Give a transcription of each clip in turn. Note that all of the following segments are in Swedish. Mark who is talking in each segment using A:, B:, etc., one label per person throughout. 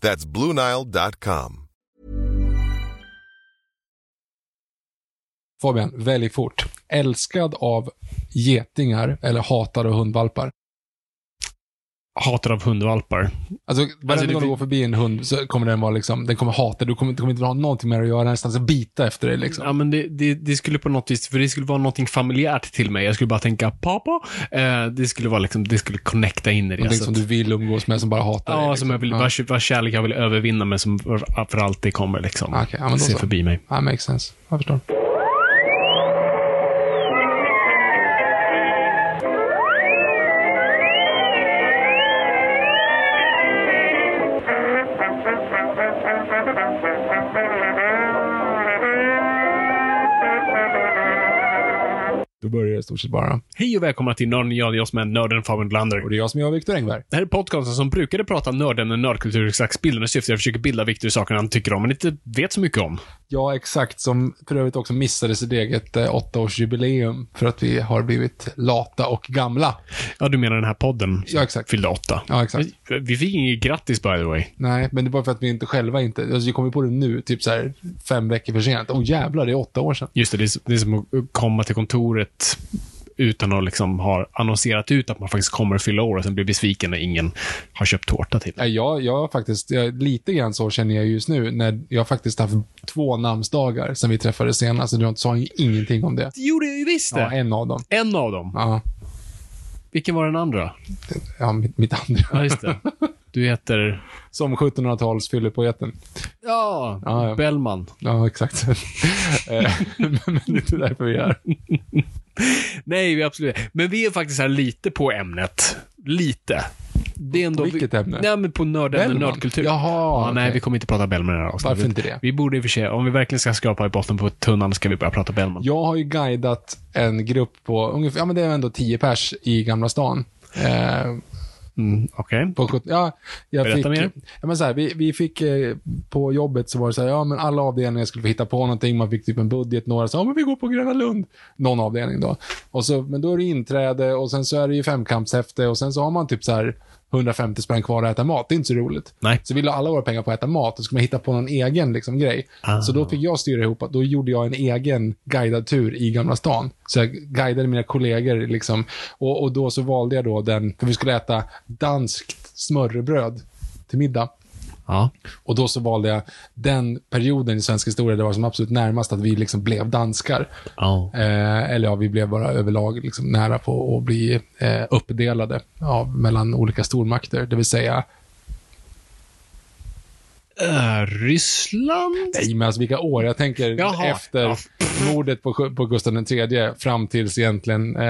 A: That's BlueNile.com.
B: Fabian, välj fort. Älskad av getingar eller hatad av hundvalpar?
C: Hatar av hundvalpar.
B: Alltså, varenda
C: det-
B: gång du går förbi en hund så kommer den vara liksom, den kommer hata dig. Du kommer, du kommer inte ha någonting med det att göra, nästan så bita efter dig liksom.
C: Ja, men det, det, det skulle på något vis, för det skulle vara någonting familjärt till mig. Jag skulle bara tänka pappa. Eh, det skulle vara liksom, det skulle connecta in i det.
B: Någonting
C: så
B: som
C: att-
B: du vill umgås med som bara hatar dig.
C: alltså- ja,
B: liksom.
C: som jag vill,
B: Ja.
C: vars, vars kärlek jag vill övervinna, men som för, för alltid kommer liksom.
B: Ah, Okej, ja, men då
C: Se
B: så.
C: förbi mig.
B: Ja, makes sense. Jag förstår. Då börjar det i stort sett bara.
C: Hej och välkomna till Nörden, jag, det är jag som är nörden Fabian Blander.
B: Och det är jag som är Viktor Engberg.
C: Det här är podcasten som brukade prata nördämnen, nördkultur och slags bildande syfte. Jag försöker bilda Viktor i saker han tycker om, men inte vet så mycket om.
B: Ja, exakt. Som för övrigt också missade sitt eget eh, åttaårsjubileum för att vi har blivit lata och gamla.
C: Ja, du menar den här podden? som
B: Ja, exakt.
C: Fyllde åtta.
B: Ja, exakt.
C: Vi fick inget grattis by the way.
B: Nej, men det är bara för att vi inte själva inte... Alltså, vi kommer på det nu, typ så här fem veckor för sent. Åh jävlar, det är åtta år sedan.
C: Just det, det är, s- det är som att komma till kontoret utan att liksom ha annonserat ut att man faktiskt kommer att fylla år och sen blir besviken när ingen har köpt tårta till en.
B: Nej, Jag, jag har faktiskt, jag, lite grann så känner jag just nu, när jag faktiskt haft två namnsdagar sedan vi träffades senast, och du sa ju ingenting om det.
C: Det gjorde jag ju visst
B: Ja,
C: det!
B: en av dem.
C: En av dem.
B: Ja,
C: Vilken var den andra?
B: ja mitt, mitt andra.
C: Ja, just det. Du heter...
B: Som 1700-tals fyllepoeten.
C: Ja,
B: Ja, ja.
C: Bellman.
B: Ja, exakt. Eh, men men det är inte därför vi är här.
C: Nej, vi absolut Men vi är faktiskt här lite på ämnet. Lite. Det är ändå...
B: vilket ämne?
C: Nej, men på nördämnen,
B: Bellman?
C: nördkultur.
B: Jaha,
C: Ja, Nej,
B: okej.
C: vi kommer inte prata Bellman i det här avsnittet.
B: Varför inte det?
C: Vi borde i och för sig, om vi verkligen ska skrapa i botten på tunnan, ska vi börja prata Bellman.
B: Jag har ju guidat en grupp på ungefär, ja men det är ändå 10 pers i Gamla stan. Eh,
C: Mm, Okej.
B: på, sjut- ja, jag
C: Berätta
B: fick,
C: mer.
B: Ja, men så här, vi, vi fick, eh, på jobbet så var det så här, ja men alla avdelningar skulle få hitta på någonting, man fick typ en budget, några sa, ja men vi går på Gröna Lund, någon avdelning då. Och så, men då är det inträde och sen så är det ju femkampshäfte och sen så har man typ så här 150 spänn kvar att äta mat, det är inte så roligt.
C: Nej.
B: Så vi la alla våra pengar på att äta mat och skulle man hitta på någon egen liksom, grej. Så då fick jag styra ihop, att då gjorde jag en egen guidad tur i Gamla stan. Så jag guidade mina kollegor liksom. Och, och då så valde jag då den, för vi skulle äta danskt smörrebröd till middag.
C: Ja.
B: Och då så valde jag den perioden i svensk historia, det var som absolut närmast att vi liksom blev danskar.
C: Ja.
B: Eh, eller ja, vi blev bara överlag liksom nära på att bli eh, uppdelade av, mellan olika stormakter. Det vill säga,
C: Eh, Ryssland?
B: nej men alltså vilka år? Jag tänker
C: Jaha,
B: efter
C: ja.
B: mordet på, Sju- på Gustav III fram tills egentligen eh,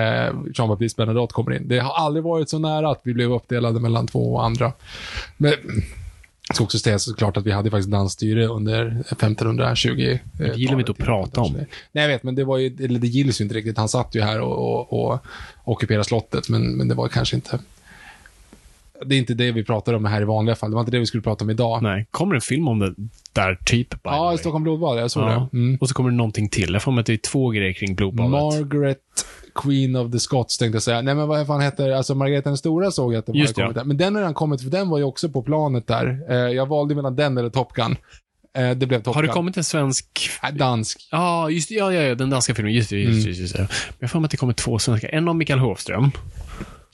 B: Jean-Baptiste Bernadotte kommer in. Det har aldrig varit så nära att vi blev uppdelade mellan två andra. Men jag ska också säga såklart att vi hade faktiskt dansstyre under 1520
C: Det gillar vi inte att prata om.
B: Nej, jag vet, men det var ju, eller det gills ju inte riktigt. Han satt ju här och, och, och ockuperade slottet, men, men det var kanske inte... Det är inte det vi pratar om här i vanliga fall. Det var inte det vi skulle prata om idag.
C: Nej. Kommer en film om det där, typ? by the
B: ja,
C: way?
B: Stockholm blodbad, jag såg
C: Ja.
B: det. Mm.
C: Och så kommer det någonting till. Jag får med att det är två grejer kring blodbadet.
B: Margaret, Queen of the Scots, tänkte jag säga. Nej, men vad fan heter Alltså, Margareta den stora såg jag att det var
C: Just det,
B: kommit
C: ja.
B: där. Men den har redan kommit, för den var ju också på planet där. Eh, jag valde mellan den eller Top Gun. Eh, det blev Top
C: har det
B: Gun.
C: kommit en svensk...
B: Nej, dansk.
C: Ja, just det.
B: Mm.
C: Ja, ja, ja, den danska filmen. Just det, just det. Just det. Men jag får med att det kommer två svenska. En av Mikael Håfström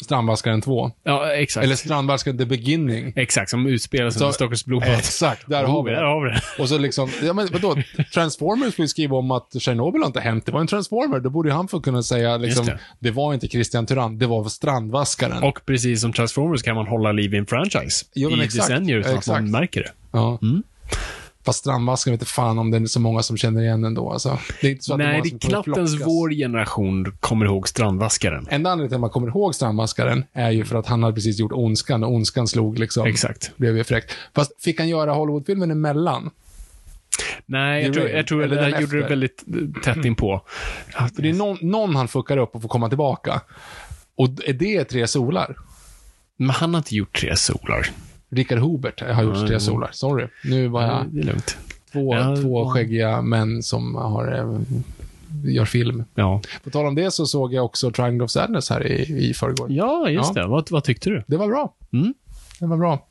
B: Strandvaskaren 2.
C: Ja, exakt.
B: Eller Strandvaskaren The Beginning.
C: exakt, som utspelar sig
B: Så-
C: under Stockholms blodbad. Oh,
B: Exakt, där har vi
C: Där
B: det.
C: har vi det.
B: Och så liksom, ja men vadå, Transformers skulle skriva om att Tjernobyl har inte hänt, det var en Transformer. Då borde ju han få kunna säga liksom, det.
C: det.
B: var inte Christian Tyrann, det var strandvaskaren.
C: Och precis som Transformers kan man hålla liv i en franchise
B: Jo, men
C: i
B: exakt.
C: decennier utan
B: Exakt.
C: att man märker det.
B: ja.
C: Mm.
B: Fast strandvaskaren vet inte fan om det är så många som känner igen den då alltså. Det är inte så att
C: Nej,
B: många
C: det
B: som
C: är
B: kommer
C: knappt ens
B: plockas.
C: vår generation kommer ihåg Strandvaskaren.
B: Enda anledningen till att man kommer ihåg strandvaskaren är ju för att han hade precis gjort Ondskan och Ondskan slog liksom.
C: Exakt.
B: Blev ju fräckt. Fast fick han göra Hollywoodfilmen emellan?
C: Nej, jag tror, jag tror
B: Eller
C: det
B: den
C: där gjorde det
B: efter.
C: väldigt eh, tätt inpå. Alltså,
B: För det är någon, någon han fuckar upp och får komma tillbaka. Och är det Tre Solar?
C: Men han har inte gjort tre solar.
B: Rickard Hubert har gjort Tre Solar. Sorry. Nu var jag
C: Det är lugnt.
B: två,
C: Ja.
B: två skäggiga män som har, eh, gör film.
C: Ja,
B: På tal om det så såg jag också Triangle of Sadness här i, i förrgår.
C: ja just
B: Ja.
C: det. Vad, vad tyckte du?
B: Det var bra.
C: Mm.
B: Det var bra.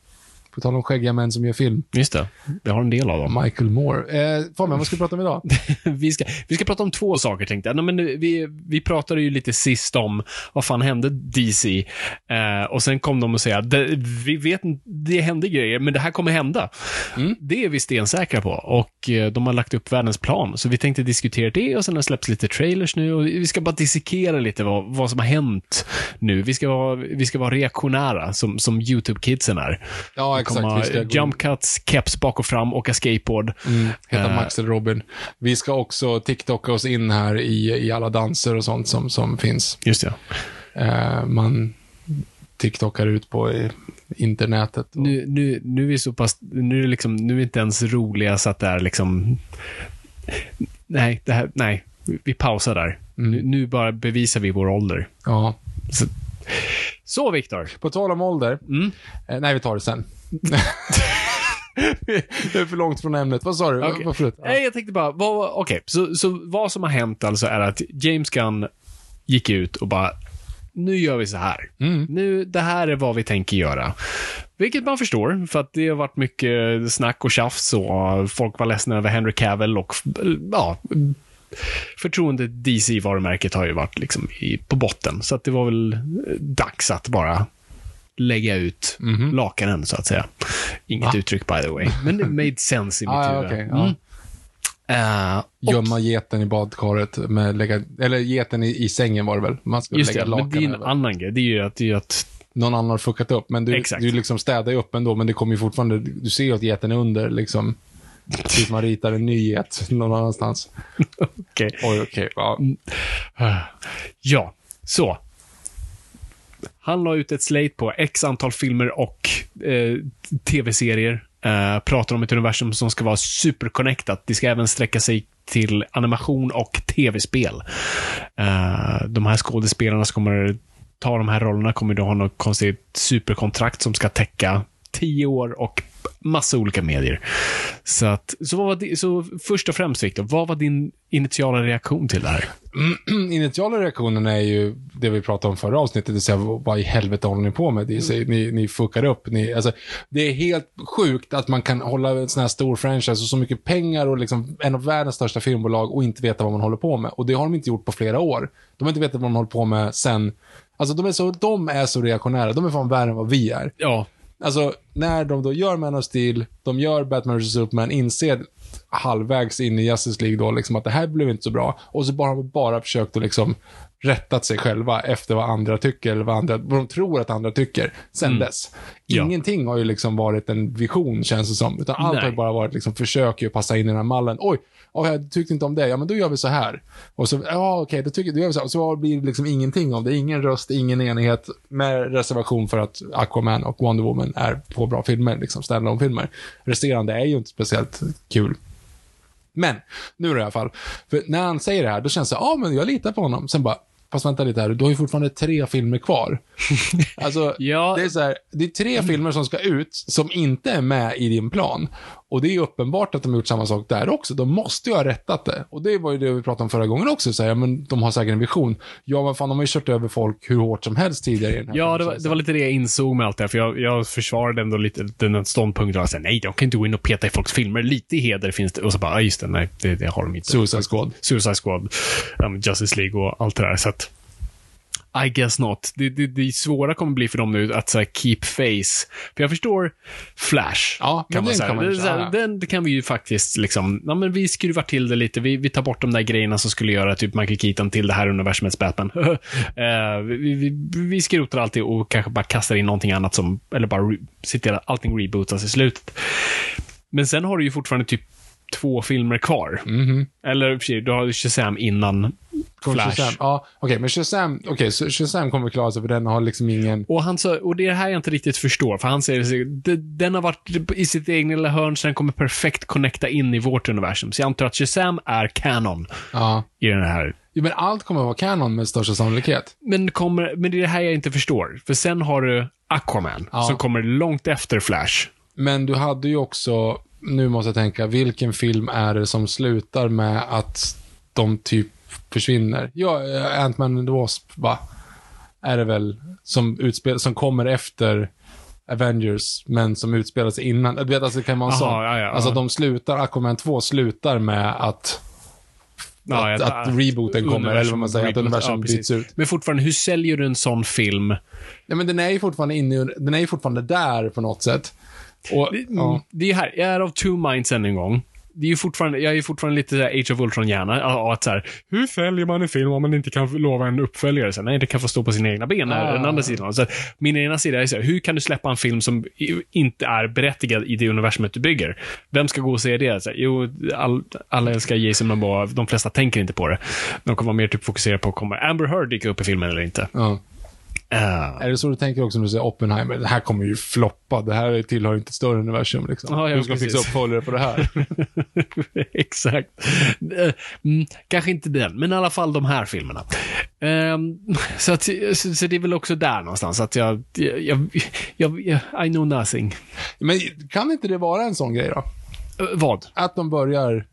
B: På tal om skäggiga män som gör film.
C: Just det. Jag har en del av dem.
B: Michael Moore. Eh, Fabian, vad ska vi prata om idag?
C: Vi ska, vi ska prata om två saker, tänkte jag. Nej, men eh, vi, vi pratade ju lite sist om vad fan hände DC. Eh, och sen kom de och säga, "Det- vi vet inte, det hände grejer, men det här kommer hända.
B: Mm.
C: Det är vi stensäkra på. Och eh, de har lagt upp världens plan. Så vi tänkte diskutera det och sen har släppts lite trailers nu. Och vi ska bara dissekera lite vad, vad som har hänt nu. Vi ska vara, vi ska vara reaktionära, som, som YouTube-kidsen är.
B: Ja, exakt.
C: Det kommer
B: Vi ska
C: ha
B: gå- Mm.
C: jump Eh. cuts, keps bak och fram, åka skateboard.
B: Heta Max eller Robin. Vi ska också TikToka oss in här i, i alla danser och sånt som, som finns.
C: Just det.
B: Eh, man TikTokar ut på eh, internetet. Och,
C: nu, nu, nu är vi så pass, nu är det liksom, nu är inte ens roliga så att det är liksom, nej, det här, nej, vi pausar där. Nu, nu bara bevisar vi vår ålder.
B: ja.
C: Så Viktor,
B: På tal om ålder.
C: Mm.
B: Eh, nej, vi tar det sen. det är för långt från ämnet. Vad sa du?
C: Okej.
B: Vad förlåt?
C: Nej, jag tänkte bara, vad, okej, så, så vad som har hänt alltså är att James Gunn gick ut och bara, nu gör vi så här.
B: Mm.
C: Nu, det här är vad vi tänker göra. Vilket man förstår, för att det har varit mycket snack och tjafs och folk var ledsna över Henry Cavill och ja, förtroendet DC-varumärket har ju varit liksom i, på botten. Så att det var väl eh, dags att bara lägga ut
B: Mhm.
C: lakanen, så att säga. Inget uttryck, by the way, men det made sense i mitt
B: Ah, ja,
C: huvud.
B: okej, ja.
C: Eh, och,
B: Gömma geten i badkaret. Med lägga, eller geten i, i sängen var det väl? Man skulle
C: just
B: lägga
C: det, men
B: lakan
C: det är ju en
B: över.
C: annan grej. Det är ju att, det är ju att
B: Någon annan har fuckat upp. Men du,
C: Exakt.
B: du liksom städar ju upp ändå, men det kommer ju fortfarande... Du ser ju att geten är under. Liksom. Precis man ritar en ny get någon annanstans.
C: okej.
B: Oj, okej. ja.
C: Ja, så. Han la ut ett slate på x antal filmer och eh, tv-serier. Eh, pratar om ett universum som ska vara superconnectat. Det ska även sträcka sig till animation och tv-spel. Eh, de här skådespelarna som kommer ta de här rollerna kommer då ha något konstigt superkontrakt som ska täcka tio år och massa olika medier. Så, att, så, vad var di- så först och främst, Victor, vad var din initiala reaktion till det här?
B: Mm, Initiala reaktionen är ju det vi pratade om förra avsnittet, det vill säga vad vad i helvete håller ni på med? Det är, så- ni, ni fuckar upp. Ni, alltså, det är helt sjukt att man kan hålla en sån här stor franchise och så mycket pengar och liksom en av världens största filmbolag och inte veta vad man håller på med. Och det har de inte gjort på flera år. De har inte vetat vad de håller på med sen... Alltså de är så, de är så reaktionära. De är fan värre än vad vi är.
C: Ja,
B: Alltså, när de då gör Man of Steel, de gör Batman vs. Superman, inser halvvägs in i Justice League då, liksom att det här blev inte så bra. Och så bara, har de bara försökt att liksom rättat sig själva efter vad andra tycker, eller vad, andra, vad de tror att andra tycker, sen dess.
C: Mm. Ja.
B: Ingenting har ju liksom varit en vision, känns det som. Utan allt
C: Nej.
B: har ju bara varit liksom, försök ju att passa in i den här mallen. Oj, oh, jag tyckte inte om det. Ja, men då gör vi så här. Och så, ja, okej, då, tycker, då gör vi så här. Och så blir det liksom ingenting av det. Ingen röst, ingen enighet. Med reservation för att Aquaman och Wonder Woman är två bra filmer, liksom standalone filmer Resterande är ju inte speciellt kul. Men, nu då i alla fall. För när han säger det här, då känns det, ja ah, men jag litar på honom. Sen bara, fast vänta lite här, du har ju fortfarande tre filmer kvar. alltså,
C: Ja.
B: det, är så här, det är tre filmer som ska ut, som inte är med i din plan. Och det är ju uppenbart att de har gjort samma sak där också. De måste ju ha rättat det. Och det var ju det vi pratade om förra gången också, så här, ja, men de har säkert en vision. Ja, men fan, de har ju kört över folk hur hårt som helst tidigare i den här
C: ja det, var,
B: franchisen.
C: det var lite det jag insåg med allt det här, för jag, jag försvarade ändå lite den ståndpunkten. Jag sa, nej, de kan inte gå in och peta i folks filmer. Lite heder finns det. Och så bara, ja, just det, nej, det, det har de inte.
B: Suicide Squad.
C: Suicide Squad, um, Justice League och allt det där. Så att, I guess not. Det, det, det svåra kommer bli för dem nu att så här, keep face. För jag förstår Flash.
B: Ja, men
C: kan man
B: den
C: säga.
B: kan man
C: det,
B: ju
C: så här,
B: köra.
C: den det kan vi ju faktiskt liksom, ja, men vi skruvar till det lite. Vi, vi tar bort de där grejerna som skulle göra typ Michael Keaton till det här universumets Batman. Eh, vi, vi, vi skrotar allt det och kanske bara kastar in någonting annat som, eller bara re- ser till att allting rebootas i slutet. Men sen har du ju fortfarande typ två filmer kvar.
B: Mhm.
C: Eller i och för sig, du har ju Shazam innan
B: Kommer
C: Flash.
B: Shazam. Ja, okej, men Shazam, okej, så Shazam kommer klara sig för den har liksom ingen...
C: Och, han sa, och det är det här jag inte riktigt förstår, för han säger så- "D- den har varit i sitt egna lilla hörn, så den kommer perfekt connecta in i vårt universum. Så jag antar att Shazam är canon
B: Ja.
C: i den här.
B: Jo, men allt kommer att vara kanon med största sannolikhet.
C: Men, kommer, men det är det här jag inte förstår. För sen har du Aquaman,
B: Ja.
C: som kommer långt efter Flash.
B: Men du hade ju också, nu måste jag tänka, vilken film är det som slutar med att de typ försvinner? Ja, eh, Ant-Man and the Wasp, va? Är det väl, som, utspel, som kommer efter Avengers, men som utspelar sig innan. Du vet, alltså det kan vara en
C: Aha,
B: sån.
C: ja, ja,
B: alltså
C: ja.
B: att de slutar, Aquaman 2 slutar med att
C: Ja,
B: att,
C: jag-
B: att rebooten kommer,
C: universum
B: eller vad man säger, att
C: reboot-
B: universum
C: ja,
B: byts
C: precis.
B: ut.
C: Men fortfarande, hur säljer du en sån film?
B: Ja, men den är ju fortfarande inne, i- den är ju fortfarande där på något sätt. Och,
C: Mm,
B: ja.
C: Det är här, jag är av two minds än en gång. Det är ju fortfarande, jag är ju fortfarande lite så här Age of Ultron-hjärna. ja, Att så här, hur säljer man en film om man inte kan lova en uppföljare? Så här, nej, det kan få stå på sina egna ben. här,
B: Ah.
C: Den andra sidan. Så här, min ena sida är så här, hur kan du släppa en film som i- inte är berättigad i det universumet du bygger? Vem ska gå och se det? Så här, jo, all, alla älskar Jason Momoa. De flesta tänker inte på det. De kommer vara mer typ fokusera på, kommer Amber Heard dyka upp i filmen eller inte?
B: Ja.
C: Ah.
B: Är det så du tänker också när du säger Oppenheimer? Det här kommer ju floppa. Det här tillhör inte ett större universum. Liksom.
C: Ja, ja,
B: Hur ska de
C: precis.
B: fixa uppföljare på det här?
C: Exakt. Eh, Mm, kanske inte den, men i alla fall de här filmerna. Ehm, så, att, så, så det är väl också där någonstans att jag... jag, jag, jag, I know nothing.
B: Men kan inte det vara en sån grej då?
C: Eh, vad?
B: Att de börjar...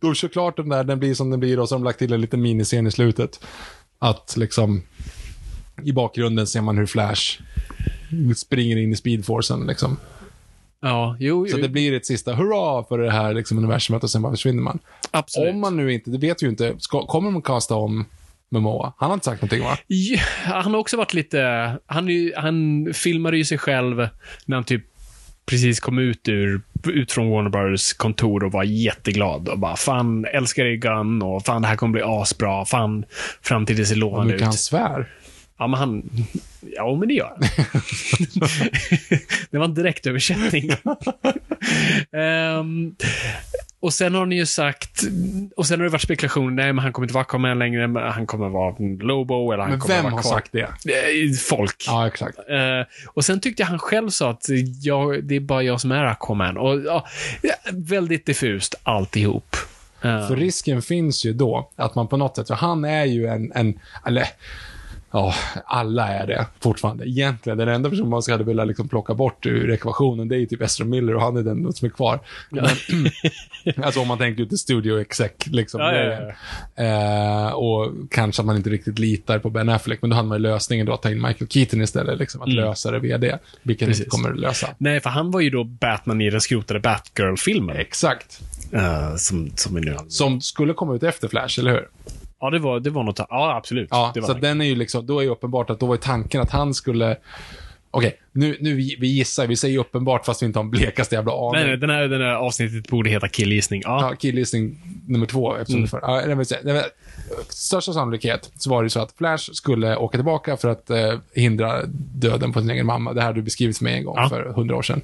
B: De kör klart den där, den blir som den blir och så har de lagt till en liten miniscen i slutet. Att liksom... I bakgrunden ser man hur Flash springer in i Speedforcen liksom.
C: Ja, jo,
B: Så
C: jo
B: att det blir ett sista hurra för det här liksom, universumet och sen bara försvinner man.
C: absolut.
B: Om man nu inte, det vet vi ju inte, ska, kommer de kasta om Momoa? Han har inte sagt någonting va?
C: Ja, han har också varit lite... Han, är ju- han filmade ju sig själv när han typ precis kom ut, ur, ut från Warner Brothers kontor och var jätteglad. Och bara, fan, älskar dig Gun och fan, det här kommer bli asbra. Fan, framtiden ser
B: Hur
C: lovande
B: mycket
C: ut.
B: han svär.
C: Ja, men han... Ja, men det gör han. det var en direktöversättning. Ehm, och sen har ni ju sagt... Och sen har det varit spekulationer. Nej, men han kommer inte vara Aquaman längre. men Han kommer vara Lobo. Eller han
B: Men
C: kommer
B: vem
C: vara
B: har
C: kvar.
B: sagt det?
C: Eh, Folk.
B: Ja, exakt.
C: Eh, och sen tyckte jag han själv sa att jag, det är bara jag som är Aquaman. Och, ja, väldigt diffust alltihop. Uh,
B: För risken finns ju då att man på något sätt, för han är ju en, en eller ja, alla är det fortfarande. Egentligen, den enda person man skulle vilja liksom plocka bort ur ekvationen, det är ju typ Ezra Miller och han är den som är kvar. Men, alltså om man tänker ut i studio exec, liksom.
C: Ja, ja, ja.
B: grejen. Eh, och kanske att man inte riktigt litar på Ben Affleck, men då hade man ju lösningen då att ta in Michael Keaton istället, liksom, att lösa det via det, vilket
C: Mm. Precis.
B: inte kommer att lösa.
C: nej, för han var ju då Batman i den skrotade Batgirl-filmen.
B: Exakt.
C: eh, som, som vi nu har.
B: Som skulle komma ut efter Flash, eller hur?
C: Ja, det var, det var något. Ja, absolut.
B: Ja,
C: det var
B: så
C: det.
B: den är ju liksom, då är ju uppenbart att då var ju tanken att han skulle... Okej, nu, nu vi vi gissar, vi säger uppenbart fast vi inte har en blekaste jävla aning.
C: Nej, nej, den här, den här avsnittet borde heta killgissning. Ja. Mm.
B: Ja, killgissning nummer två. Eftersom det för, ja, det vill säga, det vill, största sannolikhet så var det ju så att Flash skulle åka tillbaka för att eh, hindra döden på sin egen mamma. Det här har du beskrivit för mig en gång
C: Ja.
B: för hundra år sedan.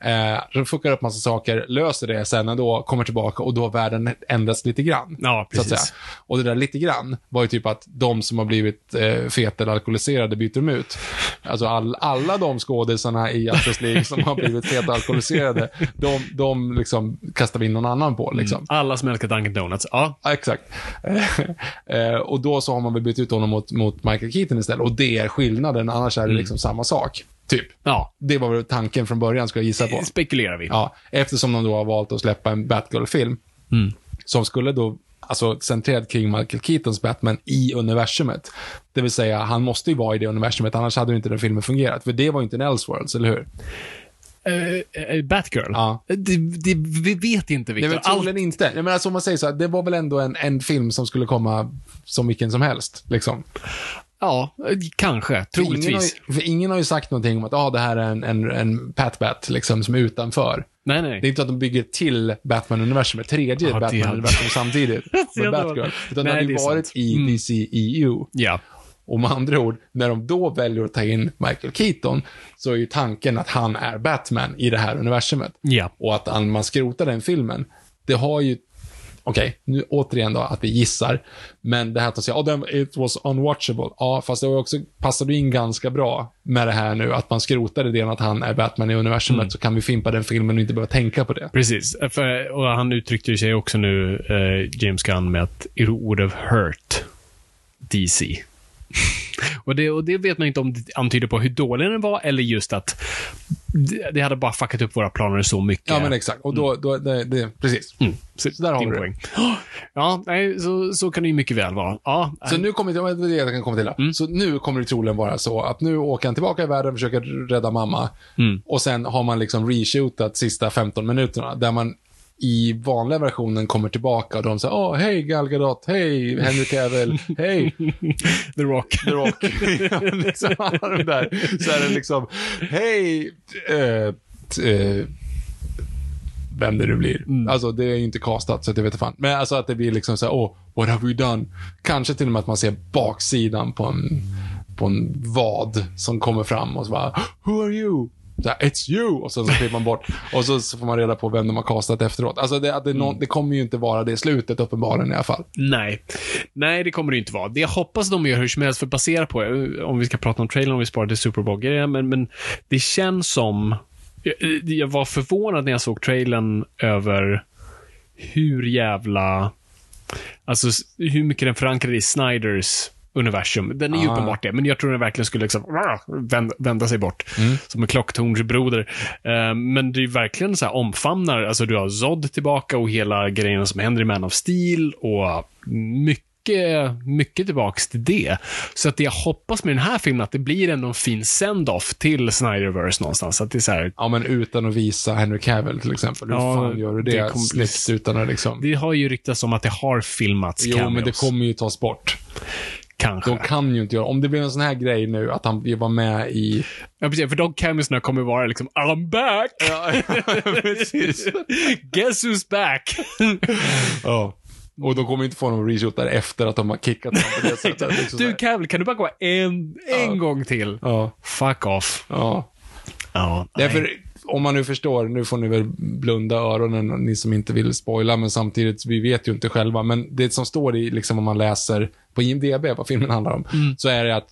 B: Eh, så fuckar upp massa saker, löser det sen ändå, kommer tillbaka och då har världen ändrats lite grann.
C: Ja,
B: så att
C: precis.
B: säga. Och det där lite grann var ju typ att de som har blivit eh, feta eller alkoholiserade byter de ut. Alltså all, alla de skådisarna i Justice League som har blivit feta och alkoholiserade, de, de liksom kastar vi in någon annan på. Liksom.
C: Alla som älskar Dunkin' Donuts. Ja.
B: Ja, exakt. Eh, och då så har man väl bytt ut honom mot, mot Michael Keaton istället. Och det är skillnaden, annars är det liksom samma sak. Typ.
C: ja.
B: Det var väl tanken från början, ska jag gissa på.
C: Spekulerar vi.
B: Ja, eftersom de då har valt att släppa en Batgirl-film. Som skulle då, alltså centrerad kring Michael Keatons Batman i universumet. Det vill säga, han måste ju vara i det universumet, annars hade ju inte den filmen fungerat. För det var ju inte en Elseworlds, eller hur?
C: Eh, eh, Batgirl.
B: Ja.
C: Det, det, vi vet inte,
B: Nej,
C: Victor.
B: men troligen inte. Nej, men alltså, om man säger så här, det var väl ändå en, en film som skulle komma som vilken som helst. Liksom.
C: Ja, eh, kanske.
B: Ingen har,
C: Troligtvis.
B: ju, för ingen har ju sagt någonting om att ah, det här är en, en, en Pat-Bat liksom, som är utanför.
C: Nej, nej.
B: Det är inte att de bygger till Batman-universum, ett tredje
C: Ja, det
B: Batman-universum samtidigt
C: hade
B: med
C: varit-
B: Batgirl. Utan det
C: Nej,
B: hade
C: det
B: ju
C: är
B: varit
C: sant.
B: i E
C: Mm.
B: DCEU.
C: Ja.
B: Och med andra ord, när de då väljer att ta in Michael Keaton, så är ju tanken att han är Batman i det här universumet.
C: Ja.
B: Och att han, man skrotar den filmen, det har ju... Okej, nu återigen då att vi gissar. Men det här att säga, oh, den, it was unwatchable. Ja, fast det var också, passade in ganska bra med det här nu, att man skrotade det att han är Batman i universumet, så kan vi fimpa den filmen och inte behöva tänka på det.
C: Precis. Eh, För, och han uttryckte ju sig också nu, eh, James Gunn, med att it would have hurt DC. och, det, och det vet man inte om det antyder på hur dålig den var, eller just att det- det hade bara fuckat upp våra planer så mycket. Mm.
B: Ja, men exakt. Och då, då det, det, precis.
C: så,
B: så där har
C: din
B: vi det.
C: poäng. Ja, nej, så, så kan det ju mycket väl vara. Ja,
B: Så nu kommer det, det är det jag kan komma till. här. Så nu kommer det troligen vara så att nu åker han tillbaka i världen och försöker rädda mamma. Och sen har man liksom reshootat sista 15 minuterna där man i vanliga versionen kommer tillbaka och de säger åh, hej Gal Gadot, hej Henry Cavill, hej
C: The Rock.
B: The Rock. liksom alla de där. Så är det liksom, hej... eh, t- eh, vem det nu blir. Alltså det är ju inte castat så att jag vet inte fan. Men alltså att det blir liksom så här, oh, what have we done? Kanske till och med att man ser baksidan på en, på en vad som kommer fram och så bara, who are you? Så här, It's you! Och sen så klipper man bort. Och så, så får man reda på vem de har castat efteråt. Alltså det, att det, är någon, det kommer ju inte vara det slutet uppenbarligen i alla fall.
C: Nej. Nej, det kommer det ju inte vara. Det jag hoppas de gör hur som helst, för baserat på, eh, om vi ska prata om trailern, om vi sparar till Super Bowl grejer, men, men det känns som... jag- eh, Jag var förvånad när jag såg trailern över hur jävla... Alltså s- hur mycket den förankrade i Snyders universum. Den är ju
B: Ah.
C: uppenbart det, men jag tror den verkligen skulle liksom ah, vända, vända sig bort.
B: Mm.
C: Som en klocktornsbroder. Eh, men det är ju verkligen så här omfamnar, alltså du har Zod tillbaka och hela grejen som händer i Man of Steel och mycket, mycket tillbaks till det. Så att det jag hoppas med den här filmen att det blir ändå en fin send-off till Snyderverse någonstans. Att det är så här,
B: Ja, men utan att visa Henry Cavill till exempel. Hur
C: Ja,
B: fan gör du det,
C: det kommer bli-
B: snyggt utan att liksom...
C: det har ju ryktats om att det har filmats
B: jo, men det
C: cameos,
B: kommer ju tas bort.
C: Kanske.
B: De kan ju inte göra... Om det blir en sån här grej nu, att han vill vara med i...
C: Ja, precis. För de cameosna kommer vara liksom I'm back!
B: precis.
C: Guess who's back?
B: Ja. Och de kommer inte få någon reshoot där efter att de har kickat honom på det sättet. liksom
C: du
B: sådär.
C: Cavill, kan du bara gå en, en gång till?
B: Ja.
C: Fuck off.
B: Ja.
C: Ja.
B: Därför, om man nu förstår, nu får ni väl blunda öronen, ni som inte vill spoila, men samtidigt, vi vet ju inte själva, men det som står i, liksom om man läser på IMDB, vad filmen handlar om, så är det att,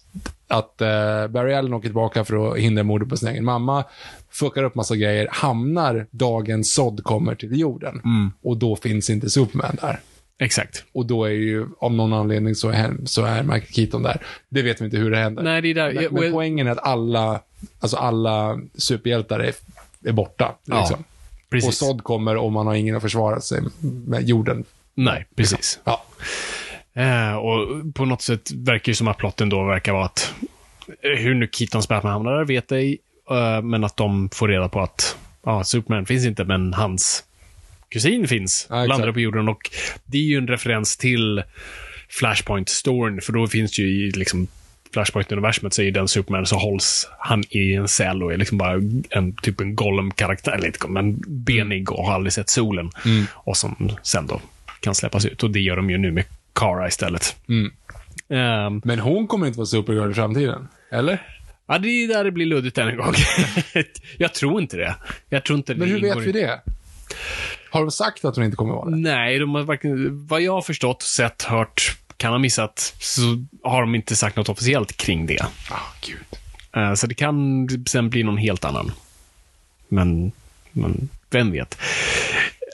B: att eh, Barry Allen åker tillbaka för att hindra mordet på sin egen mamma, fuckar upp massa grejer, hamnar dagen Sod kommer till jorden. Och då finns inte Superman där.
C: Exakt.
B: Och då är ju, om någon anledning så är, så är Michael Keaton där. Det vet vi inte hur det händer.
C: Nej, det är där.
B: Men, men poängen är att alla, alltså alla superhjältar är, är borta.
C: Ja,
B: Liksom.
C: precis.
B: Och sådd kommer om man har ingen att försvara sig med jorden.
C: Nej, precis.
B: Ja.
C: Eh, och på något sätt verkar ju som att plotten då verkar vara att eh, hur nu Keatons Batman hamnar där vet ej, eh, men att de får reda på att ja, Superman finns inte, men hans kusin finns.
B: Ja, exakt.
C: landar på jorden och det är ju en referens till Flashpoint-storyn, för då finns ju i liksom Flashpoint-universumet så är ju den Superman så hålls han i en cell och är liksom bara en, typ en Gollum-karaktär, eller inte, men benig
B: Mm.
C: och har aldrig sett solen. Och som sen då kan släppas ut. Och det gör de ju nu med Kara istället.
B: Mm.
C: Ehm,
B: Men hon kommer inte vara Supergirl i framtiden. Eller?
C: ja, det är där det blir luddigt än en gång. jag tror inte det. Jag tror inte
B: Men hur vet
C: ingår i-
B: vi det? Har de sagt att hon inte kommer vara det?
C: Nej, de har varken, vad jag har förstått, sett, hört, kan ha missat, så har de inte sagt något officiellt kring det.
B: Ah, gud.
C: Eh, Så det kan sen bli någon helt annan. Men, men vem vet?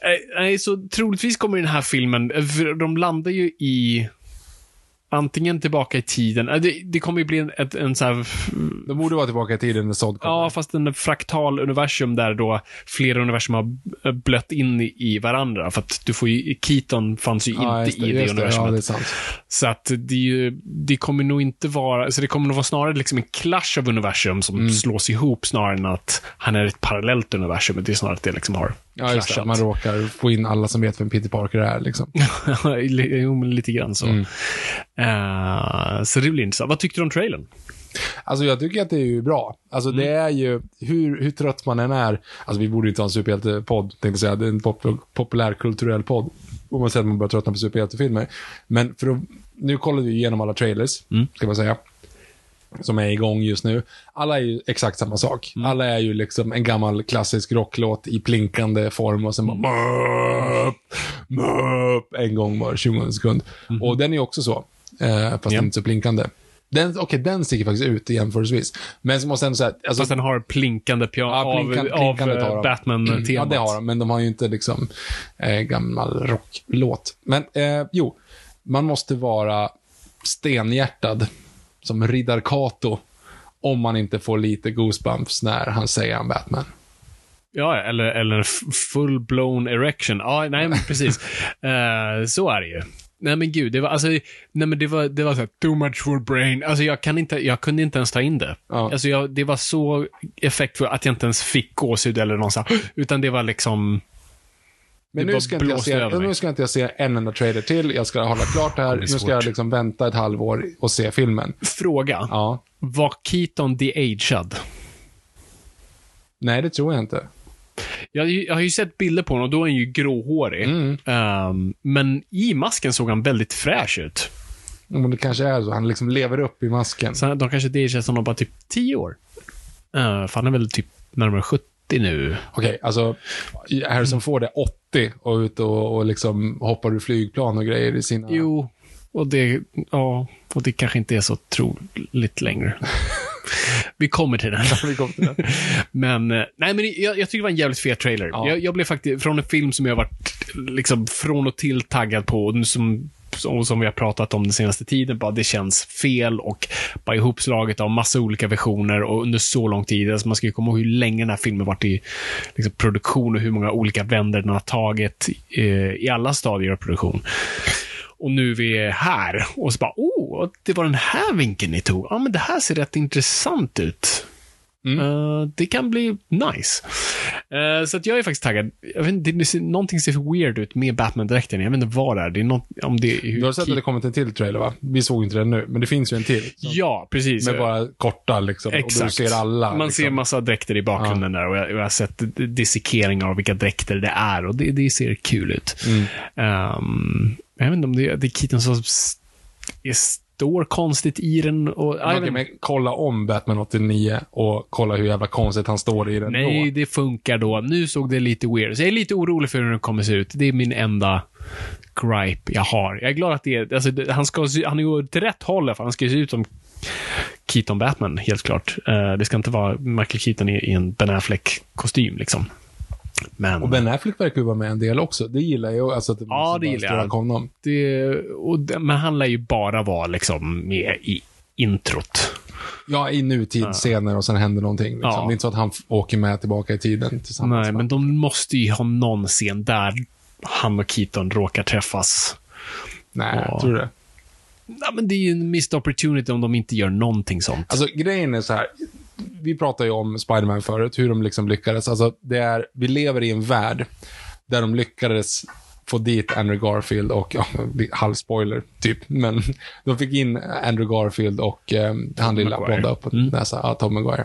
C: Eh, Nej, så troligtvis kommer den här filmen, eh, för de landar ju i antingen tillbaka i tiden, eh, det, det kommer ju bli en, ett, en så här,
B: De borde vara tillbaka i tiden när sådd kommer.
C: ja fast en fraktal universum där då flera universum har eh, blött in i- i varandra. För att du får ju, Keaton fanns ju
B: Ja,
C: inte
B: just
C: i det
B: just
C: universumet.
B: Ja, det är sant.
C: Så att det, är ju, det kommer nog inte vara, så det kommer nog vara snarare liksom en clash av universum som
B: Mm.
C: slås ihop snarare än att han är ett parallellt universum. Det är snarare att det liksom har
B: Ja, just det.
C: kraschat.
B: Man råkar få in alla som vet vem Peter Parker är. Liksom.
C: Jo, men lite grann så. Eh, så det blir intressant. Vad tyckte du om trailern?
B: Alltså jag tycker att det är ju bra. Alltså det är ju, hur, hur trött man än är. Alltså vi borde ju inte ha en superhjältepodd, tänkte jag säga. Det är en pop, populärkulturell podd. Oavsett om man börjar tröttna på superhjältefilmer. Men för att, nu kollade vi igenom alla trailers, ska man säga. Som är igång just nu. Alla är ju exakt samma sak. Alla är ju liksom en gammal klassisk rocklåt i plinkande form och sen bara möp, möp, en gång var 20 sekund. Och den är ju också så. Eh, fast den är inte så plinkande. Den, okej, den sticker faktiskt ut jämförelsevis. Men som måste ändå säga... Alltså,
C: Fast den har blinkande piano
B: Ja,
C: av,
B: plinkan-
C: av
B: plinkandet har de. Mm,
C: eh, Batman-temat.
B: Ja, det har de, men de har ju inte liksom eh, gammal rocklåt. Men eh, jo, man måste vara stenhjärtad som riddar Kato om man inte får lite goosebumps när han säger han Batman.
C: Ja, eller, eller en f- full-blown erection. Ja, nej, men precis. Eh, så är det ju. Nej men gud, det var alltså, nej men det var, det var så här, too much for brain. Alltså jag kan inte, jag kunde inte ens ta in det.
B: Ja.
C: Alltså jag, det var så effektfullt att jag inte ens fick gåshud eller någon sån, här- utan det var liksom,
B: Men
C: Det
B: nu
C: bara
B: ska, inte jag
C: blåste
B: se,
C: över mig.
B: nu ska inte jag se en enda trailer till. Jag ska hålla klart det här.
C: blir
B: Nu ska jag
C: svårt.
B: liksom vänta ett halvår och se filmen.
C: fråga.
B: Ja.
C: Var Keaton de-aged?
B: Nej, det tror jag inte.
C: Jag, har ju- jag har ju sett bilder på honom och då är han ju gråhårig.
B: Mm.
C: Ehm, men i masken såg han väldigt fräsch ut.
B: Men det kanske är så. Han liksom lever upp i masken.
C: Så de kanske DJs som de bara typ 10 år. Uh, för han är väl typ närmare 70 nu.
B: Okej, alltså
C: Mm.
B: Harrison Ford är 80 och är ute och, och liksom hoppar ur flygplan och grejer i sina...
C: Jo, och det, ja, och det kanske inte är så troligt längre. Vi kommer till den.
B: Vi kom till det.
C: Men, eh, nej, men jag, jag tycker det var en jävligt fet trailer.
B: Ja.
C: Jag, jag blev faktiskt, från en film som jag varit liksom från och till taggad på, och som, som, som vi har pratat om den senaste tiden, bara det känns fel och bara ihopslaget av massa olika versioner och under så lång tid. Alltså man ska ju komma ihåg hur länge den här filmen varit i liksom, produktion och hur många olika vänder den har tagit eh, i alla stadier av produktion. Och nu är vi här och så bara, oh, det var den här vinkeln ni tog. Ja, men det här ser rätt intressant ut.
B: Mm.
C: Eh, det kan bli nice. Eh, så att jag är faktiskt taggad. Jag vet inte, det ser, någonting ser weird ut med Batman-dräkten. Jag vet inte vad det är. Det är något, om det är hur
B: Du har sett att det kommit en till trailer, va? Vi såg inte den nu, men det finns ju en till.
C: Ja, precis.
B: Med bara korta liksom.
C: Exakt.
B: Och du ser alla.
C: Man
B: liksom.
C: ser massa dräkter i bakgrunden där och jag, och jag har sett dissekeringar av vilka dräkter det är och det, det ser kul ut.
B: Mm.
C: Ehm, jag vet inte om det, det är Keaton som s- är, står konstigt i den. Och, jag
B: Man
C: vet
B: kan
C: inte.
B: men kolla om Batman 89 och kolla hur jävla konstigt han står i den
C: Nej,
B: då.
C: det funkar då. Nu såg det lite weird Så jag är lite orolig för hur den kommer se ut. Det är min enda gripe jag har. Jag är glad att det är... Alltså, det, han, ska, se- han är ju åt rätt håll i alla fall. Han ska ju se ut som Keaton Batman, helt klart. Eh, det ska inte vara Michael Keaton i, i en Ben Affleck-kostym, liksom. Men...
B: Och Ben Affleck verkar ju vara med en del också. Det gillar jag. Alltså att det
C: Ja, det
B: bara
C: gillar
B: står
C: jag.
B: och honom.
C: det, och det, men han lär ju bara vara liksom med i introt.
B: Ja, i nutidsscener och sen händer någonting. Liksom.
C: Ja.
B: Det är inte så att han f- åker med tillbaka i tiden tillsammans.
C: Nej,
B: va?
C: men de måste ju ha någon scen där han och Keaton råkar träffas.
B: Nej,
C: Ja.
B: tror du det?
C: Nej, men det är ju en missed opportunity om de inte gör någonting sånt.
B: Alltså grejen är så här. Vi pratade ju om Spider-Man förut, hur de liksom lyckades. Alltså, det är, vi lever i en värld där de lyckades få dit Andrew Garfield och, ja, halv spoiler typ, men de fick in Andrew Garfield och eh, han lilla
C: Maguire.
B: blonda uppåt näsa, ja, Tom Maguire,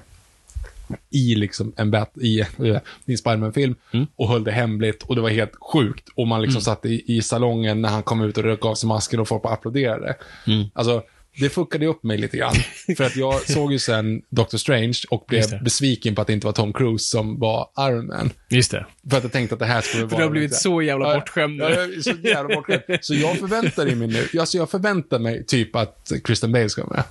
B: i liksom en bat, i, i en Spiderman-film
C: Mm.
B: och höll det hemligt och det var helt sjukt. Och man liksom satt i, i salongen när han kom ut och rök av sig masken och folk bara applåderade.
C: Mm.
B: Alltså, det fuckade upp mig lite grann. För att jag såg ju sen Doctor Strange och
C: Just det.
B: blev besviken på att det inte var Tom Cruise som var Iron Man.
C: Just det.
B: För att jag tänkte att det här skulle vara...
C: har blivit så jävla bortskämd nu.
B: Ja, jag är så jävla bortskämd. Så jag förväntar mig nu, alltså jag förväntar mig typ att Kristen Bale ska vara med.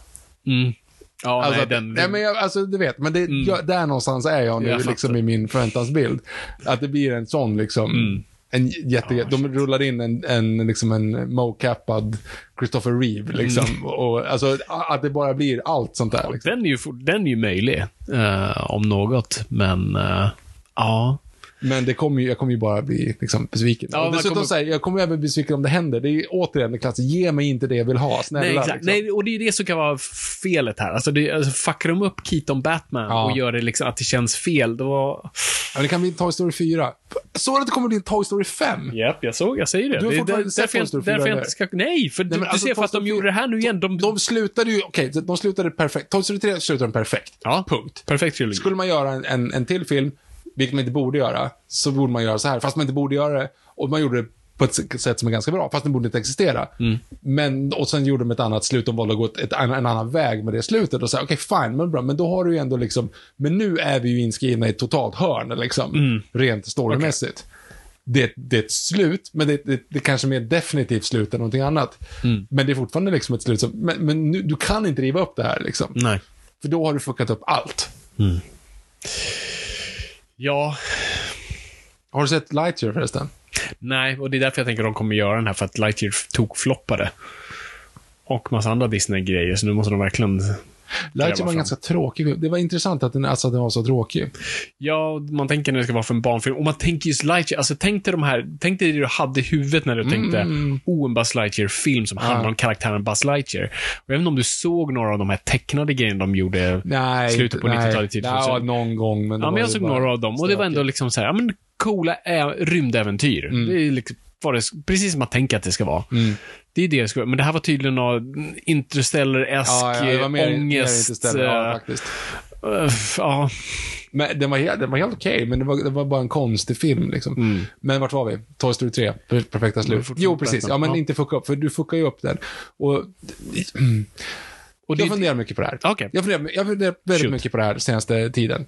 C: Ja,
B: Alltså,
C: nej,
B: att-
C: den... Mm.
B: nej, men jag, alltså du vet, men det, jag, där någonstans är jag nu
C: Jag fattar.
B: liksom i min förväntansbild. Att det blir en sån liksom,
C: Mm.
B: en j- jätte, de rullar in en, en, liksom en mocappad Christopher Reeve liksom.
C: Mm.
B: Och, alltså a- att det bara blir allt sånt där. Liksom.
C: den, är ju, for- den är ju möjlig, eh, om något, men... eh, ja.
B: Men det kommer ju, jag kommer ju bara bli liksom, besviken.
C: Ja,
B: och
C: man
B: dessutom
C: kommer-
B: så här, jag kommer även bli besviken om det händer. Det är ju återigen det klassiska, ge mig inte det jag vill ha. Snälla.
C: Nej, exakt.
B: liksom.
C: Nej, och det är ju det som kan vara felet här. Alltså, det, alltså fuckar de upp Keaton Batman
B: Ja.
C: och gör det liksom att det känns fel, då...
B: Ja, det kan bli en Toy Story 4. Så att det kommer bli en Toy Story 5?
C: Japp, jag såg, jag säger det.
B: Du har
C: det är
B: fortfarande inte sett
C: därför jag,
B: Monster fyra,
C: därför jag
B: eller?
C: inte ska... Nej, för du,
B: men
C: du
B: alltså,
C: ser för att de
B: Monster
C: gjorde det här nu igen. De,
B: De slutade ju, okej, de slutade perfekt. Toy Story 3 slutade de perfekt.
C: ja,
B: Punkt.
C: Perfekt trilogi.
B: Skulle man göra en, en, en till film, vilket man inte borde göra, så borde man göra så här. Fast man inte borde göra det. Och man gjorde det på ett sätt som är ganska bra, fast den borde inte existera. Men, och sen gjorde de ett annat slut, de valde att gå ett, ett, en, en annan väg med det slutet och säga okej fine, men bra, men då har du ju ändå liksom, men nu är vi ju inskrivna i ett totalt hörn liksom, rent storymässigt. Det, det är ett slut, men det, det, det kanske är mer definitivt slut än någonting annat. Men det är fortfarande liksom ett slut som, men, men nu, du kan inte riva upp det här liksom.
C: Nej.
B: För då har du fuckat upp allt.
C: Ja,
B: Har du sett Lightyear förresten?
C: nej, och det är därför jag tänker att de kommer göra den här, för att Lightyear tokfloppade. Och massa andra Disney-grejer, så nu måste de verkligen...
B: Lightyear
C: fram.
B: var en ganska tråkig film. Det var intressant att den, alltså, att den var så tråkig.
C: Ja, man tänker när det ska vara för en barnfilm. Och man tänker just Lightyear. Alltså, tänk dig de här, tänk dig det du hade i huvudet när du tänkte, oh, en Buzz Lightyear-film som handlar om karaktären Buzz Lightyear. Och jag vet inte om du såg några av de här tecknade grejerna de gjorde
B: Nej.
C: slutet på typ,
B: nej.
C: 90-talet, tidigt
B: Ja,
C: 2000.
B: någon gång. Men det
C: Ja,
B: var
C: men jag
B: ju
C: såg
B: bara
C: några av dem och det var ändå
B: stökigt. Mm.
C: liksom så här, ja men coola ä- rymdäventyr. Det är liksom, var det, precis som man tänker att det ska vara. Det är det det ska vara. Men det här var tydligen någon interstellar-esk
B: Ja, ja, det var mer,
C: ångest.
B: mer inte ja,
C: eh,
B: faktiskt.
C: eh, ja,
B: Men den var helt, den var helt okej, men det var, det var bara en konstig film. Liksom. Men vart var vi? Toy Story 3, per- perfekta slut.
C: fortfarande
B: Jo, precis.
C: Batman.
B: Ja, men
C: Ja.
B: inte fucka upp, för du fuckar ju upp den. Och, och
C: det-
B: jag funderar mycket på det här.
C: Okej.
B: Jag funderar, jag funderar väldigt
C: Shoot.
B: mycket på det här senaste tiden.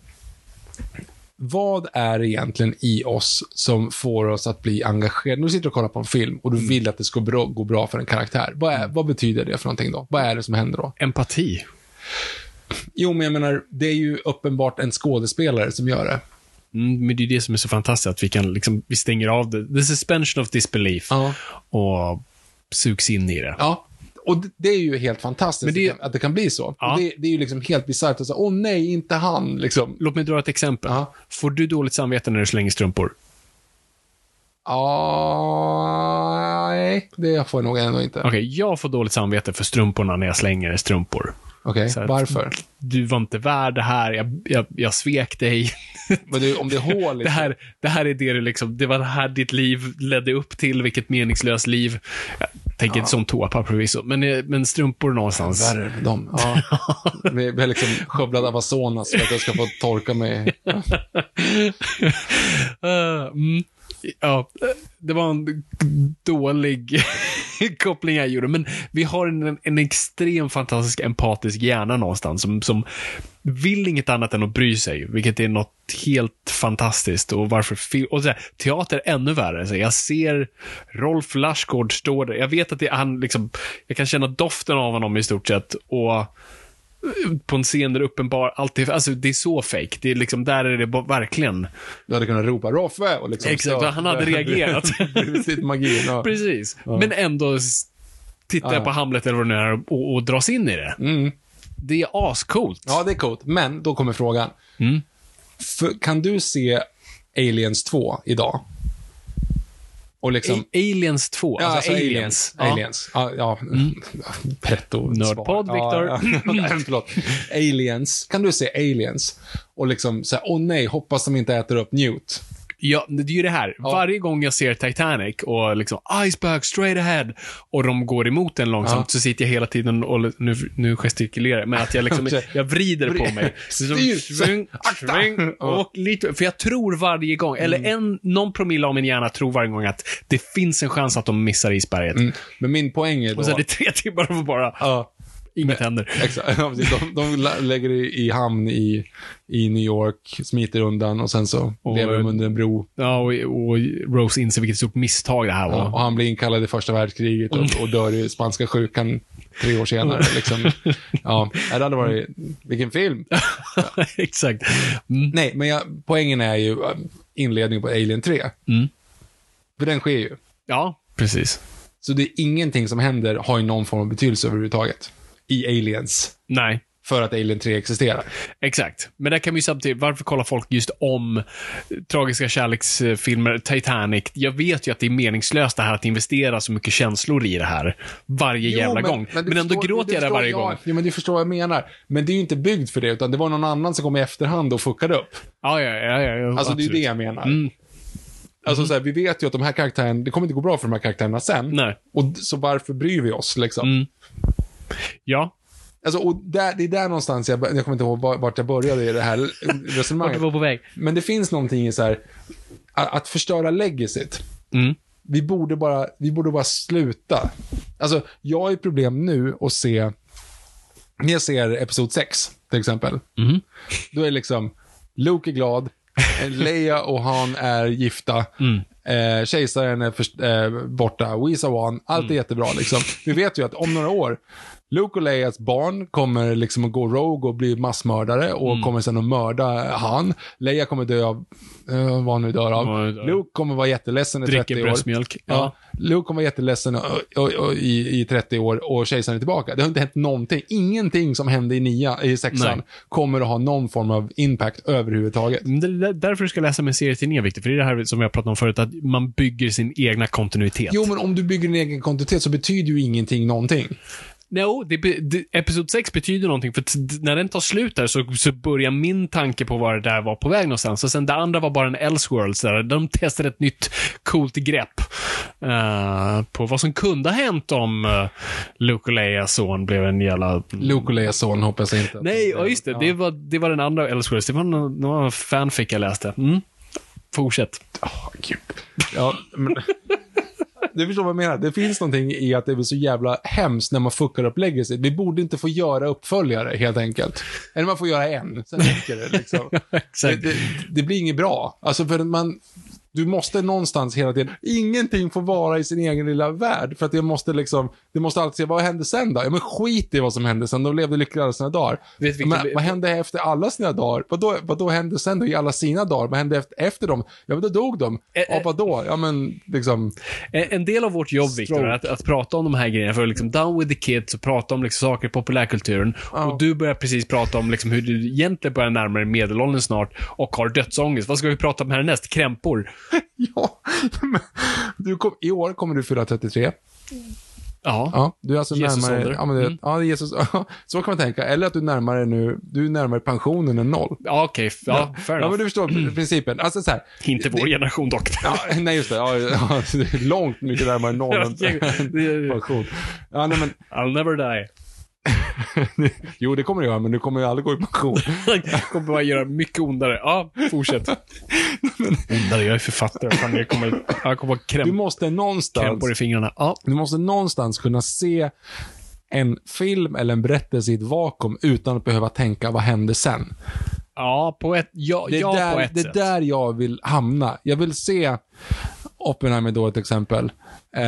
B: Vad är det egentligen i oss som får oss att bli engagerade? Nu sitter du och kollar på en film och du vill att det ska bra, gå bra för en karaktär. Vad, är, vad betyder det för någonting då? Vad är det som händer då?
C: empati.
B: Jo, men jag menar, det är ju uppenbart en skådespelare som gör det.
C: Mm, men det är det som är så fantastiskt, att vi kan liksom, vi stänger av det. The suspension of disbelief
B: Ja.
C: och sugs in i det.
B: Ja. Och det- det är ju helt fantastiskt
C: Men det-
B: att det kan bli så.
C: Ja.
B: Och det, det är ju liksom helt bisarrt att säga, åh nej, inte han, liksom.
C: Låt mig dra ett exempel.
B: Ja.
C: Får du dåligt samvete när du slänger strumpor?
B: Ja, nej, det får jag nog ändå inte.
C: Okej,
B: Okej,
C: jag får dåligt samvete för strumporna när jag slänger strumpor. Så att-
B: varför?
C: du var inte värd det här, jag, jag, jag svek dig.
B: Men det, om det är hål
C: Det
B: liksom.
C: här, det här är det du liksom, det var det här ditt liv ledde upp till, vilket meningslöst liv. Jag tänker inte som toapapper förvisso, men, eh, men strumpor någonstans.
B: Värre med dem. Ja. Vi vi har liksom skövlat Amazonas för att jag ska få torka mig.
C: Eh, mm. Ja, eh, det var en dålig koppling jag gjorde, men vi har en, en extrem fantastisk empatisk hjärna någonstans som, som vill inget annat än att bry sig, vilket är något helt fantastiskt. Och varför fil- och så här, teater är ännu värre. Så jag ser Rolf Lassgård stå där. Jag vet att det är han, liksom, jag kan känna doften av honom i stort sett. Och eh, på en scen där det uppenbar, alltid, alltså det är så fake. Det är liksom, där är det bara, verkligen.
B: Du hade kunnat ropa Roffe och liksom...
C: Exakt,
B: så-
C: han hade reagerat.
B: Brutit magin. Ja.
C: Precis. Men ändå s- titta
B: Ja.
C: på Hamlet eller vad det nu är och, och dras in i det.
B: Mm.
C: Det är ascoolt.
B: Ja, det är coolt. Men då kommer frågan.
C: Mm.
B: För, kan du se Aliens 2 idag? Och liksom...
C: A- Aliens 2.
B: Ja,
C: alltså,
B: alltså aliens.
C: Ja. Mm.
B: Aliens. Ja, ja. Pretto.
C: Nördpodd,
B: Ja,
C: Viktor.
B: ja. Förlåt. Aliens. Kan du se aliens? Och liksom säga, åh nej, hoppas de inte äter upp Newt.
C: Ja, det är ju det här. Varje gång jag ser Titanic och liksom iceberg straight ahead och de går emot en långsamt så sitter jag hela tiden och nu, nu gestikulerar jag, men att jag liksom, jag vrider på mig.
B: Styr,
C: sväng,
B: akta! Mm.
C: sväng och lite, för jag tror varje gång, eller en, någon promille av min hjärna tror varje gång att det finns en chans att de missar isberget.
B: Men min poäng är då...
C: Och så är det tre timmar och bara,
B: Ja,
C: inget händer.
B: exakt. Ja, precis. De, de la- lägger det i hamn i, i New York, smiter undan och sen så lever de under en bro.
C: Ja, och, och Rose inser vilket stort misstag det här var.
B: Och han blir inkallad i första världskriget och, och dör i spanska sjukan tre år senare. Liksom. Ja, det hade varit... Vilken film!
C: Exakt. Mm.
B: Nej, men jag, poängen är ju äh, inledningen på Alien 3.
C: Mm.
B: För den sker ju.
C: Ja, precis.
B: Så det är ingenting som händer har ju någon form av betydelse överhuvudtaget. I Aliens.
C: Nej.
B: för att Alien 3 existerar.
C: Exakt. Men där kan vi ju samtidigt, varför kollar folk just om eh, tragiska kärleksfilmer, Titanic? Jag vet ju att det är meningslöst det här att investera så mycket känslor i det här. Varje
B: Jo,
C: jävla gång. Men,
B: du
C: ändå
B: förstår-
C: gråter
B: du
C: jag där
B: förstår-
C: varje
B: ja,
C: gång.
B: Jo, men du förstår vad jag menar. Men det är ju inte byggd för det, utan det var någon annan som kom i efterhand och fuckade upp.
C: Ja, ja, ja. ja, ja
B: Alltså, det är
C: absolut.
B: ju det jag menar.
C: Mm.
B: Alltså, så här, vi vet ju att de här karaktärerna, det kommer inte gå bra för de här karaktärerna sen.
C: Nej.
B: Och, d- så varför bryr vi oss liksom?
C: Mm. Ja,
B: Alltså, och där, det är där någonstans jag, bör- jag kommer inte ihåg var- vart jag började i det här
C: vart du
B: resonemanget.
C: var på väg.
B: Men det finns någonting i så här, att, att förstöra legacyt.
C: Mm.
B: Vi borde bara, vi borde bara sluta. Alltså, jag har ju problem nu att se, när jag ser Episod 6 till exempel,
C: Mm.
B: då är det liksom, Luke är glad, eh, Leia och Han är gifta,
C: Mm.
B: eh, kejsaren är först, eh, borta, Wisa Wan, allt
C: Mm.
B: är jättebra liksom. Vi vet ju att om några år, Luke och Leias barn kommer liksom att gå rogue och bli massmördare och
C: Mm.
B: kommer sen att mörda Han. Leia kommer dö av, eh, vad han nu dör av.
C: Vad han nu dör av.
B: Luke kommer vara jätteledsen i 30
C: Dricker
B: år.
C: bröstmjölk.
B: Ja. Luke kommer vara jätteledsen och, och, och, i, i 30 år och kejsaren är tillbaka. Det har inte hänt någonting. Ingenting som hände i, nia, i sexan
C: Nej.
B: kommer att ha någon form av impact överhuvudtaget.
C: Men Mm, Det är där- därför du ska läsa med serietidningar, Victor. För det är det här som jag pratade om förut, att man bygger sin egna kontinuitet.
B: Jo, men om du bygger din egen kontinuitet så betyder ju ingenting någonting.
C: No, det, be- det, episod 6 betyder någonting, för t- d- när den tar slut där så, så börjar min tanke på var det där var på väg någonstans. Och sen det andra var bara en Elseworlds, där de testade ett nytt coolt grepp eh, på vad som kunde ha hänt om uh, Luke och Leias son blev en jävla...
B: Luke och Leias son hoppas jag inte. att-
C: Nej, ja, just det. Det, var, det var den andra Elseworlds. Det var någon, någon fanfic jag läste. Mm. Fortsätt.
B: Ah, Ja, men... Du förstår vad jag menar. Det finns någonting i att det är så jävla hemskt när man fuckar upp legacy. Vi borde inte få göra uppföljare, helt enkelt. Eller man får göra en, sen räcker det liksom.
C: Exakt.
B: Det, det, det blir inget bra. Alltså för att man, du måste någonstans hela tiden, ingenting får vara i sin egen lilla värld. För att det måste liksom, det måste alltid se, vad hände sen då? Ja men skit i vad som hände sen, de levde lyckliga alla sina dagar.
C: Vet vi-
B: men, vad hände efter alla sina dagar? Vad då, vad då hände sen då i alla sina dagar? Vad hände efter, efter dem? Ja men då dog de. Ja
C: eh.
B: vad då? Ja men liksom,
C: En en del av vårt jobb, Victor, är att, att prata om de här grejerna. För att liksom, down with the kids och prata om liksom, saker i populärkulturen. Och du börjar precis prata om liksom, hur du egentligen börjar närma dig medelåldern snart och har dödsångest. Vad ska vi prata om härnäst? Krämpor?
B: ja. men Du kom, I år kommer du fylla 33.
C: Ja.
B: Ja, du är alltså
C: Jesus
B: närmare...
C: ålder.
B: Ja, men det,
C: Mm.
B: ja, det är Jesus, så kan man tänka. Eller att du är närmare nu, du är närmare pensionen än noll.
C: Ja, okej. f- Ja,
B: Ja, men
C: fair enough. Mm.
B: du förstår principen. Alltså så här.
C: Inte vår generation dock.
B: Ja, nej, just det. Ja, ja, det är långt mycket närmare noll än än pension. Ja, nej, men,
C: I'll never die.
B: jo, det kommer du göra, men du kommer ju aldrig gå i pension.
C: Det kommer bara göra mycket ondare. Ja, fortsätt. Ondare? Jag är författare. Fan, jag kommer, jag kommer ha
B: Du
C: kräm,
B: måste alltså- någonstans,
C: krämpor i fingrarna. Ja.
B: du måste någonstans kunna se en film eller en berättelse i ett vakuum utan att behöva tänka vad händer sen.
C: Ja, på ett, ja,
B: Det är,
C: ja, på
B: där,
C: ett
B: det är
C: sätt.
B: där jag vill hamna. Jag vill se Oppenheimer då till exempel. Eh,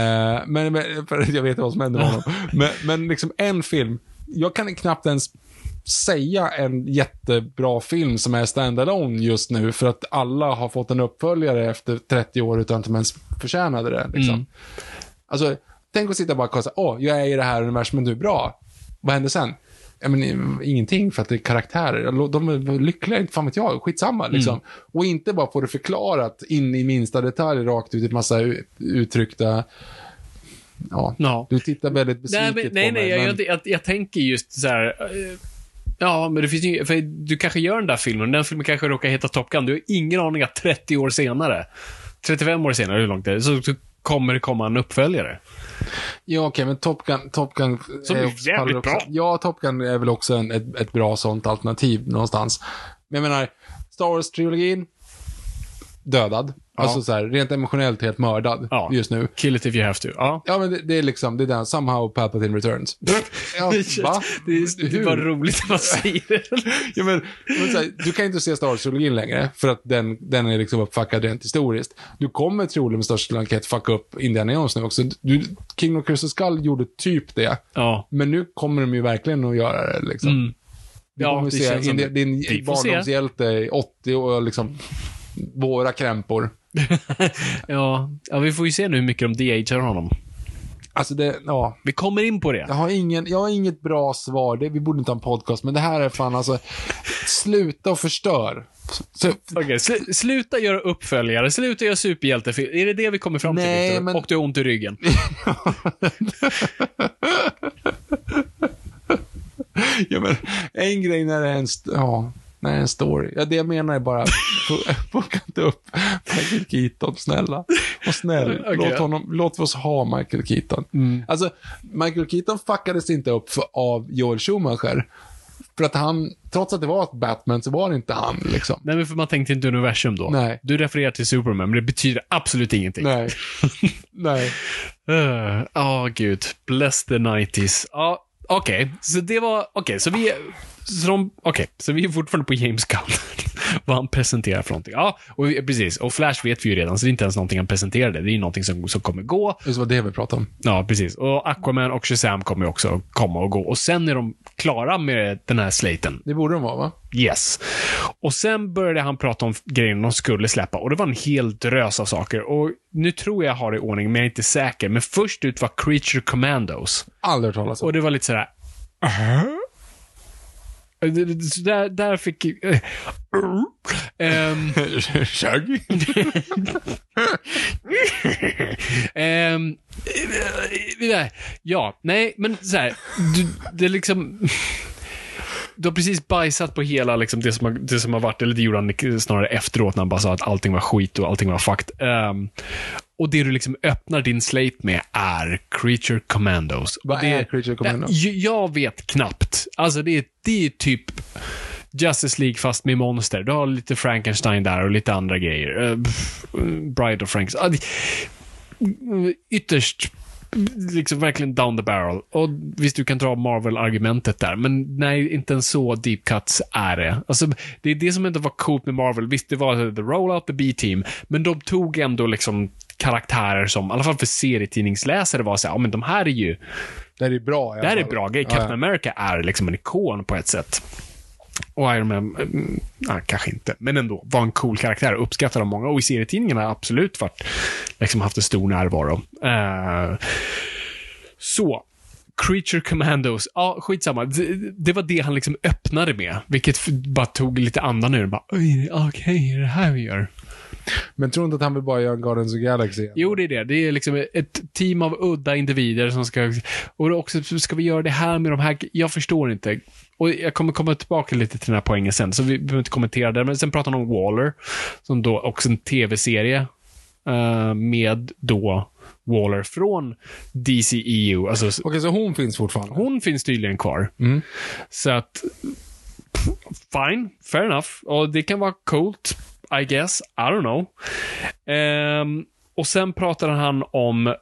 B: men, men, för jag vet vad som händer med honom. Men, men liksom en film. Jag kan knappt ens säga en jättebra film som är standalone just nu för att alla har fått en uppföljare efter 30 år utan att de ens förtjänade det. Liksom. Alltså, tänk att sitta och bara kolla, så här, åh, jag är i det här universumet nu, bra. Vad händer sen? Ja, men, eh, ingenting för att det är karaktärer. Lå- De är lyckliga, inte fan vet jag,
C: Mm.
B: skitsamma liksom. Och inte bara få det förklarat in i minsta detalj rakt ut i ett massa u- uttryckta... Ja,
C: Ja.
B: du tittar väldigt besviket
C: Nej, men, nej,
B: på mig.
C: nej jag,
B: men-
C: jag, jag, jag tänker just så här. eh, Ja, men det finns ju, för du kanske gör den där filmen. Den filmen kanske råkar heta Top Gun. Du har ingen aning att 30 år senare, 35 år senare, hur långt det är, så, så kommer det komma en uppföljare.
B: Ja, okej, men Top Gun... Top Gun
C: Som
B: eh,
C: är jävligt
B: faller också,
C: bra.
B: Ja, Top Gun är väl också en, ett, ett bra sånt alternativ någonstans. Men jag menar, Star Wars-trilogin, dödad. Alltså så här, rent emotionellt helt mördad
C: Ja.
B: just nu.
C: Kill it if you have to. Ja.
B: Ja, men det, det är liksom, det är den, somehow Palpatine returns. ja, va?
C: Det är det är bara roligt att man säger det.
B: Ja, men, men så här, du kan inte se Star Wars-trilogin längre, för att den, den är liksom uppfuckad rent historiskt. Du kommer troligen med största sannolikhet fucka upp Indiana Jones nu också. Du, King of Crystal Skull gjorde typ det.
C: Ja.
B: Men nu kommer de ju verkligen att göra det. Liksom.
C: Mm.
B: Vi
C: Ja,
B: kommer
C: det
B: se
C: känns som
B: din,
C: det.
B: din
C: Vi får se.
B: barndomshjälte i 80 och liksom våra krämpor.
C: Ja. ja, vi får ju se nu hur mycket de de-agear honom.
B: Alltså det, ja.
C: Vi kommer in på det.
B: Jag har, ingen, jag har inget bra svar. Det, vi borde inte ha en podcast, men det här är fan alltså... Sluta och förstör. Så,
C: Okej, sl- sluta göra uppföljare, sluta göra superhjältefilm. Är det det vi kommer fram till,
B: Nej,
C: Victor?
B: men-
C: Och du har ont i ryggen.
B: ja, men, en grej när det är en... St- ja, när det är en story. Ja, det jag menar är bara... Fucka inte upp Michael Keaton, snälla. Och snäll,
C: Okej.
B: låt, honom, låt oss ha Michael Keaton. Alltså, Michael Keaton fuckades inte upp för, av Joel Schumacher. För att han, trots att det var ett Batman, så var det inte han liksom.
C: Nej, men för man tänkte inte universum då.
B: Nej.
C: Du refererar till Superman, men det betyder absolut ingenting. Eh,
B: Nej. Nej.
C: Ja, gud. Bless the 90s. Ja, okej. Så det var... Okej, så vi... Så, de, okej, så vi är fortfarande på James Gunn. Vad han presenterar för någonting. Ja, och vi, precis. Och Flash vet vi ju redan, så det är inte ens någonting han presenterade. Det är ju någonting som, som kommer gå.
B: Just det var det vi pratade om.
C: Ja, precis. Och Aquaman och Shazam kommer ju också komma och gå. Och sen är de klara med den här slaten.
B: Det borde de vara, va?
C: Yes. Och sen började han prata om grejerna de skulle släppa och det var en hel drös av saker. Och nu tror jag jag har det i ordning, men jag är inte säker. Men först ut var Creature Commandos.
B: Aldrig hört talas om.
C: Och det var lite sådär... Uh-huh. Så där, där fick... eh, ehm,
B: Shaggy?
C: Ehm, eh, eh, ja, nej, men så här. Du, det är liksom... Du har precis bajsat på hela liksom, det, som har, det som har varit, eller det gjorde han snarare efteråt när han bara sa att allting var skit och allting var fucked. Ehm, och det du liksom öppnar din slate med är Creature Commandos.
B: Vad
C: och det,
B: är Creature Commandos?
C: Nej, j- jag vet knappt. Alltså det är, det är typ Justice League fast med monster. Du har lite Frankenstein där och lite andra grejer. Eh, pff, eh, Bride of Frankenstein. Ah, det- ytterst liksom verkligen down the barrel. Och visst, du kan dra Marvel-argumentet där, men nej, inte ens så deep cuts är det. Alltså, det är det som inte var coolt med Marvel. Visst, det var the rollout, the B-team, men de tog ändå liksom karaktärer som, i alla fall för serietidningsläsare, var så här, ja men de här är ju,
B: Det här är bra. i alla
C: det här är
B: fall.
C: bra grejer. Captain America är liksom en ikon på ett sätt. Och Iron Man, mm, ja, kanske inte, men ändå, var en cool karaktär. Uppskattad av många. Och i serietidningarna har absolut varit, liksom haft en stor närvaro. Eh, så. Creature Commandos. Ja, skitsamma. Det, det var det han liksom öppnade med. Vilket f- bara tog lite andan ur Bara, "Oj, Okej, är det här vi gör?
B: Men tror inte att han vill bara göra Guardians of the Galaxy? igen?
C: Jo, det är det. Det är liksom ett team av udda individer som ska... Och också, ska vi göra det här med de här... Jag förstår inte. Och jag kommer komma tillbaka lite till den här poängen sen, så vi behöver inte kommentera det. Men sen pratar han om Waller, som då också en tv-serie eh, med då Waller från DCEU. Alltså,
B: Okej, så hon finns fortfarande?
C: hon finns tydligen kvar. Så att... pff, Fine, fair enough. Och det kan vara coolt, I guess. I don't know. Ehm, och sen pratade han om... eh,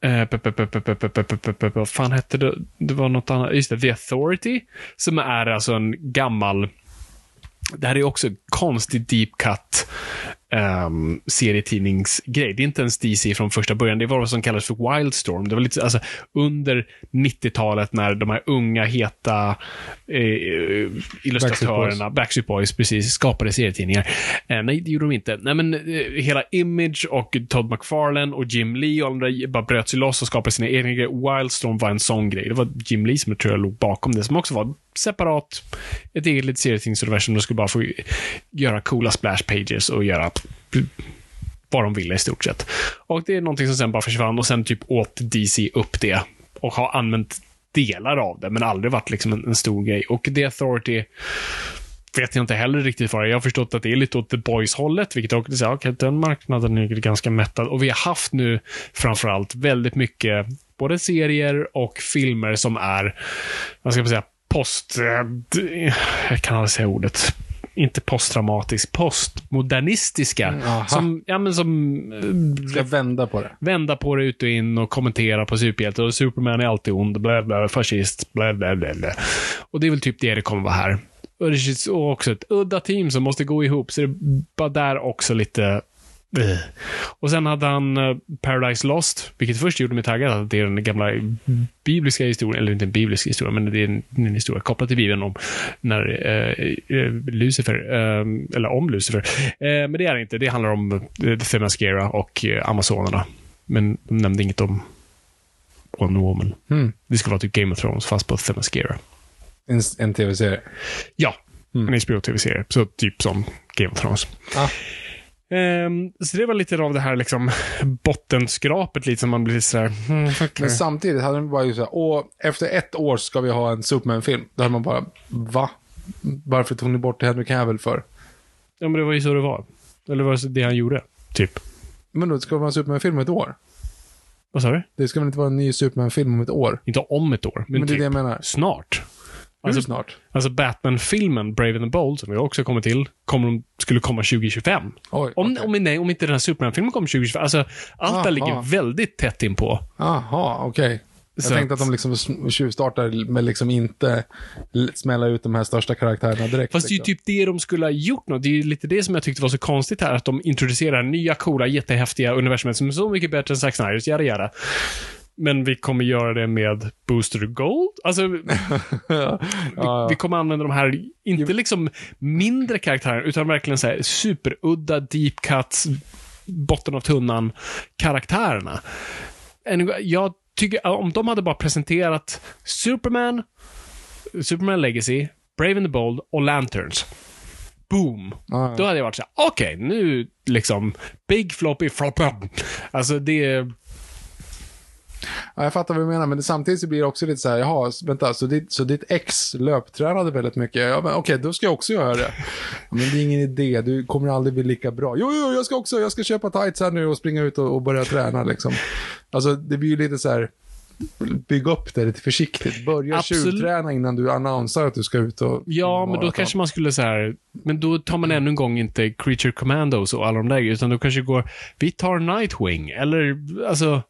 C: pe- pe- pe- pe- pe- pe- pe- pe- pe- pe- Vad fan hette det? Det var något annat. Just det, The Authority. Som är alltså en gammal... Det här är också konstig deep cut ehm, serietidningsgrej. Det är inte ens DC från första början. Det var vad som kallades för Wildstorm. Det var lite alltså, under 90-talet när de här unga, heta eh, illustratörerna, Backstreet Boys, precis, skapade serietidningar. Eh, nej, det gjorde de inte. Nej, men eh, hela Image och Todd McFarlane och Jim Lee och andra bara bröt sig loss och skapade sina egna grejer. Wildstorm var en sån grej. Det var Jim Lee som jag tror jag låg bakom det, som också var separat, ett eget litet serietidningsuniversum. De skulle bara få göra coola splash pages och göra vad de ville i stort sett. Och det är någonting som sen bara försvann och sen typ åt DC upp det och har använt delar av det, men aldrig varit liksom en, en stor grej. Och The Authority vet jag inte heller riktigt vad det är. Jag har förstått att det är lite åt The Boys-hållet, vilket jag också säger, okej, den marknaden är ju ganska mättad. Och vi har haft nu framförallt väldigt mycket både serier och filmer som är, vad ska man säga, post... eh, d- Jag kan aldrig säga ordet. Inte posttraumatisk, postmodernistiska.
B: aha.
C: som, ja, men som eh,
B: Ska vända på det.
C: vända på det ut och in och kommentera på superhjältar. Och Superman är alltid ond, bla bla, fascist, bla bla bla. bla. Och det är väl typ det det kommer vara här. Och det känns och också ett udda team som måste gå ihop, så det är bara där också lite... eh. Och sen hade han eh, Paradise Lost, vilket först gjorde mig taggad att det är den gamla bibliska historien, eller inte en biblisk historia, men det är en, en historia kopplad till Bibeln om när eh, eh, Lucifer, eh, eller om Lucifer. Eh, men det är det inte. Det handlar om eh, The Themyscira och eh, Amazonerna. Men de nämnde inget om Wonder Woman.
B: Mm.
C: Det skulle vara typ Game of Thrones, fast på Themyscira.
B: En, en tv-serie.
C: Ja, en HBO-tv-serie. Så typ som Game of Thrones.
B: Ah.
C: Ehm, så det var lite av det här liksom bottenskrapet lite som man blir så här. Mm, fuck
B: Men
C: det."
B: samtidigt hade de bara ju såhär, åh, efter ett år ska vi ha en Superman-film. Då hade man bara, va? Varför tog ni bort Henry Cavill för?
C: ja, men det var ju så det var. Eller var det så- det han gjorde? Typ.
B: Men då ska det vara en Superman-film om ett år.
C: Vad sa du?
B: Det ska väl inte vara en ny Superman-film om ett år?
C: Inte om ett år,
B: Men
C: men,
B: det är
C: typ
B: det jag menar.
C: snart.
B: Hur
C: Alltså-
B: snart?
C: Alltså Batman-filmen Brave and the Bold, som vi också kommer till, kommer de, skulle komma 2025.
B: Oj,
C: Om,
B: okej.
C: om, nej, om inte den här Superman-filmen kommer 2025. Alltså, allt
B: Aha.
C: där ligger väldigt tätt inpå.
B: Aha, okej. Jag
C: Så
B: tänkte
C: att-
B: att de liksom sm- tjuvstartar, men liksom inte l- smälla ut de här största karaktärerna direkt.
C: Fast det är ju
B: liksom.
C: typ det de skulle ha gjort nu. Det är ju lite det som jag tyckte var så konstigt här, att de introducerar nya coola, jättehäftiga universumet som är så mycket bättre än Zack Sniders, yada yada. Men vi kommer göra det med Booster Gold. Alltså, vi,
B: ja, ja.
C: vi kommer använda de här, inte liksom mindre karaktärerna, utan verkligen så här superudda, deep cuts, botten av tunnan, karaktärerna. En- Jag tycker, om de hade bara presenterat Superman, Superman Legacy, Brave and the Bold och Lanterns. Boom!
B: Ah, Ja, ja.
C: Då hade jag varit så här, okej, nu liksom, big floppy flop up. Alltså det,
B: Ja, jag fattar vad du menar, men det, samtidigt så blir det också lite så här, jaha, s- vänta, så ditt, så ditt ex löptränade väldigt mycket? Ja, men okej, då ska jag också göra det. Men det är ingen idé, du kommer aldrig bli lika bra. Jo, jo, jag ska också, jag ska köpa tights här nu och springa ut och, och börja träna liksom. Alltså, det blir ju lite så här, bygg upp det lite försiktigt. Börja
C: Absolut.
B: tjuvträna innan du annonserar att du ska ut och...
C: ja, men då
B: maraton.
C: kanske man skulle så här, men då tar man ännu en gång inte Creature Commandos och alla de där utan då kanske det går, vi tar Nightwing, eller alltså,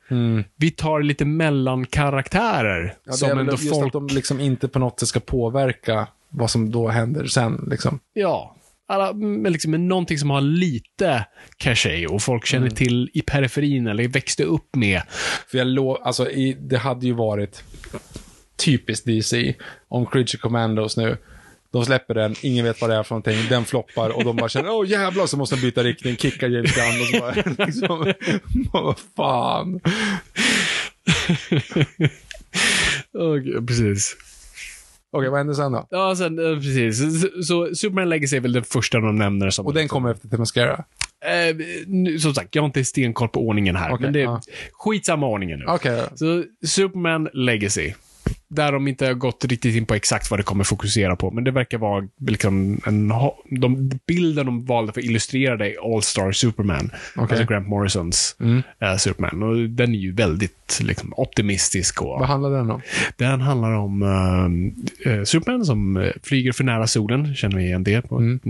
C: vi tar lite mellankaraktärer.
B: Mm. Ja, det är
C: som
B: väl
C: ändå
B: just
C: folk,
B: att de liksom inte på något sätt ska påverka vad som då händer sen. Liksom.
C: ja. Alla, men liksom men någonting som har lite cachet och folk känner
B: Mm.
C: till i periferin eller växte upp med.
B: För jag lov, alltså i, det hade ju varit typiskt DC om Creature Commandos nu. De släpper den, ingen vet vad det är för någonting, den floppar och de bara känner åh jävlar så måste de byta riktning, kicka James Gunn och så bara liksom, vad fan.
C: Och, precis.
B: Okej, vad händer sen då?
C: Ja, sen, eh, precis. Så, så Superman Legacy är väl den första de nämner som...
B: Och den kommer efter Temascara?
C: Eh, nu, som sagt, jag har inte stenkoll på ordningen här.
B: Okej,
C: men det är
B: ja.
C: skitsamma ordningen nu.
B: Okej.
C: Så Superman Legacy. Där de inte har gått riktigt in på exakt vad det kommer fokusera på, men det verkar vara liksom en... ha- De, bilden de valde för att illustrera det är All-Star Superman. Alltså Grant Morrisons
B: Mm.
C: eh, Superman. Och den är ju väldigt liksom, optimistisk och...
B: Vad handlar den om?
C: Den handlar om eh, eh, Superman som eh, flyger för nära solen, känner vi igen det. Mm.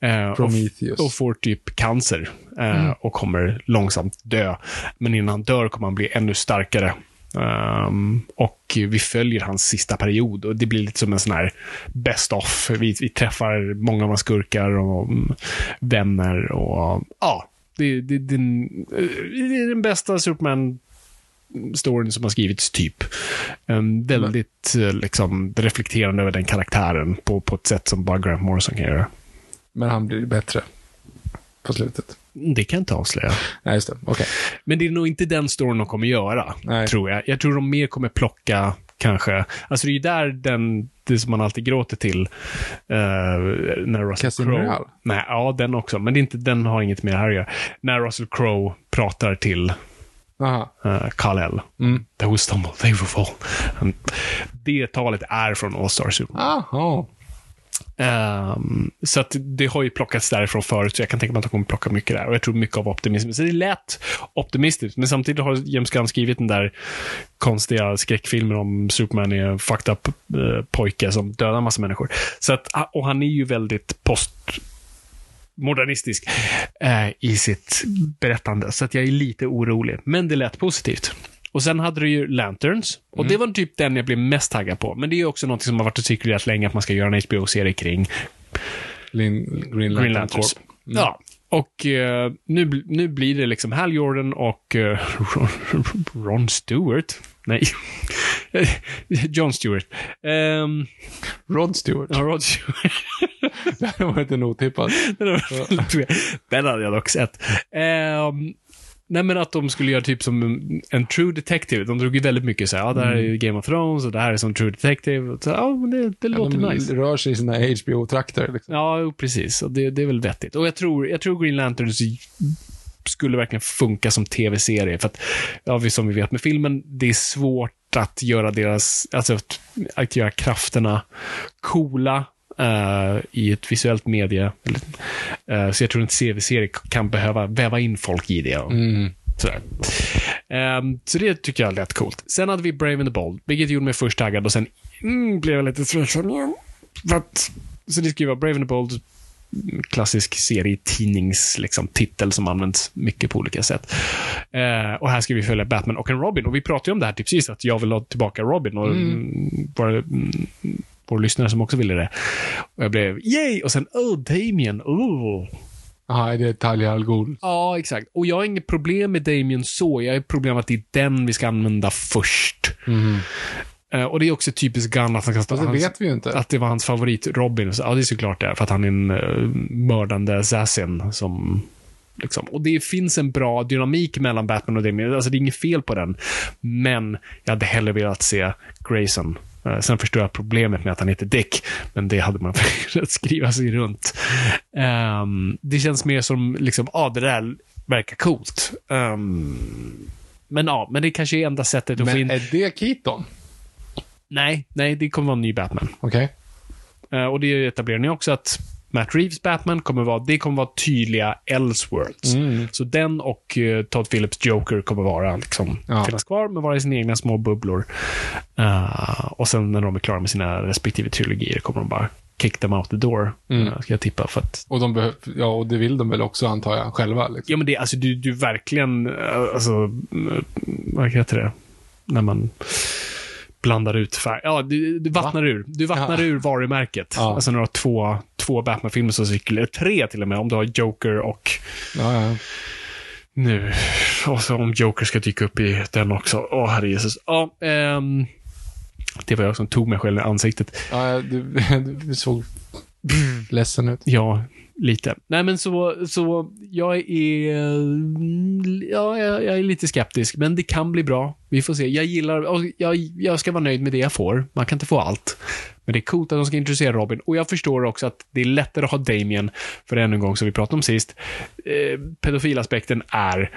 C: Eh, och-
B: Prometheus.
C: Och får typ cancer eh, och kommer långsamt dö. Men innan han dör kommer han bli ännu starkare. Ehm, och vi följer hans sista period och det blir lite som en sån här best of. Vi, vi träffar många av hans skurkar och mm, vänner och ja, det, det, det, det är den bästa Superman storyn som har skrivits, typ. Ehm, väldigt eh, liksom, reflekterande över den karaktären på, på ett sätt som bara Grant Morrison kan göra.
B: Men han blir bättre på slutet.
C: Det kan jag inte avslöja.
B: Nej, just det. Okej.
C: Men det är nog inte den storyn de kommer göra,
B: Nej.
C: tror jag. Jag tror de mer kommer plocka, kanske... Alltså det är ju där den, det som man alltid gråter till, eh, när Russell
B: Casino
C: Crowe...
B: Royale?
C: Nej, ja, den också. Men det är inte, den har inget med det här att göra. När Russell Crowe pratar till
B: Aha.
C: uh, Kal-El. They will stumble, they will fall. Mm. Det talet är från All Star Superman.
B: Aha.
C: Ehm, så att det har ju plockats därifrån förut, så jag kan tänka mig att de kommer plocka mycket där. Och jag tror mycket av optimismen. Så det lät optimistiskt, men samtidigt har James Gunn skrivit den där konstiga skräckfilmen om Superman är en fucked up eh, pojke som dödar massa människor. Så att, ah, och han är ju väldigt post modernistisk eh, i sitt berättande. Så att jag är lite orolig. Men det lät positivt. Och sen hade du ju Lanterns. Och
B: Mm.
C: det var typ den jag blev mest taggad på. Men det är ju också något som har varit och cirkulerat länge, att man ska göra en HBO-serie kring
B: Lin, Green Lantern
C: Green Lanterns.
B: Corp. Mm.
C: Ja. Och eh, nu, bl- nu blir det liksom Hal Jordan och eh, Ron, Ron Stewart. Nej. John Stewart. Ehm,
B: Rod Stewart.
C: ja, Rod Stewart.
B: Det här var inte en otippad.
C: Den var väldigt weird. Den hade jag dock sett. Ehm, Nej, men att de skulle göra typ som en, en true detective. De drog ju väldigt mycket så här, ja, det här är ju Game of Thrones och det här är som true detective. Och Så, Mm. ja, men det, det låter
B: de
C: nice.
B: rör sig i sina HBO-trakter. Liksom.
C: Ja, jo, precis. Och det, det är väl vettigt. Och jag tror, jag tror Green Lanterns skulle verkligen funka som tv-serie. För att, ja, vi- som vi vet med filmen, det är svårt att göra deras, alltså att, att göra krafterna coola eh, i ett visuellt media. Eller, eh, så jag tror en tv-serie kan behöva väva in folk i det. Och, Sådär. Ehm, så det tycker jag lät coolt. Sen hade vi Brave and the Bold, vilket gjorde mig först taggad och sen mm, blev jag lite tveksam igen. För att- Så det ska ju vara Brave and the Bold, klassisk serietidnings liksom, titel som används mycket på olika sätt. Eh, och här ska vi följa Batman och en Robin. Och vi pratade ju om det här typ precis, att jag vill ha tillbaka Robin. Och mm. våra, mm, våra lyssnare som också ville det. Och jag blev yay! Och sen, oh Damien, oh.
B: Nej, det är Talia al Ghul.
C: Ja, exakt. Och jag har inget problem med Damien så. Jag har problem med att det är den vi ska använda först. Eh, och det är också typiskt Gunn att han kan
B: Fast det Alltså, vet vi ju inte.
C: Att det var hans favorit, Robin. Så, ja, det är såklart det. För att han är en eh, mördande assassin som... Liksom. Och det finns en bra dynamik mellan Batman och Damien. Alltså, det är inget fel på den. Men jag hade hellre velat se Grayson. Eh, Sen förstår jag problemet med att han heter Dick, men det hade man velat skriva sig runt. Ehm, det känns mer som, liksom, ah, det där verkar coolt. Ehm, men ja, men det kanske är enda sättet att få
B: Men
C: in...
B: är det Keaton?
C: Nej, nej, det kommer vara en ny Batman.
B: Okej.
C: Eh, och det etablerar ni också att Matt Reeves Batman kommer vara, det kommer vara tydliga Elseworlds. Så den och eh, Todd Phillips Joker kommer vara liksom,
B: Ja.
C: finnas kvar, men vara i sina egna små bubblor. Eh, och sen när de är klara med sina respektive trilogier kommer de bara kick them out the door, eh, ska jag tippa. För att
B: Och de behöver, ja, och det vill de väl också antar jag själva. Liksom.
C: Ja, men det, alltså, du, du verkligen, eh, alltså, mm, vad heter det? När man blandar ut färg. Ja, du, du vattnar ur. Du vattnar
B: Ja.
C: ur varumärket.
B: Ja.
C: Alltså när du har två, två Batman-filmer som cirkulerar. Tre till och med, om du har Joker och
B: Ja, ja.
C: nu. Och så om Joker ska dyka upp i den också. Åh, herre Jesus. Ja, ehm, det var jag som tog mig själv i ansiktet.
B: ja ja, du, du såg ledsen ut.
C: Ja, lite. Nej, men så, så jag är... Ja, jag, jag är lite skeptisk, men det kan bli bra. Vi får se. Jag gillar... och Jag, jag ska vara nöjd med det jag får. Man kan inte få allt. Men det är coolt att de ska introducera Robin. Och jag förstår också att det är lättare att ha Damien, för ännu en gång som vi pratade om sist. Eh, pedofilaspekten är...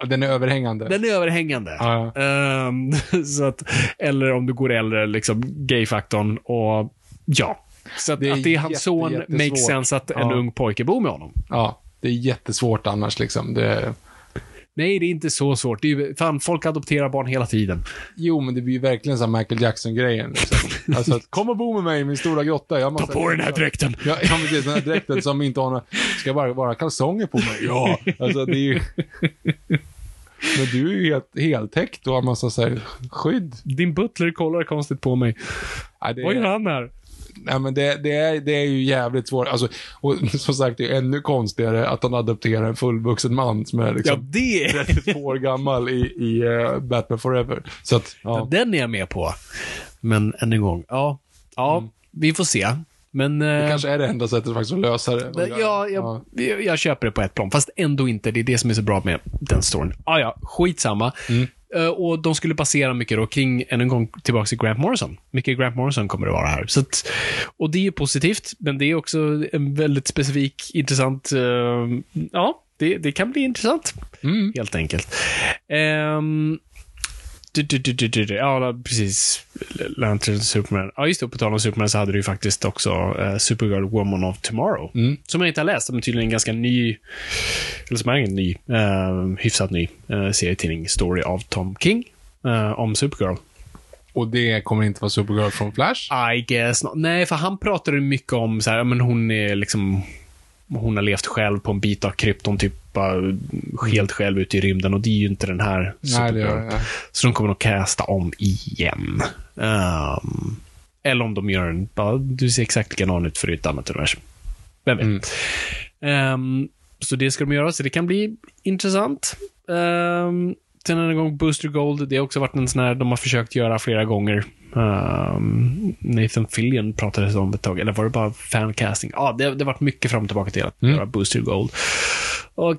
B: Ja, Den är överhängande.
C: Den är överhängande.
B: Ja,
C: Ehm, så att, eller om du går äldre, liksom gayfaktorn och ja. Så att det
B: Det
C: är,
B: är
C: att det är hans
B: jätte-
C: son
B: jättesvårt.
C: makes sense att en
B: Ja.
C: ung pojke bor med honom.
B: ja, det är jättesvårt annars liksom. Det,
C: Nej, det är inte så svårt. Det är, ju- fan, folk adopterar barn hela tiden.
B: jo, men det blir ju verkligen som Michael Jackson-grejen. Liksom. Alltså, att, kom och bo med mig i min stora grotta. Jag
C: Ta på den här dräkten.
B: Ja, ja, precis. Den här dräkten som inte har några... Ska bara vara kalsonger på mig? Ja. Alltså, det är ju... Men du är ju helt, heltäckt och har massa så här skydd.
C: Din butler kollar konstigt på mig.
B: Ja, det
C: Vad gör
B: är,
C: han här?
B: nej, men det, det, är, det är ju jävligt svårt. Alltså, och som sagt, det är ännu konstigare att han adopterar en fullvuxen man som är
C: Ja,
B: liksom
C: det är...
B: 32 år gammal i, i eh, Batman Forever. Så att, ja.
C: Den är jag med på. Men än en gång, ja. Ja, vi får se. Men...
B: Det
C: eh,
B: kanske är det enda sättet faktiskt att lösa det.
C: Ja, jag,
B: Ja.
C: Jag, jag köper det på ett plan, fast ändå inte. Det är det som är så bra med den storyn. Ah, ja, skitsamma. Eh, och de skulle basera mycket då kring, än en gång tillbaka till Grant Morrison. Mycket Grant Morrison kommer det vara här. Så att, och det är ju positivt, men det är också en väldigt specifik, intressant... eh, ja, det, det kan bli intressant, helt enkelt. Ehm, du, du, du, du, du, du. Ja, precis. Lantern, Superman. Ja, just det. På tal om Superman så hade du ju faktiskt också eh, Supergirl Woman of Tomorrow. Som jag inte har läst, men tydligen en ganska ny, eller som är en ny, eh, hyfsat ny eh, serietidning. Story av Tom King eh, om Supergirl.
B: Och det kommer inte vara Supergirl från Flash.
C: I guess not. Nej, för han pratade ju mycket om så här, ja, men hon är liksom... Hon har levt själv på en bit av krypton, typ bara helt själv ute i rymden. Och det är ju inte den här
B: Nej,
C: Supergirl.
B: det gör jag. inte.
C: Så de kommer nog casta om igen. Ehm, eller om de gör en... Bara, du ser exakt likadan ut för ett annat universum. Vem vet? Ehm, så det ska de göra, så det kan bli intressant. Um, sen en gång Booster Gold, det har också varit en sån här de har försökt göra flera gånger. Ehm, Nathan Fillion pratades om ett tag, eller var det bara fancasting? Ja, det, det har varit mycket fram och tillbaka till att göra Booster Gold. Och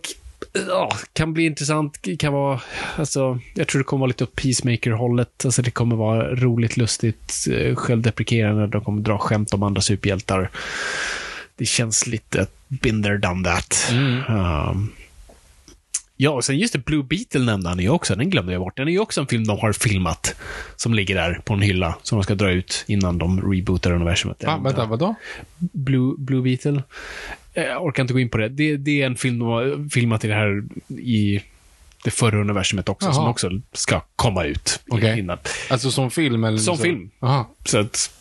C: ja, kan bli intressant. Kan vara, alltså, jag tror det kommer vara lite åt Peacemaker-hållet. Alltså, det kommer vara roligt, lustigt, eh, självdeprekerande. De kommer dra skämt om andra superhjältar. Det känns lite been there, done that. Um, ja, och sen just det, Blue Beetle nämnde han ju också. Den glömde jag bort. Den är ju också en film de har filmat. Som ligger där på en hylla som de ska dra ut innan de rebootar universumet.
B: Va, vänta, vadå?
C: Blue, Blue Beetle. Eh, Jag orkar inte gå in på det. Det, det är en film de har filmat i det här i det förra universumet också,
B: Jaha.
C: som också ska komma ut i-
B: Okej.
C: innan.
B: Alltså som film? Eller
C: Som
B: så?
C: film.
B: Jaha.
C: Så att,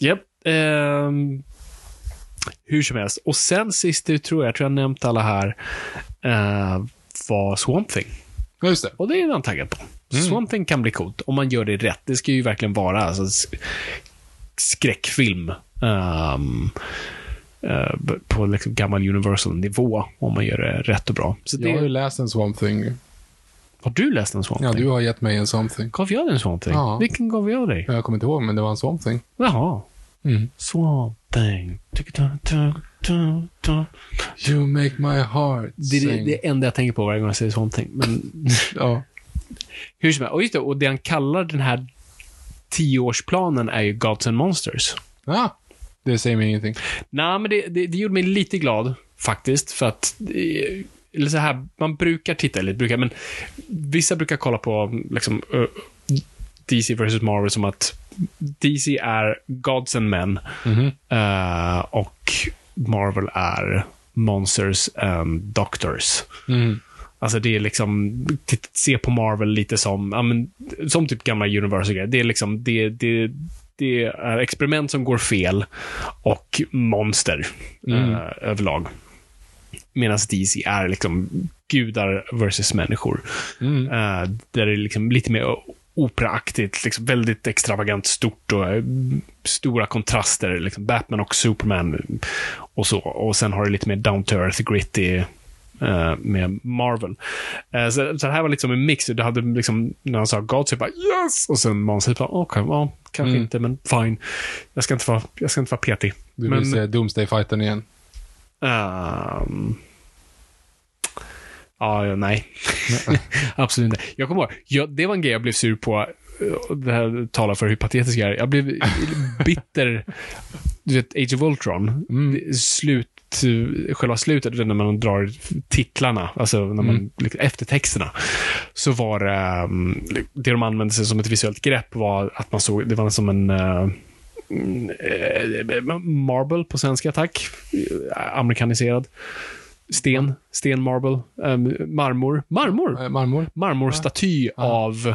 C: japp. Ehm, hur som helst. Och sen sist ut, tror jag, jag tror jag nämnt alla här, eh, var Swamp Thing.
B: Ja, just det.
C: Och det är man taggad på.
B: Mm.
C: Swamp Thing kan bli coolt om man gör det rätt. Det ska ju verkligen vara alltså, s- skräckfilm. ehm, eh, b- på liksom gammal Universal-nivå om man gör det rätt och bra. Så det,
B: Jag har ju läst en Swamp Thing.
C: Har du läst en Swamp
B: Ja,
C: Thing?
B: du har gett mig en Something.
C: Gav jag dig en Swamp Thing?
B: Ja.
C: Vilken gav jag dig?
B: Jag kommer inte ihåg, men det var en Swamp Thing.
C: Jaha.
B: Mm.
C: Swamp Thing. Tuk, tuk, tuk, tuk, tuk.
B: You make my heart
C: Det är det,
B: sing.
C: det enda jag tänker på varje gång jag säger Swamp Thing. Men
B: Ja.
C: hur som helst. Och just det, och det han kallar den här tioårsplanen är ju Gods and Monsters.
B: Ah, det säger mig ingenting.
C: Nej, men det, det, det gjorde mig lite glad faktiskt. För att, eh, eller så här, man brukar titta, eller brukar, men vissa brukar kolla på liksom, eh, DC vs. Marvel som att DC är gods and men eh, och Marvel är monsters and doctors. Alltså det är liksom, titt- se på Marvel lite som, ja, men, som typ gamla Universal grejer. Det är liksom, det, det, det är experiment som går fel och monster eh, överlag. Medan DC är liksom gudar versus människor. Eh, där det är liksom lite mer operaaktigt, liksom väldigt extravagant stort och eh, stora kontraster. Liksom Batman och Superman och så. Och sen har det lite mer down to earth, gritty eh, med Marvel. Eh, så, så det här var liksom en mix. Du hade liksom, när han sa God, så jag bara yes! Och sen Måns bara okej, ja, kanske inte, men fine. Jag ska inte vara, jag ska inte vara petig.
B: Du vill
C: men,
B: se Doomsday-fighten igen.
C: Ehm. Ja, ja, nej. Absolut inte. Jag kommer ihåg, jag, det var en grej jag blev sur på. eh, Det här talar för hur patetisk jag är. Jag blev bitter. Du vet, Age of Ultron. Det- Slut, själva slutet, när man drar titlarna, alltså när man, liksom, eftertexterna, så var det, ehm, det de använde sig som ett visuellt grepp var att man såg, det var som en eh, eh, Marble på svenska, tack. Eh, Amerikaniserad. Sten. Sten marble. Eh, marmor. Marmor!
B: Eh, Marmor?
C: Marmorstaty av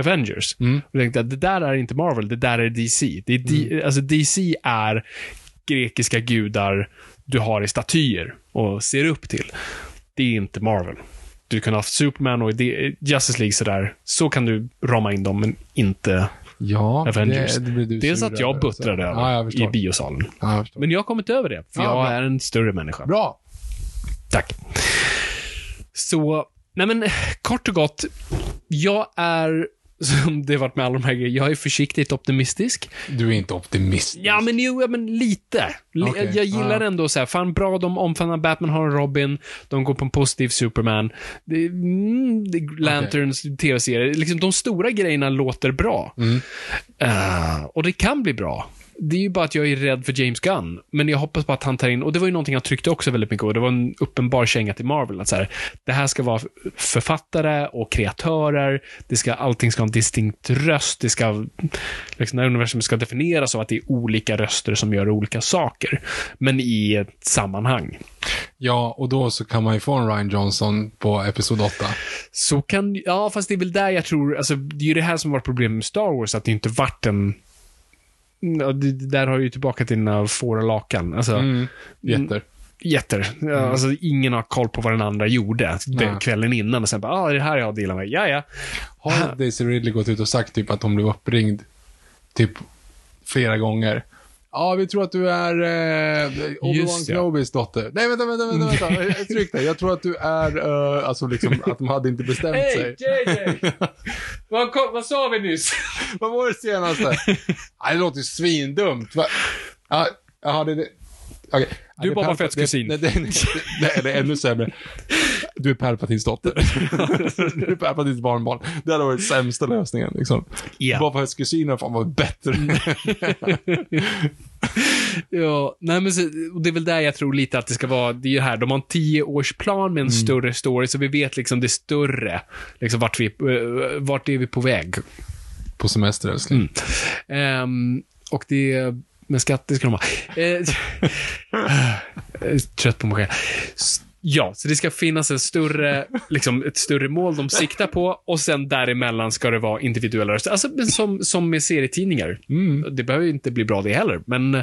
C: Avengers.
B: Mm.
C: Och jag tänkte att det där är inte Marvel, det där är DC. Det är D-
B: Mm.
C: alltså DC är grekiska gudar du har i statyer och ser upp till. Det är inte Marvel. Du kan ha haft Superman och det- Justice League sådär. Så kan du rama in dem, men inte
B: Ja,
C: Avengers.
B: det, det blir du
C: Dels
B: sur
C: att jag
B: över, alltså.
C: buttrade över
B: Ja, jag
C: i
B: förstår.
C: biosalen.
B: Ja, jag förstår.
C: Men jag har kommit över det, för
B: Ja,
C: jag
B: bra.
C: är en större människa.
B: Bra!
C: Tack. Så, nej men kort och gott. Jag är, som det varit med alla de här grejerna, jag är försiktigt optimistisk.
B: Du är inte optimist.
C: Ja, men jo, ja, men lite. Li-
B: Mm. Okej,
C: Jag gillar
B: ja.
C: ändå så här, fan bra, de omfamnar Batman, har en Robin, de går på en positiv Superman. Det, mm, det, Lanterns, tv-serier. Liksom, de stora grejerna låter
B: Mm.
C: bra. Eh, och det kan bli bra. Det är ju bara att jag är rädd för James Gunn. Men jag hoppas på att han tar in, och det var ju någonting han tryckte också väldigt mycket på. Det var en uppenbar känga till Marvel. Att så här, det här ska vara författare och kreatörer. Det ska, allting ska ha en distinkt röst. Det ska, liksom, det här universumet ska definieras av att det är olika röster som gör olika saker. Men i ett sammanhang.
B: Ja, och då så kan man ju få en Ryan Johnson på Episod 8.
C: Så kan, ja fast det är väl där jag tror, alltså det är ju det här som var problemet med Star Wars, att det inte vart en... Ja, det, det där har ju tillbaka till dina får och lakan. Alltså,
B: Jätter.
C: jätter. Ja, Alltså, ingen har koll på vad den andra gjorde den kvällen innan och sen bara, ah, det här är jag har dealat med. Ja, ja.
B: Har Daisy Ridley gått ut och sagt typ att hon blev uppringd typ flera gånger? Ja, vi tror att du är eh, Obi-Wan
C: Just ja.
B: Knobis dotter. Nej, vänta, vänta, vänta, vänta. Tryck dig. Jag tror att du är, eh, alltså liksom, att de hade inte bestämt sig.
C: JJ! vad, kom- vad sa vi nyss?
B: Vad var det senaste? Nej, det låter ju svindumt. Va? Ja, Jaha, det... det. okej. Ja,
C: Du
B: det
C: bara var
B: perfekt.
C: Fetts kusin.
B: Det, det, det, det, det är ännu sämre. du är Perpatins dotter. du är Perpatins barnbarn. Det hade varit sämsta lösningen. Liksom.
C: Ja. Mm.
B: Bara för att kusinen fan var bättre.
C: Ja, nej men så, och det är väl där jag tror lite att det ska vara. Det är ju här, de har en tioårsplan med en större story, så vi vet liksom det större. Liksom vart, vi, eh, vart är vi på väg?
B: På semester älskling.
C: Mm. Ehm, och det... Men skatt, det ska de ha. Eh, jag är trött på mig själv. S- Ja, så det ska finnas en större, liksom ett större mål de siktar på och sen däremellan ska det vara individuella röster. Alltså, men som, som med serietidningar. Det behöver ju inte bli bra det heller, men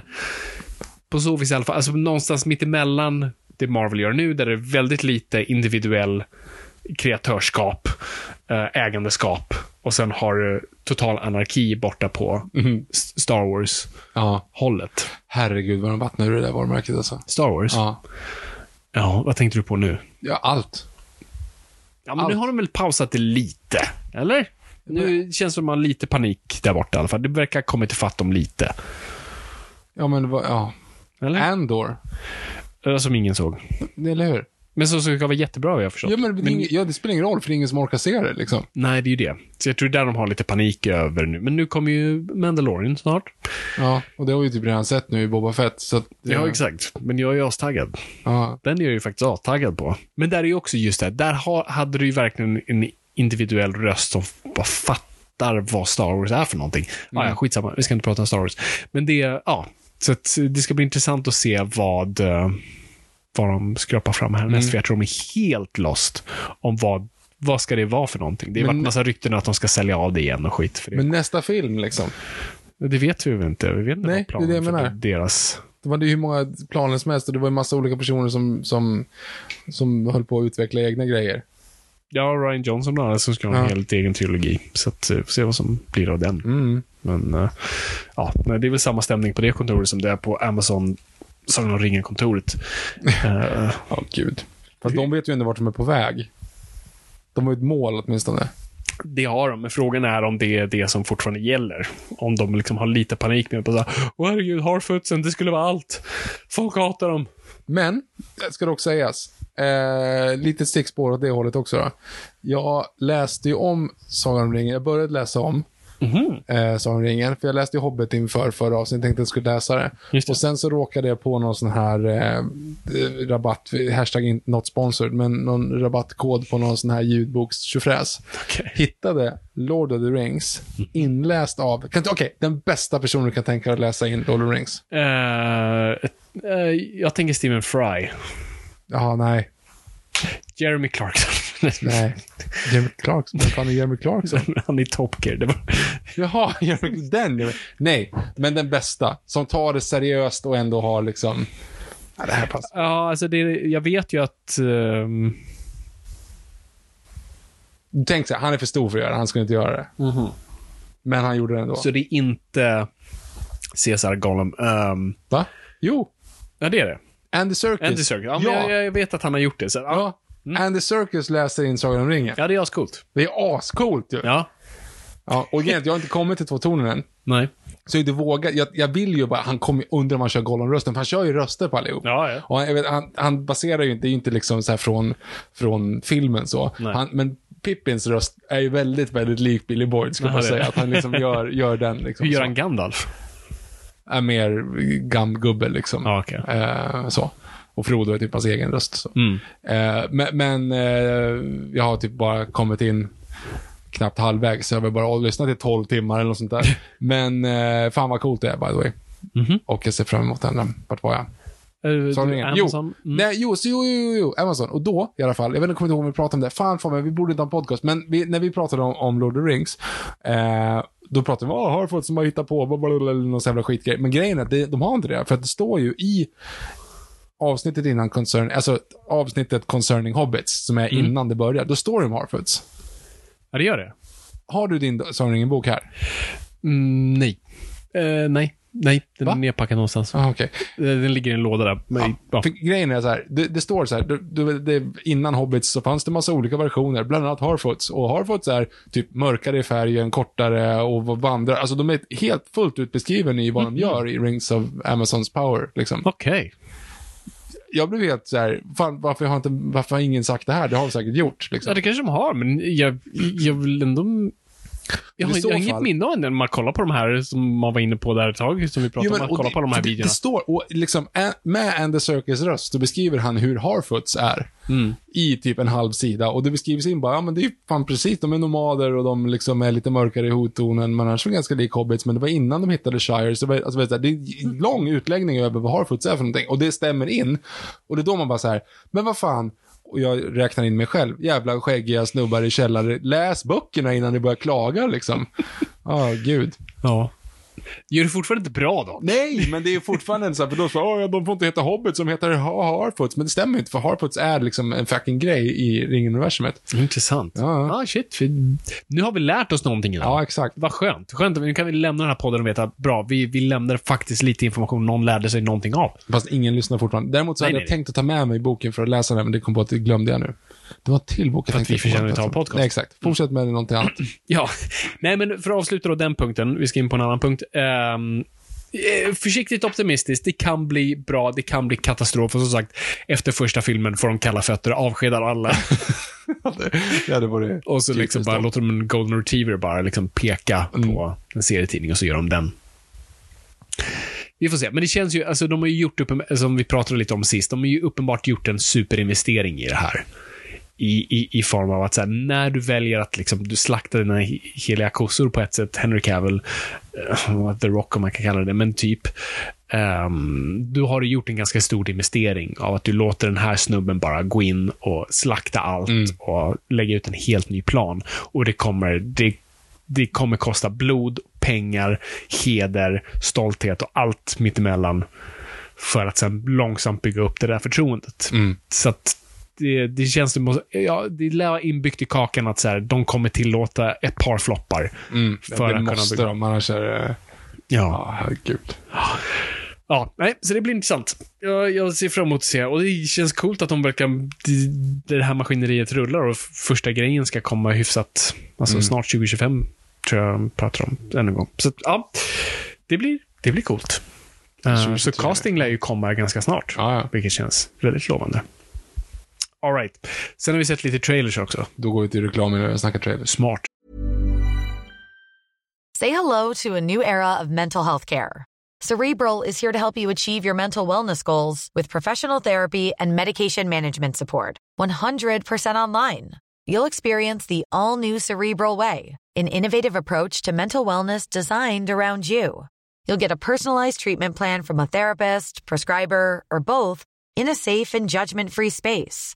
C: på så vis i alla fall, alltså någonstans mitt emellan det Marvel gör nu, där det är väldigt lite individuell kreatörskap, eh, ägandeskap och sen har du total anarki borta på
B: Mhm.
C: S- Star Wars-hållet.
B: Ja, herregud vad de vattnar ur det där varumärket alltså.
C: Star Wars? Ja.
B: Ja,
C: vad tänkte du på nu?
B: ja allt.
C: Ja, men nu
B: Allt.
C: har de väl pausat det lite, eller? Nu känns det som att man har lite panik där borta i alla fall. Det verkar ha kommit ifatt dem lite.
B: Ja, men vad, ja.
C: Eller?
B: Äh. Andor.
C: Eller Som ingen såg.
B: Eller hur?
C: Men som ska vara jättebra, vad jag har förstått.
B: Ja, men det, men... Ja, det spelar ingen roll, för det är ingen som orkar se det liksom.
C: Nej, det är ju det. Så jag tror det är där de har lite panik över nu. Men nu kommer ju Mandalorian snart.
B: Ja, och det har vi ju typ redan sett nu i Boba Fett. Så att,
C: Ja, exakt. Men jag är ju astaggad.
B: Ja,
C: Den är jag ju faktiskt astaggad på. Men där är ju också just det. här. Där ha, hade du ju verkligen en individuell röst som f- bara fattar vad Star Wars är för någonting. Ah, ja, skitsamma. Vi ska inte prata om Star Wars. Men det, ja. Så att det ska bli intressant att se vad, eh, vad de skrapar fram härnäst. För jag tror de är helt lost om vad vad ska det vara för någonting? Det har
B: Men-
C: varit massa rykten att de ska sälja av det igen och skit. För det.
B: men nästa film liksom.
C: Men Det vet vi ju inte. Vi vet inte
B: Nej, det är
C: vad planen
B: det jag menar.
C: för deras...
B: Det var ju hur många planer som helst och det var ju massa olika personer som, som, som höll på att utveckla egna grejer.
C: Ja, Ryan Johnson bland annat, som ska ha en
B: Ja.
C: helt egen trilogi. Så att, eh, får se vad som blir av den.
B: Mm.
C: Men eh, ja, nej, det är väl samma stämning på det kontoret som det är på Amazon Sagan om ringen-kontoret. Eh,
B: Ja, gud. Fast de vet ju ändå vart de är på väg. De har ju ett mål åtminstone.
C: det har de, men frågan är om det är det som fortfarande gäller. Om de liksom har lite panik med på så här, Åh herregud, Harfootsen, det skulle vara allt. Folk hatar dem.
B: Men, det ska dock sägas, eh, lite stickspår åt det hållet också då. Jag läste ju om Sagan om ringen, jag började läsa om
C: Mhm.
B: eh, Sagan om ringen, för jag läste ju Hobbit inför förra avsnittet, tänkte att jag skulle läsa det.
C: Just det.
B: Och sen så råkade jag på någon sån här eh, eh, rabatt, hashtag inte not sponsored, men någon rabattkod på någon sån här ljudbokstjofräs.
C: Okej. Mhm.
B: Hittade Lord of the Rings, inläst av, kan inte- okej, den bästa personen du kan tänka dig att läsa in Lord of the Rings.
C: Eh, eh, jag tänker Stephen Fry.
B: Jaha, nej.
C: Jeremy Clarkson.
B: Nej. Jeremy Clarkson. Vem fan är Jeremy Clarkson?
C: Han är Top Gear. Det var...
B: Jaha, Jeremy, den. Jeremy- Nej, men den bästa. Som tar det seriöst och ändå har liksom... Ja, det här passar.
C: Ja, alltså det, jag vet ju att... ehm,
B: Tänk så här, han är för stor för att göra det. Han skulle inte göra det. Men han gjorde det ändå.
C: Mhm. så det är inte Cesar Gollum. ehm,
B: Va? Jo,
C: ja, det är det.
B: Andy Serkis.
C: Andy Serkis. Ja,
B: Ja.
C: men Jag, jag vet att han har gjort det. Så, ja.
B: Ja. Andy Serkis läser in Sagan om ringen.
C: ja, det är ascoolt.
B: Det är ascoolt ju. Ja.
C: Ja.
B: och igen, jag har inte kommit till Två tonen än.
C: Nej.
B: Så jag inte vågar. Jag, jag vill ju bara, han kommer ju undra om han kör Gollum-rösten, för han kör ju röster på allihop.
C: Ja, ja.
B: Och han, jag vet, han, han baserar ju inte, det är ju inte liksom så här från, från filmen så.
C: Nej.
B: Han, men Pippins röst är ju väldigt, väldigt lik Billy Boyd, skulle
C: Ja,
B: man
C: det är
B: säga.
C: det.
B: Att han liksom gör, gör den. Liksom,
C: Hur gör
B: så.
C: han Gandalf?
B: Är mer gamgubbe liksom.
C: Ja, okej.
B: Eh, så. Och Frodo är typ hans egen röst. Så.
C: Mm.
B: Eh, men men eh, jag har typ bara kommit in knappt halvvägs, så jag har väl bara lyssnat i 12 timmar eller något sånt där. Men eh, fan vad coolt det är by the way. Och jag ser fram emot den. Vart var jag?
C: Eh,
B: Sa de ingen? Jo.
C: Amazon? Mm.
B: Nej, jo, så jo, jo, jo, jo, Amazon. Och då, i alla fall, jag vet inte, kommer inte ihåg om vi pratade om det. Fan, fan men vi borde inte ha en podcast. Men vi, när vi pratade om, om Lord of the Rings, eh, då pratade vi om, "Åh, har folk som har hittat på, blablabla, eller någon sån jävla skitgrej. Men grejen är att det, de har inte det, för att det står ju i avsnittet innan concern, alltså avsnittet concerning hobbits, som är
C: Mm.
B: innan det börjar, då står det om Harfoots.
C: Ja, det gör det.
B: Har du din Sagan bok här?
C: Mm, nej. Eh, nej. Nej, den
B: Va?
C: är nedpackad någonstans.
B: Ah, okej.
C: Eh, Den ligger i en låda där. Men, ja.
B: För grejen är så här, det, det står så här, du, du, det, innan Hobbits så fanns det massa olika versioner, bland annat Harfoots. Och Harfoots är typ mörkare i färgen, kortare och vad vandrar. Alltså de är helt fullt ut beskriven i vad de gör i Rings of Amazons Power. Liksom.
C: Okej.
B: jag blev helt så här, fan, varför har, inte, varför har ingen sagt det här? Det har de säkert gjort.
C: Ja,
B: Liksom.
C: det kanske de har, men jag, jag vill ändå... Jag har,
B: I så
C: jag har inget
B: fall-
C: minne av när man kollar på de här som man var inne på där ett tag, som vi pratade
B: men-
C: om. Man kollar
B: och
C: på de här
B: det,
C: videorna.
B: Det står, och liksom, ä- med Andy Serkis röst, då beskriver han hur Harfoots är.
C: Mm.
B: I typ en halv sida. Och det beskrivs in bara, ja men det är ju fan precis, de är nomader och de liksom är lite mörkare i hudtonen, men annars är de ganska lik hobbits, men det var innan de hittade Shires. Så det var- Alltså, vet du, det är
C: Mm.
B: en lång utläggning över vad Harfoots är för någonting, och det stämmer in. Och det är då man bara så här, men vad fan, och jag räknar in mig själv, jävla skäggiga snubbar i källare, läs böckerna innan ni börjar klaga liksom. Ja, gud.
C: Ja. Gör det fortfarande inte bra då?
B: Nej, men det är fortfarande så här, för då så, "Åh, ja, de får inte heta Hobbit som heter Ha- Harfoots, men det stämmer ju inte för Harfoots är liksom en fucking grej i ringen-universumet.
C: Intressant.
B: Ja.
C: Ah, shit. för Nu har vi lärt oss någonting idag.
B: Ja, exakt.
C: Vad skönt. skönt. Nu kan vi lämna den här podden och veta, bra, vi, vi lämnar faktiskt lite information någon lärde sig någonting av.
B: Fast ingen lyssnar fortfarande. Däremot så
C: Nej,
B: hade
C: nej,
B: jag
C: nej.
B: tänkt att ta med mig boken för att läsa den, men det kom på att det glömde jag nu. Det var en till bok jag
C: För att
B: tänkte
C: vi förtjänar att ta en
B: prata om.
C: podcast.
B: Nej, exakt. Fortsätt med någonting annat.
C: Ja, nej men för att avsluta då den punkten, vi ska in på en annan punkt. Ehm, eh, försiktigt optimistiskt, det kan bli bra, det kan bli katastrof och som sagt, efter första filmen får de kalla fötter, avskedar alla
B: ja, det vore
C: och så liksom bara låter de en golden retriever bara liksom peka på en serietidning och så gör de den. Vi får se, men det känns ju, alltså de har ju gjort, uppen- som vi pratade lite om sist, de har ju uppenbart gjort en superinvestering i det här. i, i, i form av att så här, när du väljer att liksom, du slaktar dina he- heliga kossor på ett sätt, Henry Cavill, eh, The Rock om man kan kalla det, men typ. ehm, du har gjort en ganska stor investering av att du låter den här snubben bara gå in och slakta allt och lägga ut en helt ny plan. Och det kommer, det, det kommer kosta blod, pengar, heder, stolthet och allt mittemellan för att sen långsamt bygga upp det där förtroendet.
B: Mm.
C: Så att det, det känns som att, ja, det lär vara inbyggt i kakan att så här, de kommer tillåta ett par floppar.
B: för Mm. det måste
C: bygga-
B: de, annars är det...
C: Ja.
B: Ja, herregud.
C: ja, nej, så det blir intressant. Jag, jag ser fram emot att se, och det känns coolt att de verkar, det, det här maskineriet rullar och f- första grejen ska komma hyfsat,
B: Mm.
C: alltså snart 2025, tror jag de pratar om ännu en gång. Så att, ja, det blir, det blir coolt. Eh, så
B: 2023.
C: casting lär ju komma ganska snart,
B: Ja, ja.
C: vilket känns väldigt lovande. All right. Sen har vi sett lite trailers också.
B: Då går vi till reklamen och snackar trailers.
C: Smart.
D: Say hello to a new era of mental health care. Cerebral is here to help you achieve your mental wellness goals with professional therapy and medication management support. 100% online. You'll experience the all new Cerebral Way, an innovative approach to mental wellness designed around you. You'll get a personalized treatment plan from a therapist, prescriber, or both in a safe and judgment free space.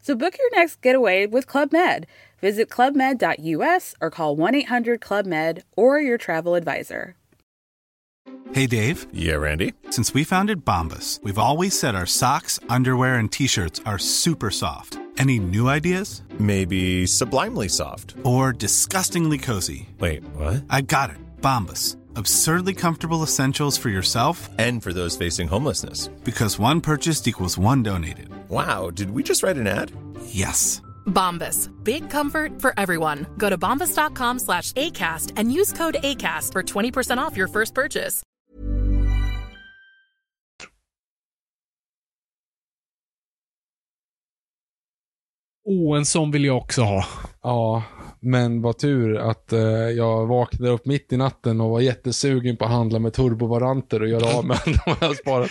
E: So book your next getaway with Club Med. Visit clubmed.us or call 1 800 Club Med or your travel advisor.
F: Hey Dave,
A: Yeah, Randy.
F: since we founded Bombus, we've always said our socks, underwear, and t shirts are super soft. Any new ideas?
A: Maybe sublimely soft.
F: Or disgustingly cozy?
A: Wait, what?
F: I got it, Bombus. Absurdly comfortable essentials for yourself
A: And for those facing homelessness.
F: because one purchased equals one donated.
A: Wow, did we just write an ad?
F: Yes.
G: Bombas. Big comfort for everyone. Go to bombas.com slash ACAST and use code ACAST for 20% off your first purchase.
C: Åh, en sån vill jag också ha.
B: Ja, Men vad tur att eh, jag vaknade upp mitt i natten och var jättesugen på att handla med turbovaranter och göra av med allt vad jag sparat.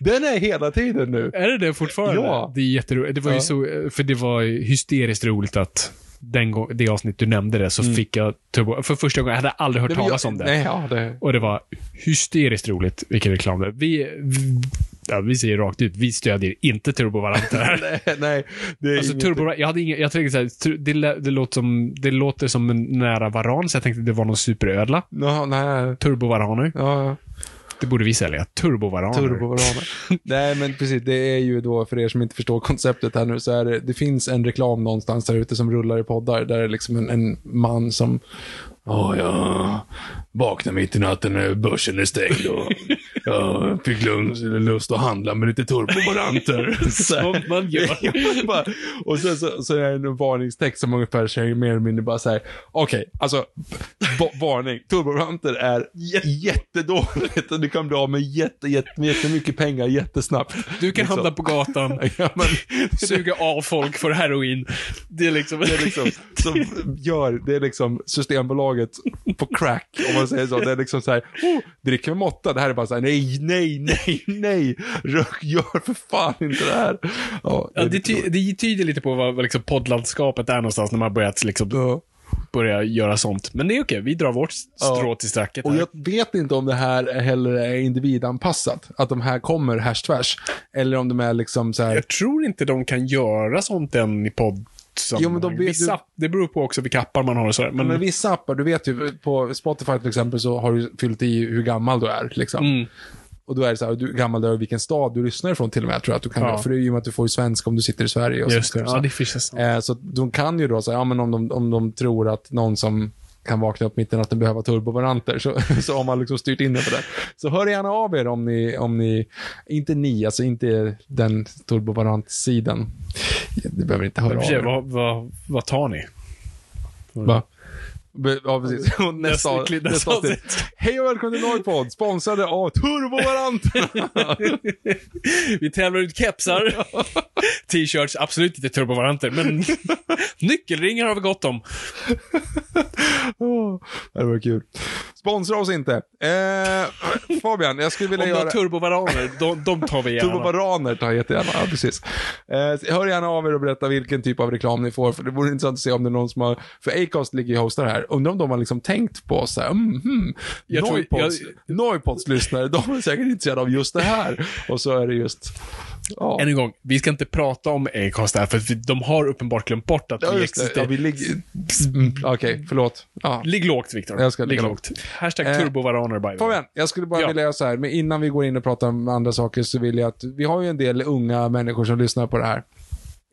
B: Den är hela tiden nu.
C: Är det det fortfarande?
B: Ja.
C: Det är jätteroligt. Det var
B: Ja.
C: ju så, för det var ju hysteriskt roligt att den gång, det avsnitt du nämnde det, så fick jag turbo. För första gången, jag hade aldrig hört
B: var-
C: talas om det.
B: Mm. Nej, ja, det.
C: Och det var hysteriskt roligt vilken reklam det Vi, vi, ja, vi säger rakt ut, vi stödjer inte turbovaranter här.
B: Nej, nej, det är
C: Alltså
B: ingenting.
C: turbo, jag hade ingen, jag tänkte såhär, tr- det, lä- det, låter som, det låter som en nära varan, så jag tänkte det var någon superödla.
B: Nå, nej.
C: Turbovaraner.
B: Ja, ja.
C: Det borde vi sälja. Turbovaraner.
B: Turbovaraner. Nej, men precis. Det är ju då, för er som inte förstår konceptet här nu, så är det, det finns en reklam någonstans där ute som rullar i poddar, där det är liksom en, en man som Ja, jag vaknade mitt i natten när börsen är stängd och jag fick lugn, lust att handla med lite turbovaranter. Så här.
C: Som man gör.
B: Ja, bara, och sen så, så är det en varningstext som ungefär säger mer eller mindre bara så här. Okej, alltså va- varning. Turbovaranter är jä- jättedåligt och du kan bli av med jätte, jätte, jättemycket pengar jättesnabbt.
C: Du kan
B: Liksom.
C: handla på gatan,
B: Ja, men,
C: suga av folk för heroin. Det är liksom...
B: det är liksom, som gör, det är liksom Systembolaget på crack, om man säger så. Det är liksom så här, oh, drick med måtta. Det här är bara så här, nej, nej, nej, nej. Rök, gör för fan inte det här. Ja,
C: Ja, det,
B: lite
C: ty-
B: roligt.
C: det tyder lite på vad, vad liksom poddlandskapet är någonstans när man har börjat liksom
B: Ja.
C: börja göra sånt. Men det är okej, vi drar vårt strå
B: Ja.
C: till stracket.
B: Och
C: här.
B: jag vet inte om det här är- heller är individanpassat. Att de här kommer härs tvärs. Eller om de är liksom så här.
C: Jag tror inte de kan göra sånt än i podd.
B: Jo, men de vet-
C: Vissa, det beror på också vilka appar man har och sådär. Men,
B: Men vissa appar, du vet ju, på Spotify till exempel så har du fyllt i hur gammal du är. Liksom.
C: Mm.
B: Och då är det så här, du, hur gammal du är och vilken stad du lyssnar ifrån till och med. Tror jag att du kan
C: Ja.
B: göra. För det är ju i och med att du får ju svenska om du sitter i Sverige. Och
C: just
B: så,
C: det,
B: så.
C: ja, det finns sant.
B: Eh, så att de kan ju då säga, ja men om de, om de tror att någon som kan vakna upp mitt i natten behöva turbovaranter så, så har man liksom styrt in det på det. Så hör gärna av er om ni, om ni, inte ni, alltså inte den turbovarant-sidan. Ni behöver inte höra
C: Men,
B: av
C: tjej,
B: er.
C: vad, vad, vad tar ni?
B: Va? Be- Ja, precis. Och Nästa,
C: Mm. Nästa-
B: nästa,
C: nästa
B: avsnitt. Hej och välkommen till Norrpodd, sponsrade av turbovaranter.
C: Vi tävlar ut kepsar, t-shirts, absolut inte turbovaranter, men nyckelringar har vi gott om.
B: Åh, det var kul. Sponsra oss inte. Eh, Fabian, jag skulle vilja
C: Om de
B: göra...
C: har turbovaraner, de, de tar vi gärna.
B: Turbovaraner tar jag jättegärna, ja precis. Eh, hör gärna av er och berätta vilken typ av reklam ni får, för det vore intressant att se om det är någon som har, för Acast ligger ju och hostar här, undrar om de har liksom tänkt på så här, mhm,
C: Jag tror-
B: Noipods, Noipods lyssnare, de är säkert intresserade av just det här. Och så är det just, ja.
C: Än en gång, vi ska inte prata om Acast här, för att vi, de har uppenbart glömt bort att
B: Ja,
C: vi
B: just det.
C: existerar.
B: Ja, vi ligger... Mm, Okej, förlåt. Ja.
C: Ligg lågt, Viktor.
B: Jag ska
C: Ligg
B: ligga
C: lågt. Hashtag
B: Eh,
C: turbovaraner, by the way.
B: Fabian, jag skulle bara
C: Ja.
B: vilja göra så här, men innan vi går in och pratar om andra saker så vill jag att, vi har ju en del unga människor som lyssnar på det här.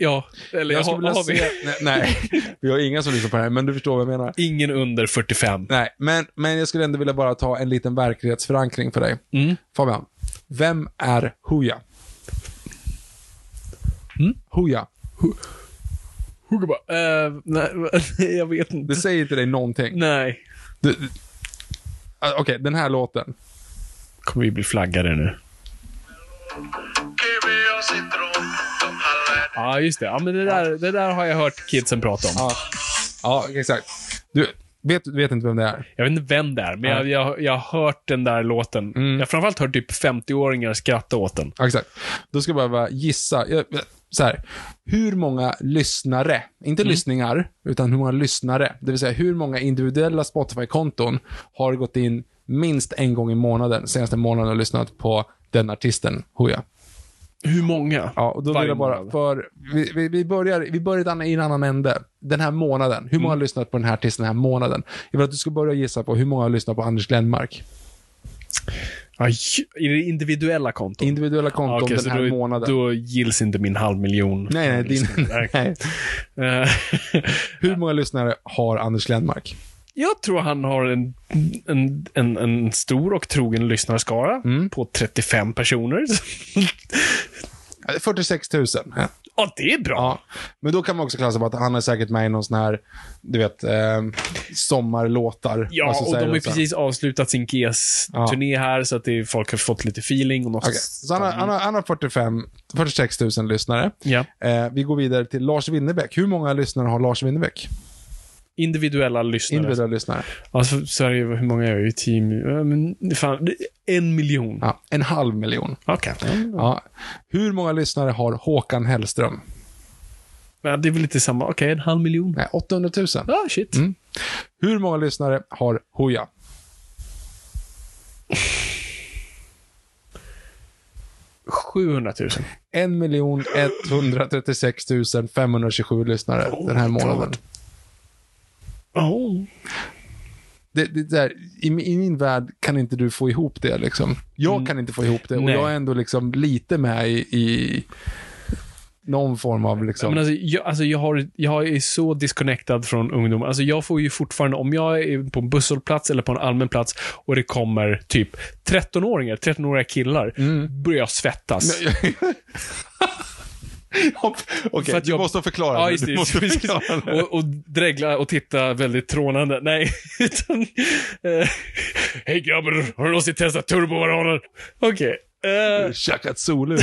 C: Ja, eller jag
B: skulle
C: har, har vi
B: se... Nej, nej, vi har inga som lyssnar på det här, men du förstår vad jag menar.
C: ingen under 45.
B: Nej, men, men jag skulle ändå vilja bara ta en liten verklighetsförankring för dig. Fabian, vem är Hooja? Hooja.
C: Hugo bara, eh, nej, nej, jag vet inte.
B: Det säger inte dig någonting.
C: Nej.
B: Du- du- Ah, Okej, den här låten.
C: Kommer vi bli flaggade nu? Ja, just det. Ja, men det där, det där har jag hört kidsen prata om.
B: Ja, exakt. Du vet, du vet inte vem det är?
C: Jag vet inte vem det är, men jag,
B: Nej. Mm.
C: jag, jag har hört den där låten. Jag har framförallt hört typ 50-åringar skratta åt den.
B: Ja, exakt. Då ska jag bara bara gissa. Jag, så här, hur många lyssnare, inte
C: Mm.
B: lyssningar, utan hur många lyssnare, det vill säga hur många individuella Spotify-konton har gått in minst en gång i månaden, senaste månaden och lyssnat på den artisten, Hooja.
C: Hur många?
B: Ja, och då vill
C: Varje
B: jag bara,
C: månad.
B: för vi, vi, vi börjar, vi börjar i en annan- i en annan ände. Den här månaden, hur många
C: Mm.
B: har lyssnat på den här artisten den här månaden? Jag vill att du ska börja gissa på hur många har lyssnat på Anders Glenmark.
C: Aj, I det individuella kontot?
B: Individuella konton
C: Ja, okej,
B: den
C: så
B: här
C: då,
B: månaden.
C: Då gills inte min halv miljon.
B: Nej, nej, din,
C: Nej.
B: nej.
C: Eh,
B: Hur många lyssnare har Anders Glenmark?
C: Jag tror han har en, en, en, en stor och trogen lyssnarskara
B: Mm.
C: på 35 personer.
B: Ja, 46 000. Ja.
C: Ja, det är bra.
B: Ja. Men då kan man också klassa på att han är säkert med i någon sån här, du vet, eh, sommarlåtar.
C: Ja,
B: Alltså, så
C: och
B: här,
C: de har ju
B: så här.
C: precis avslutat sin GES-turné här, så att det, är- folk har fått lite feeling. Och något
B: Okej, Så han har, han har, han har 45, 46 000 lyssnare.
C: Ja.
B: Eh, vi går vidare till Lars Winnerbäck. Hur många lyssnare har Lars Winnerbäck?
C: Individuella lyssnare.
B: Individuella lyssnare.
C: Ja, så, så är det ju, hur många är vi? Team? Ja, men, fan, det- en miljon.
B: Ja, en halv miljon.
C: Okej.
B: Ja. Hur många lyssnare har Håkan Hellström?
C: Ja, det är väl lite samma. Okej, en halv miljon.
B: Nej, 800 000.
C: Ah, shit.
B: Hur många lyssnare har Hooja?
C: sjuhundratusen
B: 1 136 527 lyssnare den här månaden.
C: Oh.
B: Det, det där, i, min- I min värld kan inte du få ihop det. Liksom. Jag kan inte få ihop det och
C: Mm. Nej.
B: jag är ändå liksom lite med i, i någon form av... Liksom,
C: Men alltså, jag, alltså jag, har, jag är så disconnectad från ungdomar. Alltså jag får ju fortfarande, om jag är på en busshållplats eller på en allmän plats och det kommer typ 13-åringar, 13-åriga killar,
B: Mm.
C: börjar jag svettas.
B: Okej,
C: att jag-
B: förklara.
C: Ja,
B: nu.
C: just det.
B: Du måste
C: Precis.
B: förklara nu.
C: och, och dregla och titta väldigt trånande. Nej, utan... eh, Hej grabbar, har du någonsin testat turbovaranen? Okej. eh,
B: Tjackat solu.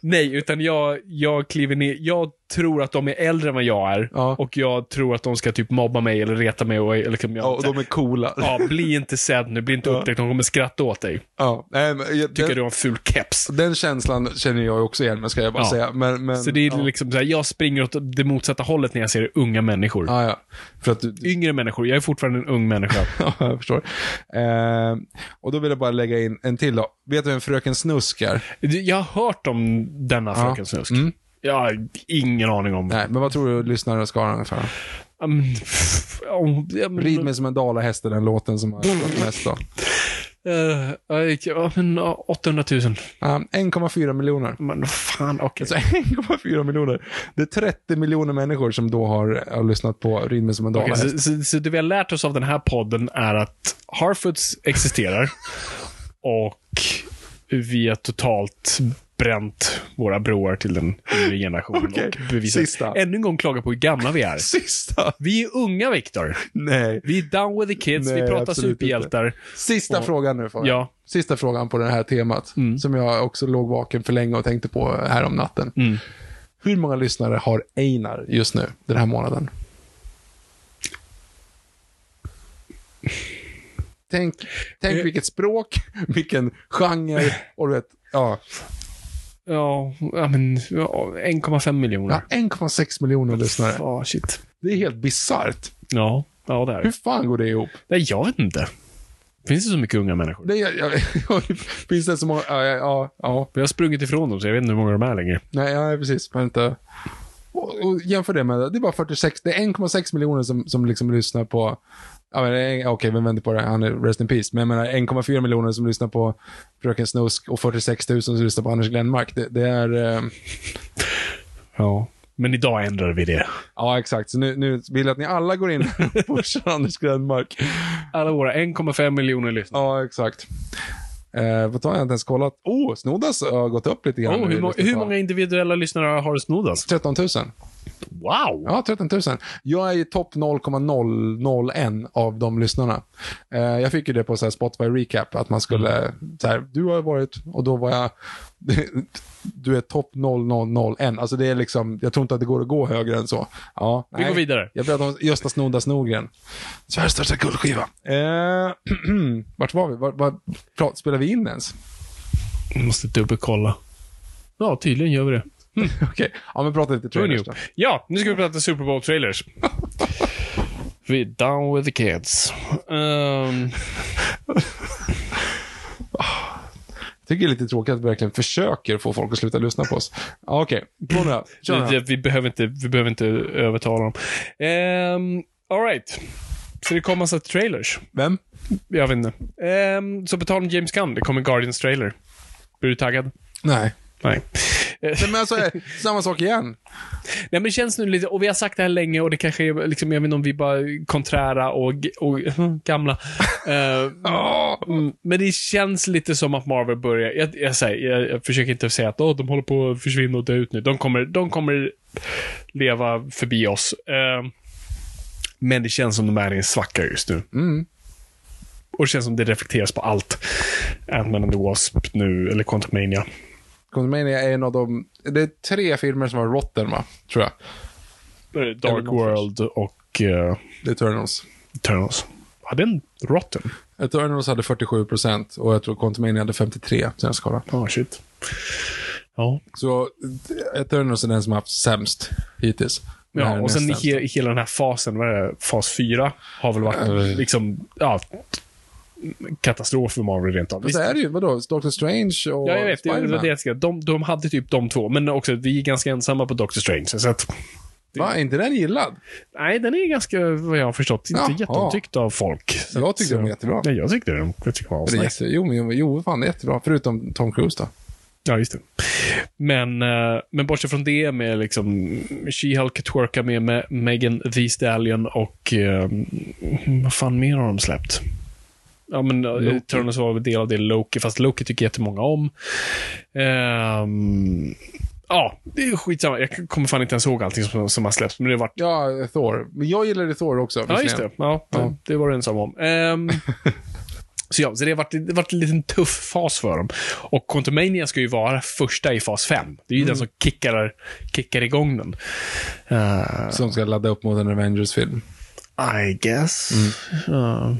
C: nej, utan jag, jag kliver ner. Jag tror att de är äldre än vad jag är.
B: Ja.
C: Och jag tror att de ska typ mobba mig eller reta mig. Och, eller, liksom, jag,
B: Ja, och de är coola.
C: Ja, bli inte sedd nu, bli inte upptäckt, de kommer skratta åt dig.
B: Ja, nej, men jag,
C: Tycker
B: den,
C: du har en ful keps.
B: den känslan känner jag också igen, men ska jag bara
C: Ja.
B: säga. Men, men,
C: Så det är
B: ja.
C: liksom så här, jag springer åt det motsatta hållet när jag ser unga människor.
B: Ja, ja. För att du, du-
C: Yngre människor, jag är fortfarande en ung människa.
B: ja, jag förstår. Eh, och då vill jag bara lägga in en till då. Vet du vem Fröken Snusk är?
C: Du, Jag har hört om denna
B: Ja. Mm.
C: Fröken Snusk. Jag har ingen aning om.
B: Nej, men vad tror du lyssnare ska ha ungefär?
C: Ja, men, pff, ja, men- ja, men-
B: Rid mig som en dalahäst är den låten som har gått mest då.
C: Eh, ja, jag- ja, men, ja, 800 000.
B: Ja, 1,4 miljoner.
C: Men fan, okej.
B: Så 1,4 miljoner. Det är 30 miljoner människor som då har, har lyssnat på Rid mig som en
C: Okej,
B: dalahäst.
C: så, så, så det vi har lärt oss av den här podden är att Harfoots existerar och vi har totalt bränt våra broar till den yngre generationen
B: Okej,
C: och bevisat
B: sista.
C: ännu en gång klaga på hur gamla vi är.
B: Sista!
C: Vi är unga, Viktor.
B: Nej.
C: Vi är down with the kids,
B: Nej,
C: vi pratar
B: absolut inte.
C: superhjältar.
B: Sista
C: Och-
B: frågan nu Fabian.
C: Ja.
B: Sista frågan på det här temat. Som jag också låg vaken för länge och tänkte på här om natten. Hur många lyssnare har Einar just nu, den här månaden? Tänk, tänk
C: Eh.
B: vilket språk, vilken genre och du vet, ja,
C: Ja, ja, men ja, 1,5 miljoner.
B: ja 1,6 miljoner lyssnare.
C: Ja, shit.
B: Det är helt bisarrt.
C: Ja, ja det är
B: Hur
C: det.
B: fan går det ihop?
C: Nej, jag vet inte. Finns det så mycket unga människor?
B: Det, är- jag, jag, finns det så många, ja, ja, ja, ja.
C: Vi har sprungit ifrån dem, så jag vet inte hur många de är längre.
B: Nej, ja, precis. Men inte... Och, och jämför det med, det är bara 46, det är 1,6 miljoner som, som liksom lyssnar på, ja men det är- okej, vem vänder på det, han är rest in peace, men jag menar 1,4 miljoner som lyssnar på Fröken Snusk och 46 000 som lyssnar på Anders Glenmark. Det, det är, eh,
C: Ja. Men idag ändrar vi det.
B: ja exakt, så nu, nu vill jag att ni alla går in och pushar Anders Glenmark.
C: Alla våra 1,5 miljoner lyssnare.
B: Ja, exakt. Eh, vad tar jag inte ens kollat? Oh, Snoddas har gått upp lite grann.
C: Oh,
B: nu i
C: hur, må-
B: lyssnartal.
C: hur många individuella lyssnare har Snoddas?
B: 13 000.
C: Wow!
B: Ja, 13 000. Jag är ju topp 0,001 av de lyssnarna. Eh, jag fick ju det på så här Spotify Recap, att man skulle,
C: Mm.
B: så här, du har varit, och då var jag, du är topp 0001. Alltså det är liksom, jag tror inte att det går att gå högre än så. Ja,
C: Vi går vidare.
B: Jag pratar om Gösta Snoddas Norgren. Sveriges största guldskiva. Eh, vart var vi? Var, var, prat, spelar vi in ens?
C: Jag måste dubbelkolla. Ja, tydligen gör vi det.
B: Okej, ja men prata lite trailers då.
C: Unio. Ja, nu ska vi prata Super Bowl-trailers. vi är down with the kids. Ehm,
B: Jag tycker det är lite tråkigt att vi verkligen försöker få folk att sluta lyssna på oss. Ja, Okej, okay. Konrad, kör
C: vi,
B: då.
C: vi, behöver inte, vi behöver inte övertala dem. Um, Alright. Så det kommer massa trailers.
B: Vem?
C: Jag vet inte. Ehm, så på tal om James Gunn, det kommer Guardians trailer. Blir du taggad?
B: Nej.
C: Nej. Eh,
B: Men alltså, eh, samma sak igen.
C: Nej, men det känns nu lite, och vi har sagt det här länge och det kanske är, liksom, jag vet inte om vi bara är konträra och, och gamla. Eh, mm, men det känns lite som att Marvel börjar, jag, jag, säger, jag, jag försöker inte säga att "Åh, de håller på att försvinna och dö ut nu. De kommer, de kommer leva förbi oss. Eh, men det känns som de är i en svacka just nu. Och det känns som det reflekteras på allt. Ant-Man and the Wasp nu, eller Quantumania.
B: Condomania är en av de... Det är tre filmer som var rotten, va? Tror jag.
C: Eh, Dark
B: någon
C: World och och eh,
B: Eternals.
C: Eternals. Hade en Rotten?
B: Eternals hade 47 procent och jag tror Quantumania hade 53 sen jag kollade.
C: Ja, shit. Ja,
B: Så eh, Eternals är den som har haft sämst hittills. Den här
C: ja
B: är
C: och sen
B: näst
C: he,
B: sämst.
C: hela den här fasen, vad är det, fas 4, har väl varit
B: Eh.
C: liksom, ja, katastrof för Marvel rent av.
B: Men så är det ju. Vadå? Doctor Strange och
C: Ja, jag vet. Det det var
B: Spiderman?
C: det jag skrev. de, de hade typ de två, men också vi är ganska ensamma på Doctor Strange. Så att,
B: Va, är inte den gillad?
C: nej, den är ganska, vad jag har förstått, inte
B: Jaha.
C: jätteomtyckt av folk. Så
B: Jag
C: att,
B: tyckte den var
C: eh,
B: jättebra.
C: Nej, jag tyckte den jag tyckte den var
B: Det är
C: asnice.
B: jätte, jo, men, jo, jo, fan, det är jättebra. Förutom Tom Cruise då.
C: Ja, just det. Men, eh, men bortsett från det med liksom She-Hulk twerkar med, med Megan Thee Stallion och eh, vad fan mer har de släppt? Ja, men Loki. Eternals var väl del av det, Loki, fast Loki tycker jättemånga om. Ehm, ja, det är skitsamma. Jag kommer fan inte ens ihåg allting som, som har släppts, men det har varit
B: Ja, Thor. Men jag gillade Thor också.
C: Ja,
B: visserligen.
C: just det. Ja,
B: Ja.
C: Det var du ensam om. Ehm, så ja, så det har varit, det har varit en liten tuff fas för dem. Och Quantumania ska ju vara första i fas 5. Det är ju den
B: Mm.
C: som kickar, kickar igång den. Eh,
B: Som ska ladda upp mot en Avengers-film.
C: I guess.
B: Mm.
C: Eh,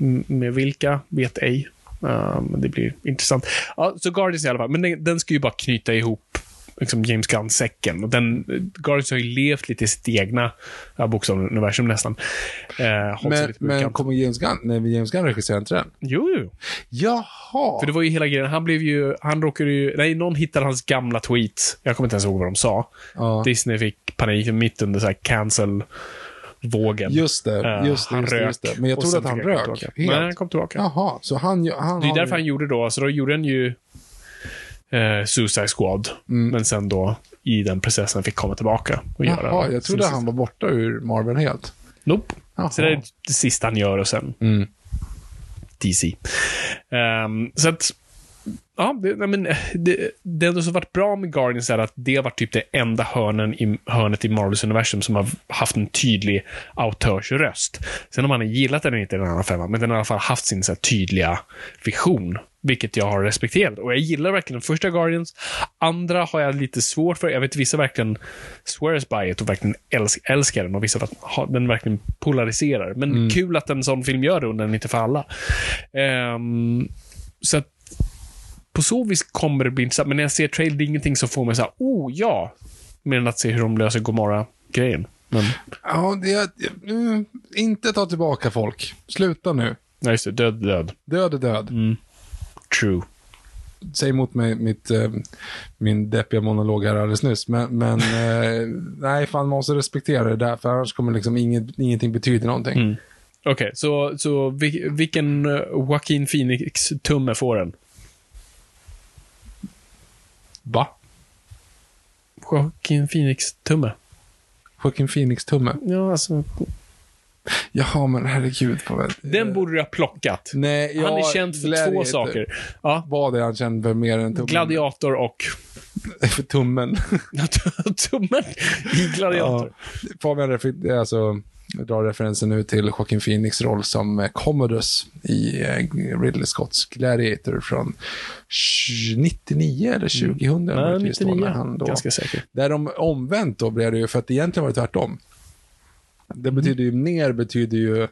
C: m- med vilka vet ej. Eh, men det blir intressant. Ja, så Guardians i alla fall. Men den, den ska ju bara knyta ihop liksom James Gunn-säcken. Och den, Guardians har ju levt lite i sitt egna ja, bokstavsuniversum nästan. Eh, hållit sig
B: Men,
C: lite på
B: men
C: utkanten.
B: kommer James Gunn? Nej, James Gunn regisserar inte den.
C: Jo, jo.
B: Jaha!
C: För det var ju hela grejen. Han blev ju... Han råkade ju... Nej, någon hittade hans gamla tweet. Jag kommer inte ens ihåg vad de sa.
B: Ja.
C: Disney fick panik mitt under så här cancel-vågen.
B: Just det,
C: Eh,
B: just det,
C: han
B: just det,
C: rök,
B: just det. Men jag
C: och
B: trodde
C: sen
B: att han
C: fick han komma
B: rök.
C: tillbaka.
B: Helt.
C: Nej, han kom tillbaka.
B: Jaha, så han... han
C: Det är
B: har
C: därför han
B: ju-
C: gjorde då. Så då gjorde han ju eh, Suicide Squad.
B: Mm.
C: Men sen då i den processen fick komma tillbaka och göra
B: Jaha,
C: det.
B: jag trodde
C: Så-
B: han var borta ur Marvel helt.
C: Nope.
B: Jaha.
C: Så det är det sista han gör och sen
B: Mm.
C: DC. Ehm, så att, ja, det, nej men, eh, det, det enda som varit bra med Guardians är att det har varit typ det enda hörnen i, hörnet i Marvels universum som har haft en tydlig autörsröst. Sen om man har gillat den eller inte, är en annan femma, men den har i alla fall haft sin så här, tydliga vision. Vilket jag har respekterat. Och jag gillar verkligen den första Guardians. Andra har jag lite svårt för. Jag vet vissa verkligen swears by it och verkligen älsk, älskar den. Och vissa att ha- den verkligen polariserar. Men kul att en sån film gör det och den är inte för alla. Ehm, så att på så vis kommer det bli intressant. Men när jag ser trail, det är ingenting som får mig så här, oh ja. Mer än att se hur de löser Gomorra-grejen. Men,
B: Ja, det... är- mm, Inte ta tillbaka folk. Sluta nu.
C: nej just det. Död, död.
B: Död är död.
C: True.
B: Säg emot mig mitt, eh, min deppiga monolog här alldeles nyss. Men, men eh, nej, fan, man måste respektera det där, för annars kommer liksom inget, ingenting betyda någonting.
C: Mm. Okej, så, så vil- vilken eh, Joaquin Phoenix-tumme får den? Va? Joaquin Phoenix-tumme?
B: Joaquin Phoenix-tumme.
C: Ja, alltså...
B: Jaha, men herregud. Pavel.
C: Den borde du ha plockat.
B: eh, Nej,
C: Han
B: jag
C: är känd för
B: glädjer
C: två
B: inte.
C: saker. Ja,
B: Vad är han känd för mer än tummen?
C: gladiator och...
B: för tummen.
C: Tummen i gladiator.
B: Fabian refer- alltså, drar referensen nu till Joaquin Phoenix roll som eh, Commodus i eh, Ridley Scotts Gladiator från 99 eller 2000.
C: Nej,
B: möjligtvis då, när
C: 99.
B: han då-
C: Mm. Ganska säker.
B: Där de omvänt då blev det ju, för att egentligen var det tvärtom. Det
C: Mm.
B: betyder ju, ner betyder ju,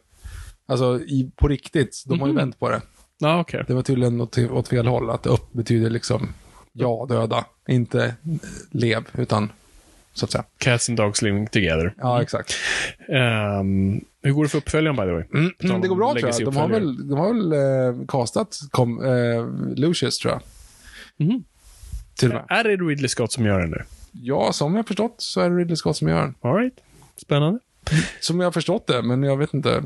B: alltså i, på riktigt, de har
C: Mm.
B: ju vänt på det.
C: Ja, okej.
B: Det var tydligen åt, åt fel håll, att upp betyder liksom ja, döda, inte eh, lev, utan så att säga.
C: Cats and dogs living together.
B: Ja, exakt.
C: Ehm, hur går det för uppföljaren, by the way? På tal
B: Mm, det går
C: om
B: bra tror jag. De har
C: legacy-uppföljare.
B: väl, de har väl eh, castat kom, eh, Lucius tror jag.
C: Mhm.
B: Till och med.
C: Är det Ridley Scott som gör den nu?
B: Ja, som jag förstått så är det Ridley Scott som gör den.
C: All right. Spännande.
B: Som jag har förstått det, men jag vet inte.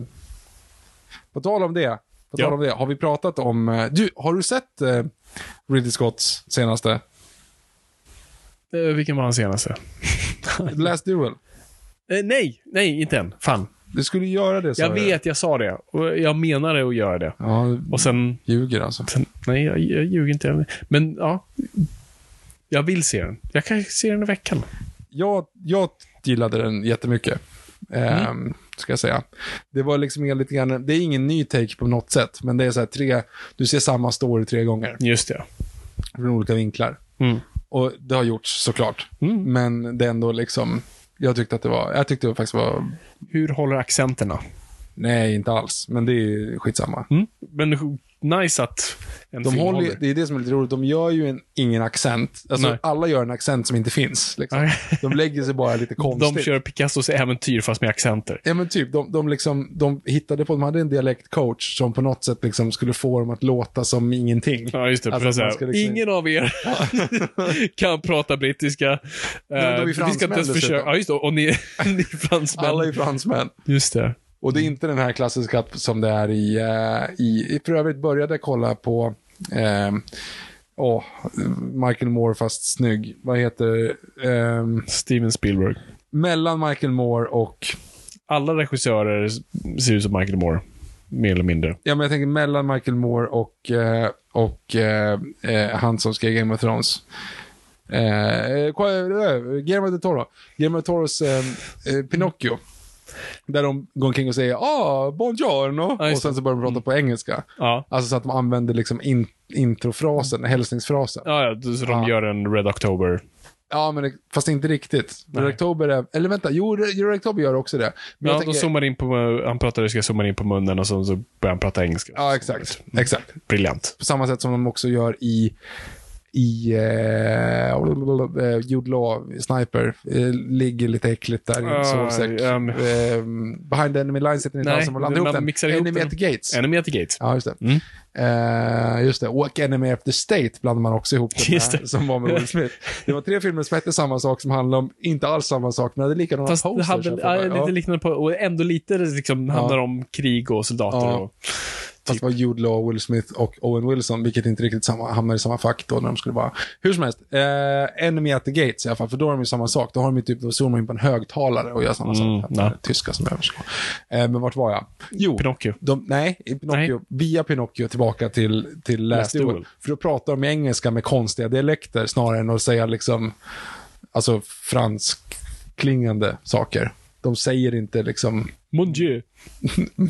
B: På tal om det, på
C: Ja.
B: tal om det har vi pratat om... eh, Du, har du sett eh, Ridley Scotts senaste?
C: Eh, vilken var hans senaste?
B: The Last Duel?
C: Eh, nej, nej, inte än. Fan.
B: Du skulle göra det, sa
C: Jag vet, jag sa det. Och jag menade att göra det.
B: Ja,
C: Och sen...
B: ljuger alltså.
C: sen nej, jag, jag ljuger inte. Men ja. Jag vill se den. Jag kanske ser den i veckan.
B: jag, jag gillade den jättemycket. Mm. ska jag säga. Det var liksom en lite grann, det är ingen ny take på något sätt, men det är så här tre, du ser samma story tre gånger
C: Just det.
B: från olika vinklar.
C: Mm.
B: Och det har gjorts såklart, men det är ändå liksom, Jag tyckte att det var, jag tyckte det faktiskt var,
C: Hur håller accenterna?
B: nej inte alls, men det är skitsamma.
C: Mm. Men nice att en
B: De
C: film
B: håller, ju- det är det som är lite roligt, de gör ju en, ingen accent. Alltså
C: Nej.
B: alla gör en accent som inte finns. Liksom.
C: Nej.
B: De lägger sig bara lite konstigt.
C: De kör Picassos äventyr fast med accenter.
B: Ja men typ, de, de, liksom, de hittade på, de hade en dialektcoach som på något sätt liksom skulle få dem att låta som ingenting.
C: Ja, just det.
B: Alltså,
C: för
B: att man
C: så här,
B: ska liksom-
C: Ingen av er kan prata brittiska. Eh,
B: är
C: vi ska inte
B: fransmän
C: ens
B: dessutom.
C: försöka. Ja, just det. Och ni, ni är fransmän.
B: Alla är fransmän.
C: Just det.
B: Och det är inte den här klassiska att- som det är i... eh, i, i för övrigt började jag kolla på... Eh, åh, Michael Moore fast snygg. Vad heter det? Ehm,
C: Steven Spielberg.
B: mellan Michael Moore och...
C: Alla regissörer ser ut som Michael Moore. Mer eller mindre.
B: Ja, men jag tänker mellan Michael Moore och, eh, och eh, eh, han som skrev Game of Thrones. Eh, eh, Guillermo del Toro. Guillermo del Toros eh, eh, Pinocchio. Där de går omkring och säger ah, buongiorno.
C: Ja, just Mm.
B: och sen så börjar de prata på engelska.
C: Ja. Mm.
B: Alltså så att de använder liksom in, introfrasen, hälsningsfrasen. Ja,
C: Ja, ja så de
B: Ja.
C: gör en Red October.
B: men det, fast inte riktigt.
C: Nej.
B: Red October är, eller vänta, jo, Red October gör också det. Men
C: Ja,
B: jag
C: de
B: tänker-
C: zoomar in på, han pratar ryska, zoomar in på munnen och så, så börjar han prata engelska.
B: ja, exakt. Exakt.
C: Briljant.
B: på samma sätt som de också gör i i eh, eh, Jude Law, Sniper, eh, ligger lite äckligt där i en
C: Ja,
B: sovsäck.
C: Ah, ja, men-
B: Ehm, Behind the enemy lines heter den inte
C: Nej,
B: alls, man blandar ihop
C: man
B: den.
C: mixar ihop
B: enemy
C: den.
B: at the gates.
C: Enemy at the gate.
B: ja, just det. Eh, just det. Och Enemy at the state blandar man också ihop den
C: Just
B: med,
C: det.
B: som var med Will Smith. Det var tre filmer som hette samma sak, som handlade om inte alls samma sak, men hade likadana
C: Fast det
B: posters.
C: hade
B: jag får
C: ja,
B: bara-
C: lite liknande på, och ändå lite liksom handlar om krig och soldater.
B: Ja.
C: Och, Typ.
B: Fast det var Jude Law, Will Smith och Owen Wilson, vilket inte riktigt samma, hamnade i samma fack då när de skulle vara... Hur som helst, eh, Enemy at the Gates i alla fall, för då är de ju samma sak. Då har de ju typ, då zoomar in på en högtalare och gör samma
C: Mm,
B: sak.
C: nej.
B: Tyska som överskår. Eh, men vart var jag? Jo,
C: Pinocchio.
B: de, nej, i Pinocchio, via Pinocchio tillbaka till, till Last
C: Last
B: Duel.
C: Duel.
B: För då pratar de engelska med konstiga dialekter snarare än att säga liksom, alltså fransk klingande saker. De säger inte liksom
C: Mon Dieu.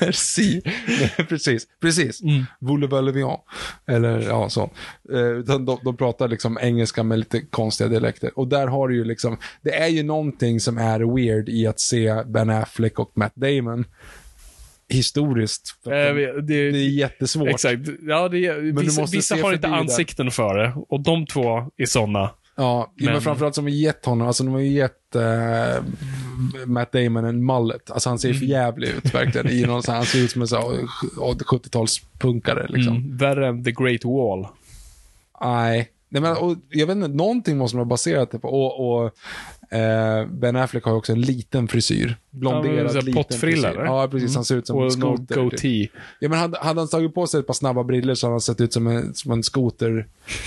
B: Merci. Nej, precis, precis. Mm. Voulez-vous Eller ja, så. Eh, utan de, de pratar liksom engelska med lite konstiga dialekter. Och där har du ju liksom, det är ju någonting som är weird i att se Ben Affleck och Matt Damon historiskt. För att
C: Eh,
B: de-
C: det,
B: Mm. det är jättesvårt.
C: Exakt. Ja, det,
B: du
C: vissa
B: måste
C: vissa
B: se
C: har inte
B: förbi det.
C: ansikten för det. Och de två är såna.
B: Ja, men,
C: Men-
B: men framförallt som har gett honom, alltså de har ju gett eh, Matt Damon en mullet. Alltså han ser
C: Mm.
B: för jävlig ut verkligen. I någon, så här- han ser ut som en så här 70-talspunkare liksom.
C: Mm. Värre än The Great Wall.
B: Nej. Nej men, och, jag vet inte, någonting måste man ha baserat det på. Och, och eh, Ben Affleck har ju också en liten frisyr.
C: Ja, men
B: Blonderad
C: så här
B: liten
C: pottfrilla,
B: frisyr.
C: eller? Mm.
B: Ja, precis. Han ser ut som en
C: och någon
B: skoter. typ.
C: goatee.
B: Ja, men hade, hade han tagit på sig ett par snabba briller så hade han sett ut som en, som en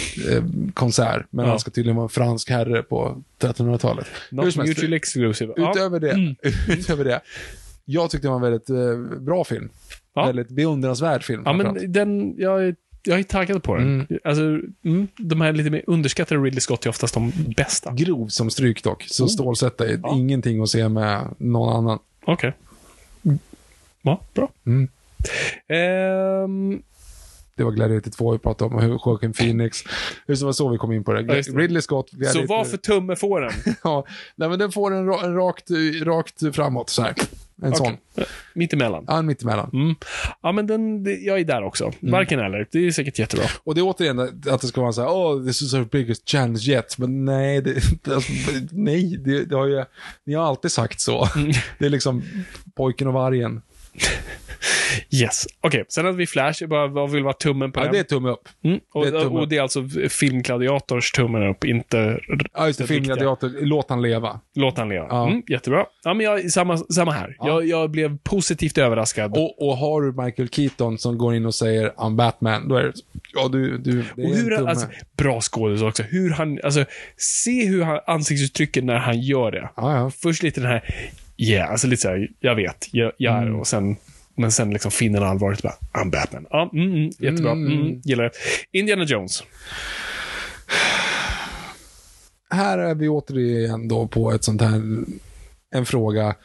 B: skoterkonsert. men
C: Ja.
B: han ska tydligen vara en fransk herre på 1300-talet. Hur
C: Not
B: som helst,
C: mutually exclusive. Ja. Mm.
B: Utöver det, utöver det. Jag tyckte det var en väldigt eh, bra film.
C: Ja.
B: Väldigt beundransvärd film.
C: Ja,
B: framförallt.
C: men den, jag, är- jag är taggad på den. Alltså, mm, de här lite mer underskattade Ridley Scott är oftast de bästa.
B: grov som stryk dock.
C: Oh.
B: Så stålsätt dig. Ingenting att se med någon annan.
C: Okej. Ja, bra.
B: Mm.
C: Ehm,
B: Det var Gladiator 2 vi pratade om, hur Joaquin Phoenix. Hur som var så vi kom in på det.
C: Ja, just det.
B: Ridley Scott, Gladiator.
C: så vad för tumme får den?
B: Ja, nej, men den får en, ra- en rakt, rakt framåt så här. En sån.
C: Mitt emellan.
B: Ja, en mittemellan.
C: Mm. Ja, men den, det- jag är där också.
B: Mm.
C: Varken eller. Det är säkert jättebra.
B: Och det är återigen att det ska vara så här, oh, this is our biggest challenge yet. Men nej, det, alltså, nej, det, det har ju, ni har alltid sagt så.
C: Mm.
B: Det är liksom pojken och vargen.
C: Yes. Okej, sen hade vi Flash. Jag bara, vad vill vara tummen på
B: Ja,
C: den?
B: det är tumme upp.
C: mm. och,
B: det är tummen.
C: och det är alltså filmgladiators tummen upp, inte
B: Ja, just det.
C: Den riktiga.
B: Filmgladiator, låt han leva.
C: låt han leva.
B: Ja.
C: Mm, jättebra. Ja, men jag, samma, samma här. Jag, jag blev positivt överraskad.
B: Och, och har du Michael Keaton som går in och säger I'm Batman, då är det ja du, du det är
C: Och
B: en
C: hur,
B: tumme.
C: alltså, bra skådis också. Hur han, alltså, se hur han ansiktsuttrycket när han gör det.
B: ja, ja.
C: Först lite den här, yeah, alltså lite så här, jag vet, jag, jag är
B: Mm.
C: det." och sen men sen liksom finner han allvaret och bara, I'm Batman. Ja, mm, mm, jättebra. Mm. gillar det. Indiana Jones.
B: Här är vi återigen då på ett sånt här, en fråga.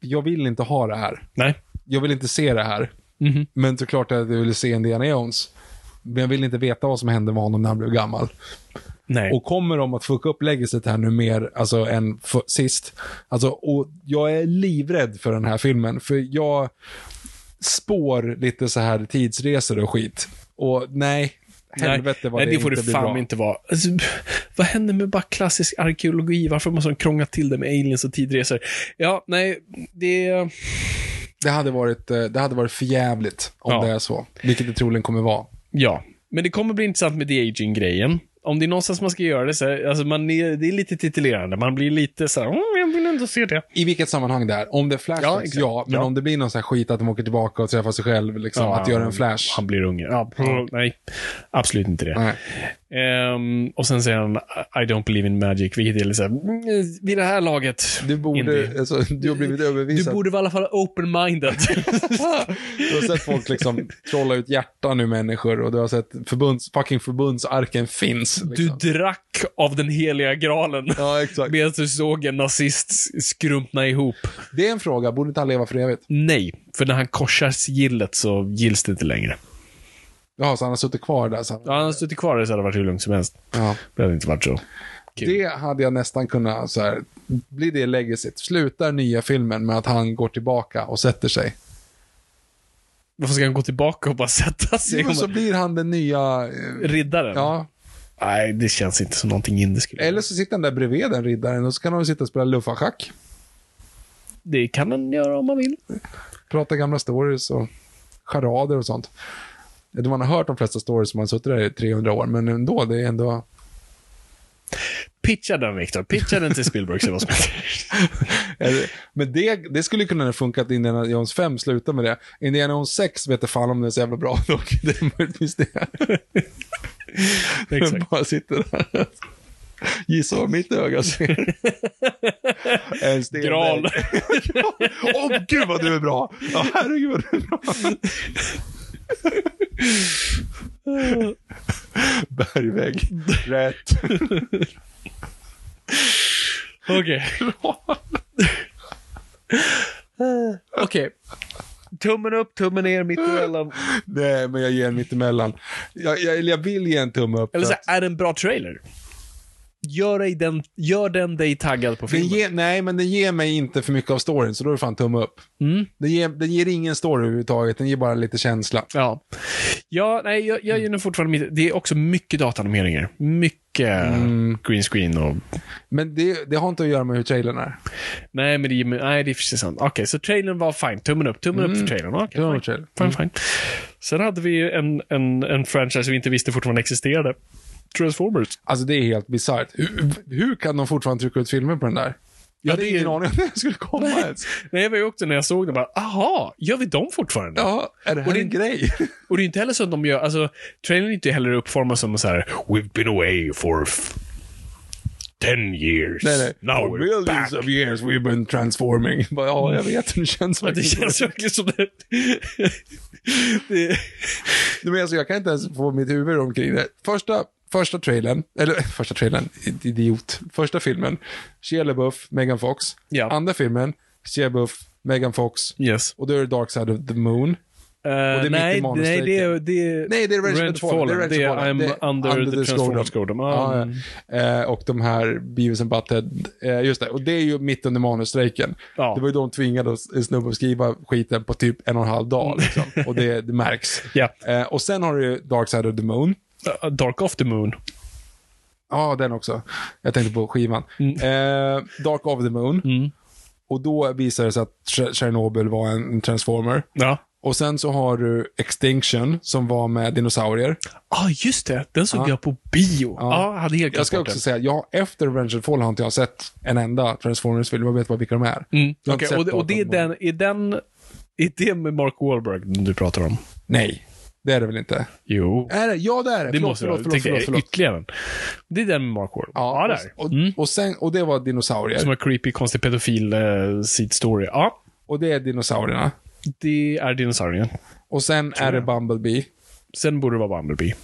B: Jag vill inte ha det här.
C: Nej. Mhm.
B: Jag vill inte se det här. Men såklart att jag ville se Indiana Jones. Men jag vill inte veta vad som hände med honom när han blev gammal.
C: Nej.
B: Och kommer de att fucka upp legacyt här nu mer alltså, än f- sist? Alltså, och jag är livrädd för den här filmen, för jag spår lite så här tidsresor och skit. Och nej, helvete vad
C: Nej,
B: det,
C: det får
B: inte
C: det
B: blir
C: fan
B: bra.
C: inte vara. Alltså, vad händer med bara klassisk arkeologi? Varför måste de krångla till det med aliens och tidresor? Ja, nej, det...
B: Det hade varit, eh, det hade varit förjävligt om
C: Ja.
B: det är så, vilket det troligen kommer vara.
C: Ja, men det kommer bli intressant med The Aging-grejen. Om det är någonstans man ska göra det så här, alltså man är, det är lite titulerande. Man blir lite så här, oh, jag vill ändå se det.
B: I vilket sammanhang det är. Om det är
C: Ja,
B: flashbacks,
C: exakt.
B: ja, men
C: Ja.
B: om det blir någon sån här skit att de åker tillbaka och träffar sig själv, liksom,
C: Ja,
B: att göra en flash.
C: Han blir unge. Ja, nej, absolut inte det.
B: Nej.
C: Ehm, och sen säger han I don't believe in magic, vilket är lite så här, mm, vid det här laget.
B: Du
C: Indy.
B: borde, alltså, du har blivit
C: Du
B: överbevisad.
C: borde vara i alla fall open-minded.
B: Du har sett folk liksom trolla ut hjärtan ur människor och du har sett förbunds, fucking förbundsarken finns.
C: Du
B: Liksom.
C: drack av den heliga graalen.
B: Ja, exakt.
C: Medan du såg en nazist skrumpna ihop.
B: Det är en fråga, borde inte han leva för evigt?
C: Nej, för när han korsar gillet så gills det inte längre.
B: Ja, så han har suttit kvar där. Så.
C: Ja, han har suttit kvar där så hade det varit hur lugnt som helst.
B: Ja.
C: Det hade inte varit så. Kul.
B: Det hade jag nästan kunnat, så här, blir det legacyt. Slutar nya filmen med att han går tillbaka och sätter sig.
C: Varför ska han gå tillbaka och bara sätta sig?
B: Men så blir han den nya... eh,
C: Riddaren?
B: Ja,
C: Nej, det känns inte som någonting Indy skulle
B: eller så sitter han där bredvid den riddaren och så kan de sitta och spela luffarschack.
C: Det kan han göra om man vill.
B: Prata gamla stories och charader och sånt. Det Man har hört de flesta stories som man har suttit där i 300 år, men ändå, det är ändå...
C: Pitcha den, Viktor. Pitcha den till Spielberg. se vad som händer.
B: Eller- Men det, det skulle ju kunna ha funkat Indiana Jones 5, sluta med det. Indiana Jones 6 vet jag fan om det är så jävla bra dock. Det är möjligtvis det.
C: Exakt.
B: Bara sitter där. Gissa vad mitt öga ser. En stenvägg.
C: Gral.
B: Åh gud vad du är bra! Ja, herregud vad du är bra. Bergvägg. Rätt.
C: Okej. Okej. Tummen upp, tummen ner, mittemellan.
B: Nej, men jag ger en mittemellan. Jag, jag, eller jag vill ge en tumme upp.
C: Eller
B: för
C: så här,
B: att-
C: är det en bra trailer? Gör, dig den, gör den dig taggad på
B: Den
C: filmen.
B: ger, nej, men den ger mig inte för mycket av storyn, så då är det fan tumme upp.
C: Mm.
B: Den, ger, den ger ingen story överhuvudtaget, den ger bara lite känsla.
C: Ja. Ja, nej, jag, jag ger nog fortfarande mitt. Det är också mycket dataanimeringar. Mycket green screen och...
B: Men det, det har inte att göra med hur trailern är.
C: Nej, men det, är- nej, det är precis sant. Okej, så trailern var fine. Tummen upp. Tummen upp för trailern. Okej,
B: Tummen
C: fine.
B: upp trailer.
C: Fine, fine. Sen hade vi ju en, en, en franchise vi inte visste fortfarande existerade. Transformers.
B: Alltså det är helt bisarrt. Hur, hur kan de fortfarande trycka ut filmer på den där? Jag hade
C: det är-
B: ingen aning om det skulle komma ens.
C: Nej, det var ju också när jag såg det bara, aha, gör vi dem fortfarande?
B: Ja, är det här
C: Och det-
B: en grej?
C: Och det är inte heller så att de gör, alltså, trailern är inte heller uppformad som så här, we've been away for f- ten years.
B: Nej, nej.
C: Now
B: For
C: we're back.
B: millions of years we've been transforming. Bara, ja, jag vet. Det känns
C: Det
B: verkligen så.
C: känns verkligen som det. det
B: Nej, men alltså, jag kan inte ens få mitt huvud omkring det. Första, första trailern, eller första trailern, idiot. Första filmen, Shia LaBeouf, Megan Fox.
C: Ja.
B: Andra filmen, Shia LaBeouf, Megan Fox.
C: yes.
B: Och då är det Dark Side of the Moon. mitt i
C: Eh, nej, nej,
B: manusstrejken.
C: det är... Det är
B: Nej, det är Revenge
C: Red
B: of the Fallen.
C: Fallen. Det är I'm under, the, Transformers Um, Mm. Godom.
B: Ja, ja. Eh, och de här Beavis and Butthead. Eh, just det, och det är ju mitt under manusstrejken.
C: Ja.
B: Det var ju de tvingade oss- snubben att skriva skiten på typ en och en halv dag. Liksom. och det, det märks.
C: Ja.
B: Eh, och sen har du ju Dark Side of the Moon.
C: Uh, Dark of the Moon.
B: Ja, den också. Jag tänkte på skivan.
C: Mm.
B: Eh, Dark of the Moon. Och då visar det sig att Tj- Chernobyl var en, en transformer.
C: Ja.
B: Och sen så har du Extinction som var med dinosaurier.
C: ah, just det. Den såg jag på bio. Ja, ah, hade helt
B: Jag ska
C: glömt bort
B: också
C: den.
B: säga, jag, efter Revenge of the Fall har inte jag sett en enda Transformers-film. Jag vet bara vilka de är.
C: Mm.
B: Jag har inte
C: okej,
B: sett
C: och, det- och det är
B: Dark of the Moon.
C: den, är den... Är det med Mark Wahlberg du pratar om?
B: Nej, det är det väl inte?
C: Jo.
B: Är det? Ja, det är det.
C: Det
B: förlåt,
C: måste
B: förlåt,
C: det vara.
B: förlåt,
C: Tänkte jag,
B: förlåt, förlåt.
C: Ytterligare en. Det är den med Mark Wahlberg. Ja,
B: Ja,
C: där. Mm.
B: och, och, och, sen, och det var dinosaurier.
C: Som en creepy, konstig pedofil uh, seed story. Ja,
B: Och det är dinosaurierna.
C: det är dinosaurien.
B: Och sen är det Bumblebee.
C: Sen borde det vara Bumblebee.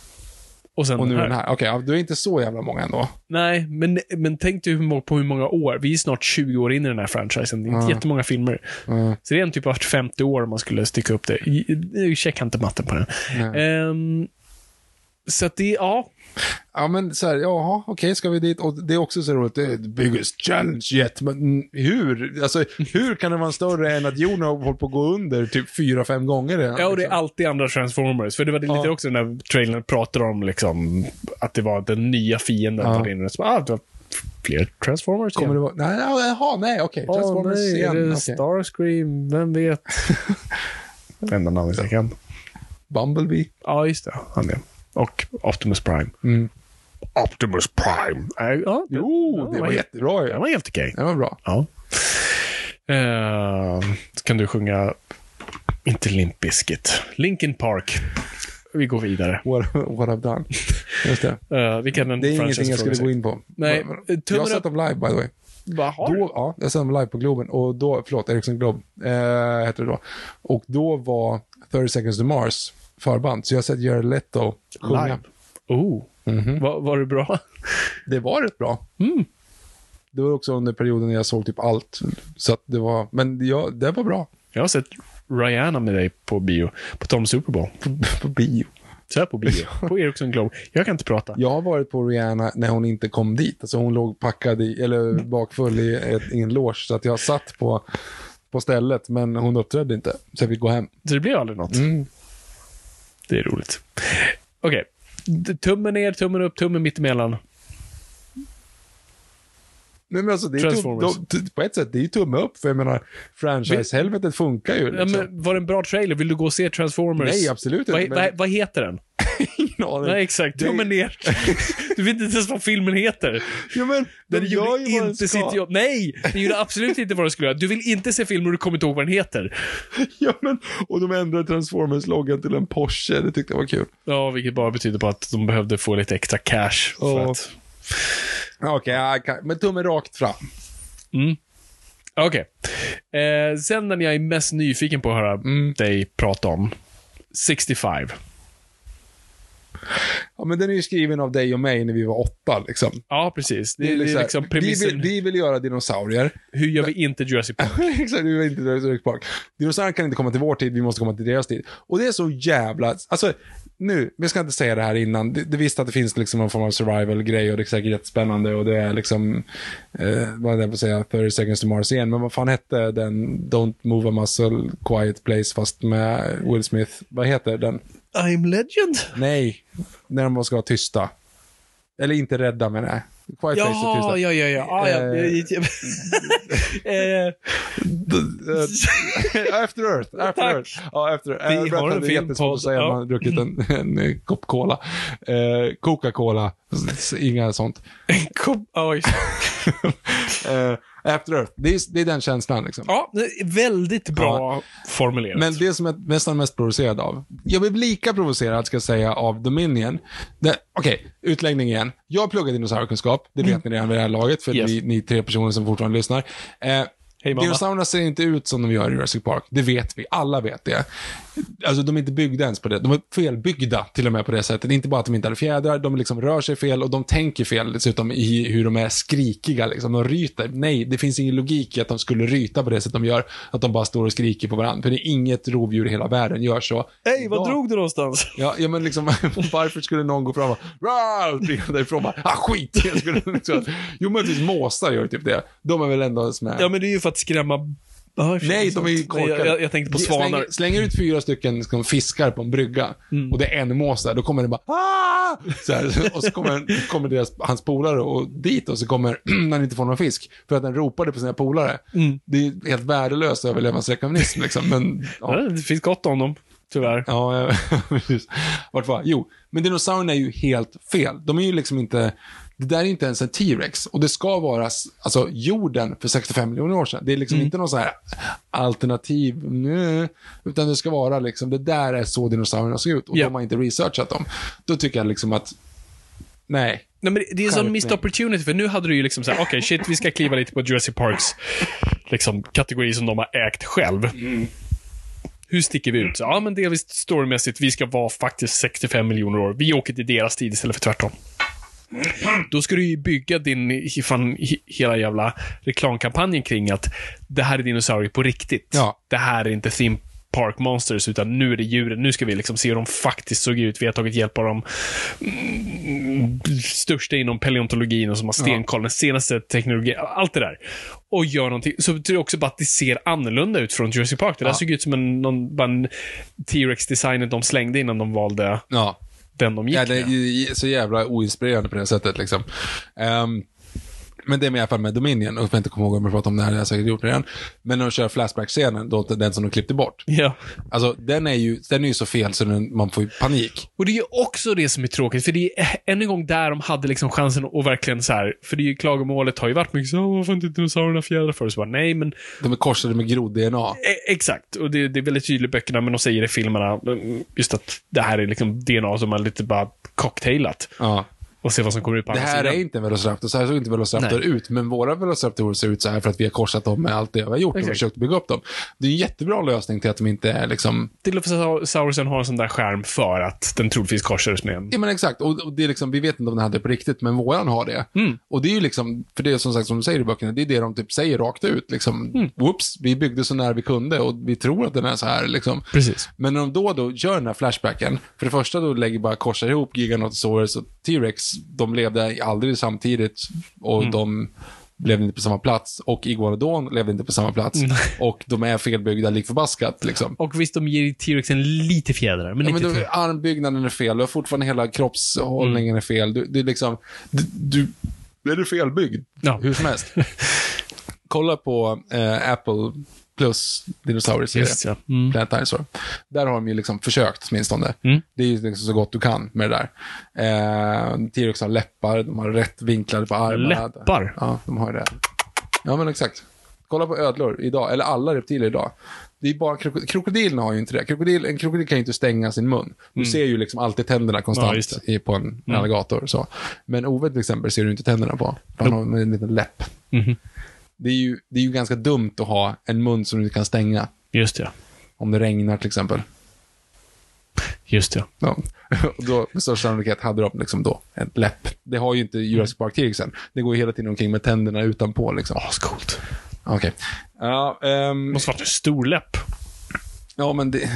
C: Och sen
B: Och nu
C: den här.
B: den här. Okej, ja, du är inte så jävla många ändå.
C: Nej, men, men tänk dig hur må- på hur många år. Vi är snart 20 år in i den här franchisen. Det är inte jättemånga filmer. Så det är en typ vart 50 år om man skulle sticka upp det. I- Nu checkar jag inte matten på den. Ehm, Så att det, ja.
B: Ja, men så här, jaha, okej, ska vi dit? Och det är också så roligt, det är the biggest challenge yet. Men mm, hur? Alltså, hur kan det vara större än att Jon har hållit på att gå under typ fyra, fem gånger redan?
C: Ja, och det är
B: liksom?
C: alltid andra Transformers. För det var lite
B: Ja.
C: också den där trailern pratade om liksom, att det var den nya fienden
B: Ja.
C: på din röst. Ah, det var fler Transformers
B: Kommer
C: igen.
B: det vara... Nej, ja, jaha, nej, okej.
C: Åh,
B: Transformers
C: nej,
B: igen.
C: Är det
B: okej.
C: Starscream? Vem vet? Enda namnet jag kan.
B: Bumblebee.
C: Ja, just det. Han är. Och Optimus Prime.
B: Mm.
C: Optimus Prime! Äh, ja, det,
B: Jo, det var jättebra ju.
C: Det var helt okej.
B: Det var bra.
C: Ja. Eh, så kan du sjunga, inte Limp Bizkit, Linkin Park. Vi går vidare.
B: What, what I've done. Just det.
C: Eh, vi kan en
B: Det är
C: franchise
B: ingenting jag
C: fråga
B: skulle
C: sig.
B: gå in på.
C: Nej,
B: jag
C: tummen
B: har
C: upp.
B: sett dem live, by the way.
C: Vad har du?
B: Då, ja, jag såg dem live på Globen och då, förlåt, Ericsson Globe eh, heter det då. Och då var 30 seconds to Mars förband, så jag har sett Jared Leto sjunga. Mhm.
C: Live. Oh. Va, var det bra?
B: Det var rätt bra.
C: Mm.
B: Det var också under perioden när jag såg typ allt. Så att det var, men ja, det var bra.
C: Jag har sett Rihanna med dig på bio, på Tom Super Bowl.
B: På bio.
C: Så här på bio, på Ericsson Globe. Jag kan inte prata.
B: Jag har varit på Rihanna när hon inte kom dit. Alltså hon låg packad i, eller bakfull i, ett, i en loge. Så att jag satt på, på stället, men hon uppträdde inte. Så jag fick gå hem.
C: Så det blev aldrig något.
B: Mm.
C: Det är roligt. Okej. D- Tummen ner, tummen upp, tummen mittemellan.
B: Nej, men alltså, det är tum,
C: Transformers.
B: de, t- på ett sätt, det är ju tumme upp, för jag menar, franchise-helvetet funkar ju.
C: Ja,
B: Liksom.
C: men, var det en bra trailer? Vill du gå och se Transformers?
B: Nej, absolut inte,
C: Vad,
B: men-
C: vad, vad heter den?
B: Ja, det-
C: Nej, exakt.
B: det-
C: Tummen ner. Du vet inte ens vad filmen heter.
B: Ja, men,
C: Den
B: de gör
C: gjorde
B: ju vad den
C: inte
B: ska.
C: sitt jobb. Nej, den gjorde absolut inte vad den skulle göra. Du vill inte se filmen och du kommer inte ihåg vad den heter.
B: Ja, men, och de ändrade Transformers-loggan till en Porsche, det tyckte jag var kul.
C: Ja, vilket bara betyder på att de behövde få lite extra cash. För
B: Ja.
C: att...
B: Ja, Okej, ja, ka- men tummen rakt fram.
C: Okej. Eh, sen den jag är mest nyfiken på att höra
B: Mm.
C: dig prata om. 65.
B: Ja, men den är ju skriven av dig och mig när vi var åtta, liksom.
C: Ja, precis. Det,
B: Det är liksom-
C: är liksom
B: vi,
C: premissen.
B: vill, vi vill göra dinosaurier.
C: Hur gör vi inte Jurassic Park?
B: Exakt, du är inte Jurassic Park. Dinosaurier kan inte komma till vår tid, vi måste komma till deras tid. Och det är så jävla... Alltså, nu, jag ska inte säga det här innan. Det, det visst att det finns liksom någon form av survival-grej och det är säkert jättespännande och det är liksom, eh, vad är det jag får säga, 30 seconds to Mars igen. Men vad fan hette den Don't Move a Muscle Quiet Place fast med Will Smith? Vad heter den?
C: I'm legend.
B: Nej, när de bara ska vara tysta. Eller inte rädda men nej. Quiet Place är tysta.
C: Jaha, ja, ja, ja. Ah, ja.
B: Eh.
C: Eh,
B: Eh, After Earth. After
C: Tack.
B: Earth. Ja, After Earth.
C: Vi
B: Eh,
C: har
B: berätta,
C: en
B: det är
C: film
B: jättesvårt
C: på-
B: att säga om
C: ja.
B: man har druckit en, en eh, kopp cola. Eh, Coca-Cola. S- Inga sånt.
C: kom, ja, just det.
B: Eh, After Earth. Det är, det är den känslan liksom.
C: ja, det är väldigt bra formulerat.
B: Men det som jag är nästan mest provocerad av. Jag blev lika provocerad, ska jag säga, av Dominion. Det- Okej, utläggning igen. Jag pluggar dinosauriekunskap. Det vet ni redan vid det här laget, för
C: Mm. Yes.
B: ni, ni tre personer som fortfarande lyssnar. Eh,
C: Hej, mamma.
B: dinosaurierna ser inte ut som de gör i Jurassic Park. Det vet vi. Alla vet det. Alltså, de är inte byggda ens på det. De är felbyggda till och med på det sättet. Inte bara att de inte hade fjädrar, de liksom rör sig fel och de tänker fel dessutom i hur de är skrikiga. Liksom. De ryter. Nej, det finns ingen logik i att de skulle ryta på det sätt de gör. Att de bara står och skriker på varandra. För det är inget rovdjur i hela världen gör så.
C: Hej,
B: Idag-
C: vad drog du någonstans?
B: Ja, ja men liksom, varför skulle någon gå fram och bara, "Rah!" och springa därifrån bara, ah skit! Jag skulle liksom, jo, möjligtvis måsar gör typ det. De är väl ändå ens med.
C: Ja, men det är ju för att skrämma... Ja,
B: Nej, de är ju
C: sant.
B: korkade.
C: Nej, Jag, jag tänkte på
B: Ge-
C: svanar.
B: Slänger, slänger ut fyra stycken liksom, fiskar på en brygga och det är en mås där, då kommer det bara "Ah!" så här, Och så kommer, kommer deras, hans polare och dit och så kommer han inte får någon fisk för att den ropade på sina polare. Det är helt värdelös överlevnadsmekanism liksom. Men, ja.
C: Ja, det finns gott om dem, tyvärr.
B: Ja, jag- precis. Vart var jag? Jo, men dinosaurierna är ju helt fel. De är ju liksom inte... Det där är inte ens en T-Rex. Och det ska vara s- alltså, jorden för 65 miljoner år sedan. Det är liksom inte någon så här alternativ... nö, Utan det ska vara liksom, det där är så dinosaurierna såg ut. Och
C: Ja.
B: de har inte researchat dem. Då tycker jag liksom att... Nej.
C: Nej, men det- det är en sån
B: Skärpning.
C: missed opportunity, för nu hade du ju liksom såhär, okej shit, vi ska kliva lite på Jurassic Parks liksom, kategori som de har ägt själv. Hur sticker vi ut? Så, ja, men delvis storymässigt, vi ska vara faktiskt 65 miljoner år. Vi åker till deras tid istället för tvärtom. Då ska du ju bygga din hi- fan, hi- hela jävla reklamkampanjen kring att det här är dinosaurier på riktigt.
B: Ja.
C: Det här är inte theme Park Monsters, utan nu är det djuren. Nu ska vi liksom se hur de faktiskt såg ut. Vi har tagit hjälp av de mm, största inom paleontologin och som har stenkoll, den senaste teknologin, allt det där. Och gör någonting. Så betyder det också bara att det ser annorlunda ut från Jurassic Park. Det där såg ut som en, någon, bara en T-Rex-designen de slängde innan de valde
B: Ja.
C: den de gick
B: Ja, det
C: med.
B: är så jävla oinspirerande på det sättet. Liksom. Ehm, men det är med i alla fall med Dominion. Och jag inte kommer ihåg om jag pratade om det här, det har jag säkert gjort redan. Men när de kör Flashback-scenen, då, den som de klippte bort.
C: Ja.
B: Alltså, den är ju, den är ju så fel så den, man får ju panik.
C: Och det är ju också det som är tråkigt, för det är eh, än en gång där de hade liksom chansen att verkligen så här, för det är ju klagomålet har ju varit mycket så "Åh, varför har inte dinosaurierna fjädrar för? Så bara, nej men,
B: De är korsade med grod-DNA.
C: e- exakt. Och det, det är väldigt tydligt i böckerna, men de säger i filmerna, mm, just att det här är liksom DNA som är lite bara cocktailat.
B: Ja.
C: Och se vad som kommer ut på
B: Det
C: andra
B: här
C: sidan.
B: är inte en Velociraptor, så här såg inte Velociraptor
C: Nej.
B: ut. Men våra Velociraptorer ser ut så här för att vi har korsat dem med allt det vi har gjort och
C: Exakt.
B: försökt bygga upp dem. Det är en jättebra lösning till att de inte är liksom...
C: Dilophosaurusen har en sån där skärm för att den troligtvis korsades med en...
B: Ja men exakt, och, och det är liksom, vi vet inte om den hade det på riktigt, men våran har det. Och det är ju liksom, för det är som sagt som du säger i böckerna, det är det de typ säger rakt ut. Liksom, whoops, vi byggde så nära vi kunde och vi tror att den är så här liksom.
C: Precis.
B: Men när de då och då gör den här flashbacken, för det första då lägger bara korsar ihop Giganotosaurus och T-Rex, de levde aldrig samtidigt och de levde inte på samma plats och Iguanodon levde inte på samma plats och de är felbyggda lik förbaskat liksom.
C: Och visst, de ger T-Rexen lite fjädrar, men
B: Ja, men
C: lite
B: då,
C: för... Mm.
B: armbyggnaden är fel, du har fortfarande hela kroppshållningen är fel. Du, det är liksom, du, du är du felbyggd,
C: Ja.
B: hur som helst. Kolla på eh, Apple plus dinosaurier
C: Just ja. Mm.
B: Planet Dinosaur. Där har de ju liksom försökt åtminstone.
C: Mm.
B: Det är ju liksom så gott du kan med det där. Eh, T-Rex har läppar, de har rätt vinklade på armarna.
C: Läppar?
B: Ja, de har det. Ja, men exakt. Kolla på ödlor idag, eller alla reptiler idag. Det är bara krok- krokodilerna har ju inte det. Krokodil, en krokodil kan ju inte stänga sin mun. Du ser ju liksom alltid tänderna
C: Mm. Ja,
B: konstant
C: just Mm.
B: i på en, en alligator. Så. Men Ove till exempel ser du inte tänderna på. för Han har en liten läpp.
C: Mhm.
B: Det, är ju, det är ju ganska dumt att ha en mun som du kan stänga.
C: Just ja.
B: Om det regnar till exempel.
C: Just ja.
B: Ja. Och då, med största sannolikhet hade de liksom då en läpp. Det har ju inte Jurassic Park T-rexen. Det går ju hela tiden omkring med tänderna utanpå liksom.
C: Ascoolt.
B: Okej. Ja, ehm,
C: Måste varit en stor läpp.
B: ja, men det...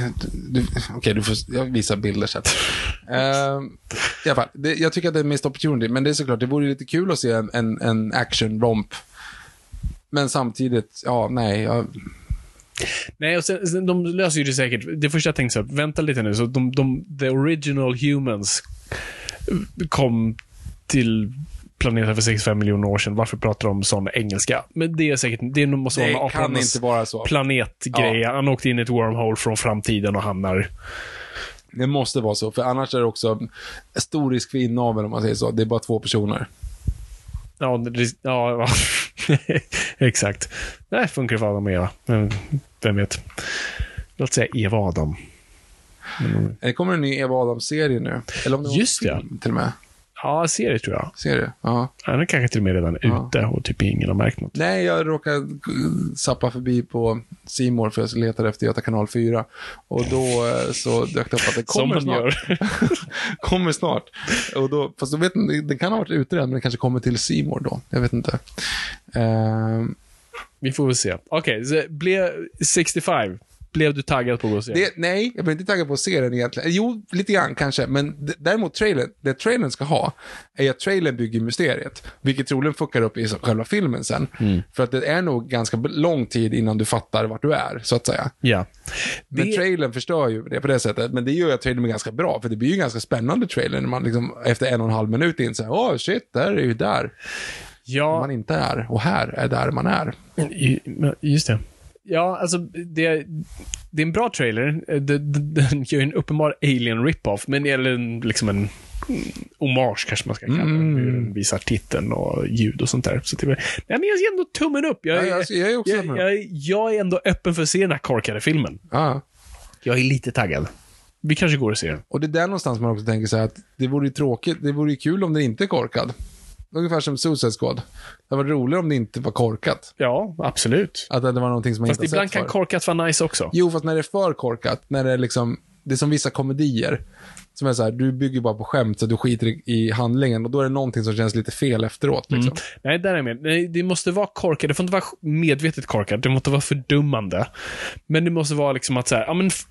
B: du- Okej, du får... Jag visar bilder sen. Ehm, I alla fall, det, jag tycker att det är missed opportunity, men det är såklart, det vore ju lite kul att se en, en, en action-romp. Men samtidigt, ja, nej. Jag,
C: Nej, och sen, sen, de löser ju det säkert. Det första jag tänkte så här, vänta lite nu. Så de, de, the original humans kom till planeten för 65 miljoner år sedan. Varför pratar de sån engelska? Men det är säkert, det måste
B: det
C: vara någon
B: kan
C: apornas
B: inte vara så.
C: planetgrej. Han åkte in i ett wormhole från framtiden och hamnar...
B: Det måste vara så, för annars är det också stor risk för inavel om man säger så. Det är bara två personer.
C: Ja, det, ja, ja. exakt. Det här funkar för Adam och Eva. Men vem vet? Låt säga Eva och Adam.
B: Eh, Det kommer en ny Eva Adams-serie nu. Eller om det var en
C: Just det.
B: film Till och med.
C: Ja, serie tror jag.
B: Serie? Ja.
C: Han är kanske till och med redan ute och typ ingen har märkt något.
B: Nej, jag råkade eh, zappa förbi på Simor för jag letade efter Göta kanal 4. Och då eh, så dök det upp att det
C: Som
B: kommer
C: man
B: snart.
C: gör.
B: kommer snart. Och då, fast då vet inte, den kan ha varit ute redan, men den kanske kommer till Simor då. Jag vet inte. Ehm,
C: Vi får väl se. Okej, så blev 65. Blev du taggad på att gå och se?
B: det, nej, jag blir inte taggad på att se den egentligen. Jo, lite grann kanske, men d- däremot trailern, det trailern ska ha är att trailern bygger mysteriet, vilket troligen fuckar upp i själva filmen sen.
C: Mm.
B: För att det är nog ganska b- lång tid innan du fattar vart du är, så att säga.
C: Ja.
B: Men
C: Det-
B: trailern förstör ju det på det sättet. Men det gör ju att trailern blir ganska bra, för det blir ju en ganska spännande trailer när man liksom efter en och en halv minut inser åh shit, där är ju där man
C: Ja,
B: inte är. Och här är där man är.
C: ju- men just det. Ja, alltså det, det är en bra trailer. Eh, det- det- Den gör ju en uppenbar alien rip-off, men eller en, liksom en mm, hommage kanske man ska kalla
B: Mm.
C: det. Hur den visar titeln och ljud och sånt där. Så det, är- nej, men jag ger ändå tummen upp. Jag
B: Ja,
C: är,
B: jag- jag är också
C: jag,
B: med.
C: jag, jag är ändå öppen för att se den här korkade filmen.
B: Ja.
C: Jag är lite taggad. Vi kanske går och ser den.
B: Och det är där någonstans man också tänker sig att det vore ju tråkigt, det vore ju kul om det inte är korkad. Ungefär som Suicide Squad. Det var roligare om det inte var korkat.
C: Ja, absolut.
B: Att det var någonting som man
C: Fast
B: inte har
C: ibland
B: sett
C: kan
B: förr.
C: korkat vara nice också.
B: Jo, fast när det är för korkat, när det är liksom det är som vissa komedier. Som är så här, du bygger bara på skämt så du skiter i, i handlingen och då är det någonting som känns lite fel efteråt.
C: Mm.
B: Liksom.
C: Nej, där är jag med. Nej, det måste vara korkat. Det får inte vara medvetet korkat. Det måste vara fördummande. Men det måste vara liksom att så här, ja, men f-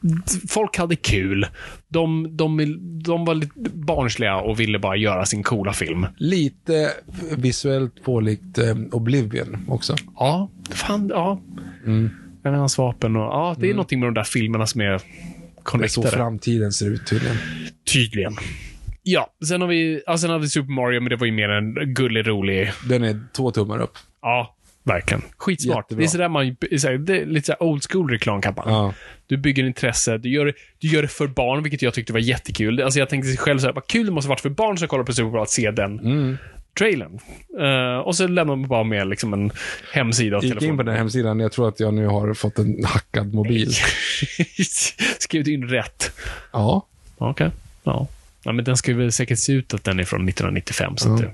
C: folk hade kul. De, de, de var lite barnsliga och ville bara göra sin coola film.
B: Lite visuellt pålikt eh, Oblivion också.
C: Ja, fan, ja. Mm. Hans vapen och, ja, det är någonting med de där filmerna som är
B: Mm. Det är så
C: connectade.
B: framtiden ser ut tydligen.
C: Tydligen. Ja, sen har vi, ja, sen har vi Super Mario, men det var ju mer en gullig, rolig
B: Den är två tummar upp.
C: Ja, verkligen. Skitsmart.
B: Jättebra.
C: Det är sådär man, så här, det är lite så här old school reklamkampanj.
B: Ja.
C: Du bygger intresse, du gör, du gör det för barn, vilket jag tyckte var jättekul. Alltså jag tänkte själv så här, vad kul det måste varit för barn som kollar på Super Bowl att se den
B: Mm.
C: trailern. Eh, och så lämnar man bara med liksom en hemsida och
B: Jag gick in
C: telefon.
B: på den här hemsidan jag tror att jag nu har fått en hackad mobil.
C: Skrivit in rätt.
B: Ja.
C: Okej. Ja. ja. Men den ska väl säkert se ut att den är från 1995, så att du,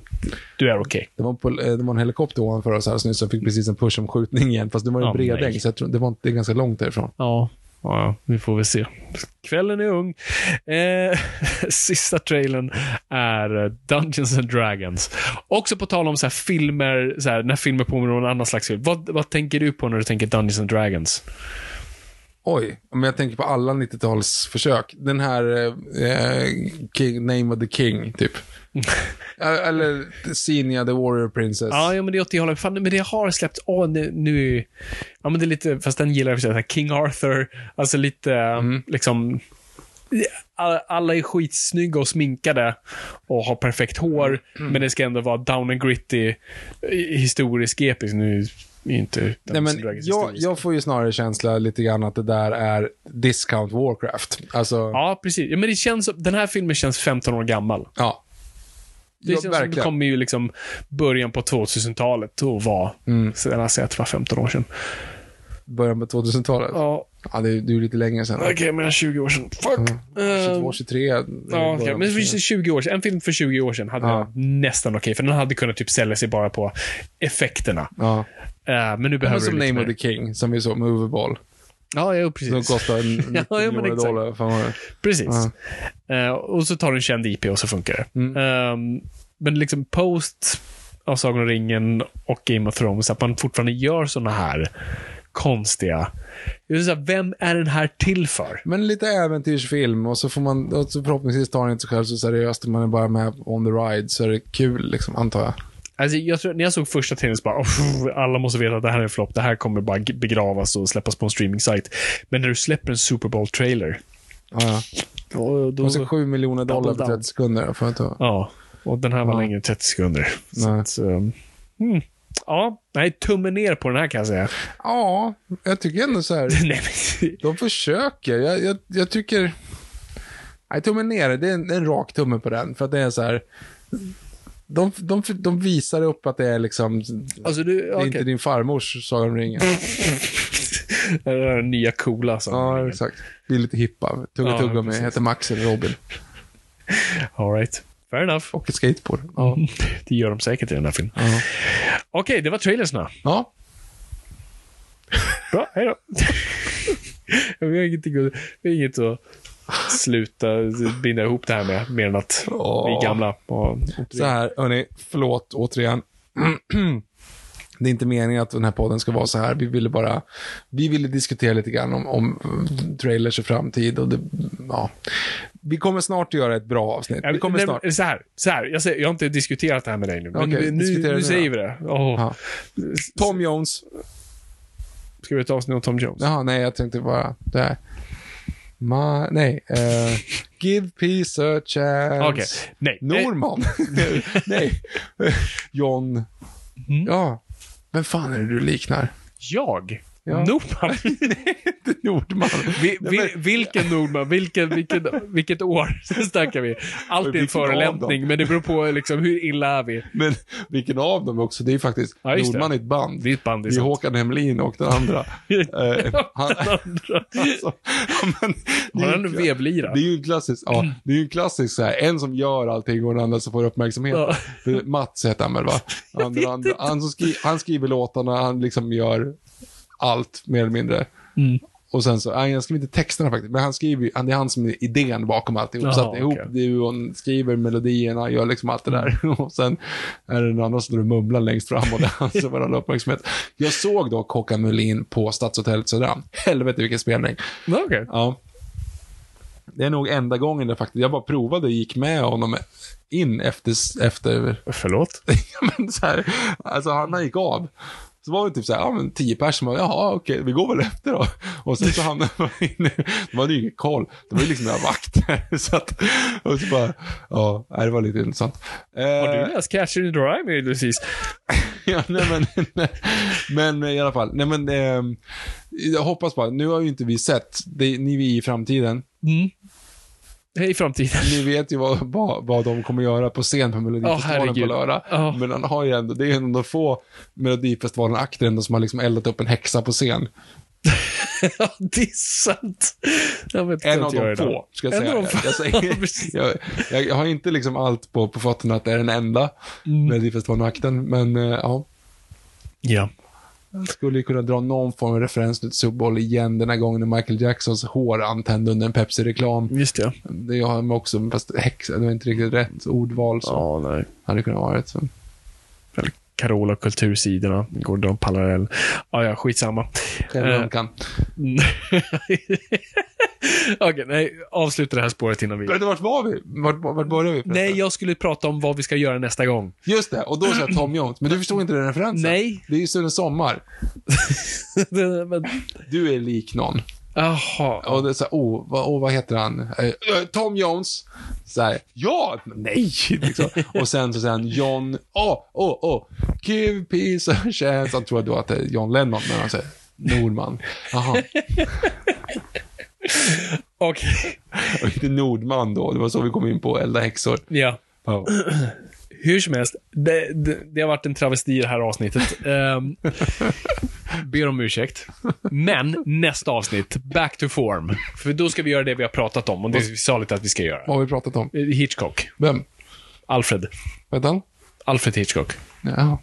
C: du är okej.
B: Det var, på, eh, det var en helikopter ovanför oss alldeles nyss som fick precis en push om skjutning igen. Fast det var ju
C: Ja,
B: bredäng,
C: nej.
B: så jag tror, det var inte det är ganska långt därifrån.
C: Ja, ja, vi får väl se. Kvällen är ung. Eh, sista trailern är eh, Dungeons and Dragons. Också på tal om så här filmer, så här, när filmer påminner om en annan slags film. Vad, vad tänker du på när du tänker Dungeons and Dragons?
B: Oj, men jag tänker på alla 90-talsförsök. Den här eh, eh, King, Name of the King, typ. Eh, Eller Senia the Warrior Princess.
C: Ja, ja men det är åt det hållet. Fan, men det har släppts. Åh, nu, nu... Ja, men det är lite... Fast den gillar jag i och för sig. så här, King Arthur. Alltså lite,
B: Mm.
C: liksom... Alla, alla är skitsnygga och sminkade och har perfekt hår,
B: Mm.
C: men det ska ändå vara down and gritty, eh, historisk episk. Nu är inte
B: Nej, men
C: Dragons
B: jag,
C: historisk.
B: jag får ju snarare känsla lite grann att det där är Discount Warcraft. Alltså, ja.
C: Ja, precis. Ja, men det känns, som- den här filmen känns 15 år gammal.
B: ja.
C: Det känns som det kommer ju liksom början på 2000-talet och var,
B: Mm.
C: sen alltså att det var 15 år sedan.
B: Början på 2000-talet. Ja,
C: Ja,
B: det, är- det är ju lite länge sedan.
C: Okej, men 20 år sedan.
B: Mm.
C: Fuck! Eh,
B: 22, 23.
C: ja, okej, men det finns 20 år sedan. En film för 20 år sedan hade
B: Ja.
C: varit nästan okej, för den hade kunnat typ sälja sig bara på effekterna.
B: Ja.
C: Eh, men nu behöver
B: Men
C: du
B: som
C: lite
B: Name of
C: mer.
B: the King, som vi såg med Uwe Boll.
C: Ja, ja,
B: Som
C: precis.
B: kostade en 90
C: Ja, ja, men
B: miljoner
C: exakt.
B: dollar. Fan vad det-
C: precis. Eh, och så tar du en känd IP och så funkar det.
B: Mm.
C: Eh, men liksom post av Sagan om ringen och Game of Thrones, att man fortfarande gör såna här konstiga... Jag vill säga, vem är den här till för?
B: Men lite äventyrsfilm och så får man, och så förhoppningsvis tar han inte sig själv så seriöst och man är bara med on the ride så är det kul liksom, antar jag.
C: Alltså, jag tror, när jag såg första trailern så bara, "Åh, alla måste veta att det här är en flopp. Det här kommer bara g- begravas och släppas på en streaming-sajt. Men när du släpper en Super Bowl-trailer.
B: Ja,
C: Då,
B: ja.
C: då,
B: Och så 7 miljoner dollar
C: Double
B: på
C: down.
B: 30 sekunder. Får jag ta.
C: ja, och den här var längre än 30 sekunder. Så
B: Nej.
C: att, ehm, hmm. Ja, nej, tummen ner på den här kan jag säga.
B: Ja, jag tycker ändå så här.
C: nej, men,
B: De försöker. Jag, jag, jag tycker... Nej, tummen ner. Det är en, en rak tumme på den. För att det är så här... De, de, de visar upp att det är liksom...
C: alltså du,
B: Det är inte din farmors Sagan om ringen.
C: det är den nya coola. Som
B: Ja, exakt. Vi är lite hippa.
C: Ja,
B: Tugga-tugga med.
C: precis.
B: Heter Max eller Robin.
C: All right. Fair enough.
B: Och ett skateboard.
C: Ja, det gör de säkert i den här filmen.
B: Ja.
C: Okej, det var trailersna.
B: Ja.
C: Bra, hej då. vi, har ingenting att, vi har inget att sluta binda ihop det här med, mer än att vi är gamla. Och,
B: Så här, hörni, förlåt återigen. Det är inte meningen att den här podden ska vara så här. Vi ville bara vi ville diskutera lite grann om, om trailers och framtid. Och det, ja. Vi kommer snart att göra ett bra avsnitt. Vi kommer
C: Nej,
B: snart.
C: men Så här, så här jag, säger, jag har inte diskuterat det här med dig nu, men
B: Okej,
C: nu,
B: diskutera
C: nu,
B: nu då.
C: säger vi det. Åh,
B: Ja. Tom Jones.
C: Ska vi ta avsnitt om Tom Jones?
B: Jaha, nej, jag tänkte bara det här. Ma, nej. eh, give peace a chance.
C: Okej, nej. eh,
B: Norman. nej. John.
C: Mm.
B: Ja. Vem fan är det du liknar?
C: Jag?
B: Ja.
C: Nordman?
B: Nordman.
C: Vi, vi, vilken Nordman? Vilken, vilken, vilket år snackar vi? Allt är en
B: Vilken av
C: förolämpning, men det beror på liksom, hur illa är vi?
B: Men vilken av dem också? Det är faktiskt,
C: Ja, just det.
B: Nordman är ett band.
C: Det är ett band, det är
B: Det är
C: sant.
B: Håkan Hemlin och den andra. Eh, han, alltså, men, det är ju
C: Har han
B: en-
C: vevlira? Mm.
B: Det är ju en klassisk, ja, det är ju en klassisk så här, en som gör allting och den andra som får uppmärksamhet.
C: Ja.
B: För Mats heter han väl va? Han, den andra, han, som skri, han skriver låtarna, han liksom gör allt mer eller mindre. Och sen så, nej, jag skriver inte texterna faktiskt, men han skriver ju- han, det är han som är idén bakom alltihop.
C: Jaha,
B: Satt ihop
C: okej. Mm.
B: duon, skriver melodierna, gör liksom allt det där. Och sen är det någon annan som står och mumlar längst fram och det är han som har all uppmärksamhet. Jag såg då Håkan Melin på Stadshotellet Söderhamn. Helvete vilken spelning.
C: Ja, Okej.
B: Ja. Det är nog enda gången där faktiskt, jag bara provade och gick med honom in efter, efter
C: Förlåt?
B: Ja, men så här, alltså han han gick av. Så var det typ så här, ja men tio personer som bara, jaha okej, vi går väl efter då. Och sen så hamnade man inne, de hade ju ingen koll. Det var ju liksom några vakter. Så att, och så bara, ja, nej, det var lite intressant.
C: Har
B: Eh,
C: du läst Catch in the Rye möjligtvis?
B: ja, nej, men, nej, men eh, i alla fall, nej men, ehm, jag hoppas bara, nu har ju inte vi sett, det, ni är i framtiden,
C: Hej framtiden.
B: ni vet ju vad, vad, vad de kommer göra på scen på Melodifestivalen på
C: herregud.
B: lördag.
C: Ja.
B: Men han har ju ändå, det är en av de få Melodifestivalen-akter ändå som har liksom eldat upp en häxa på scen.
C: Ja, det är sant. Jag vet inte
B: En
C: att
B: av
C: jag
B: de
C: är där.
B: få, ska jag
C: en
B: säga.
C: Av de få.
B: jag,
C: Ja,
B: säger,
C: precis.
B: jag, jag, jag har inte liksom allt på, på fötterna att det är den enda
C: Mm.
B: Melodifestivalen-akten, men eh, ja.
C: ja.
B: Jag skulle ju kunna dra någon form av referens till Super Bowl igen den här gången när Michael Jacksons hår antände under en Pepsi-reklam.
C: Just det.
B: Det har man också, fast häxa, det var inte riktigt rätt ordval så.
C: Ja, nej.
B: Hade kunnat vara rätt. Så.
C: Eller Carola och kultursidorna. Går det en parallell? Ja, ja, skitsamma.
B: Även
C: Eh,
B: om kan.
C: Okej, nej. Avsluta det här spåret innan vi...
B: Vänta, vart var vi? Vart, vart började vi? förresten?
C: Nej, jag skulle prata om vad vi ska göra nästa gång.
B: Just det, och då sa jag Tom Jones. Men du förstod inte den referensen?
C: Nej.
B: Det är ju Sune Sommar.
C: Men-
B: Du är lik någon.
C: Jaha.
B: Och det är så här, åh, vad, åh, vad heter han? Eh, eh, Tom Jones. Så här, ja, nej, liksom. Och sen så säger han John, åh, åh, åh, give peace a chance. Han tror då att det är John Lennon, men han säger Norman. Jaha,
C: Okej.
B: och inte Nordman då. Det var så vi kom in på elda häxor.
C: Ja.
B: Ja.
C: Hur som helst, det, det, det har varit en travesti i det här avsnittet. Um, ber om ursäkt. Men nästa avsnitt, back to form. För då ska vi göra det vi har pratat om och det vi sa lite att vi ska göra.
B: Vad har vi pratat om?
C: Eh, Hitchcock.
B: Vem?
C: Alfred.
B: Vet han?
C: Alfred Hitchcock.
B: Ja.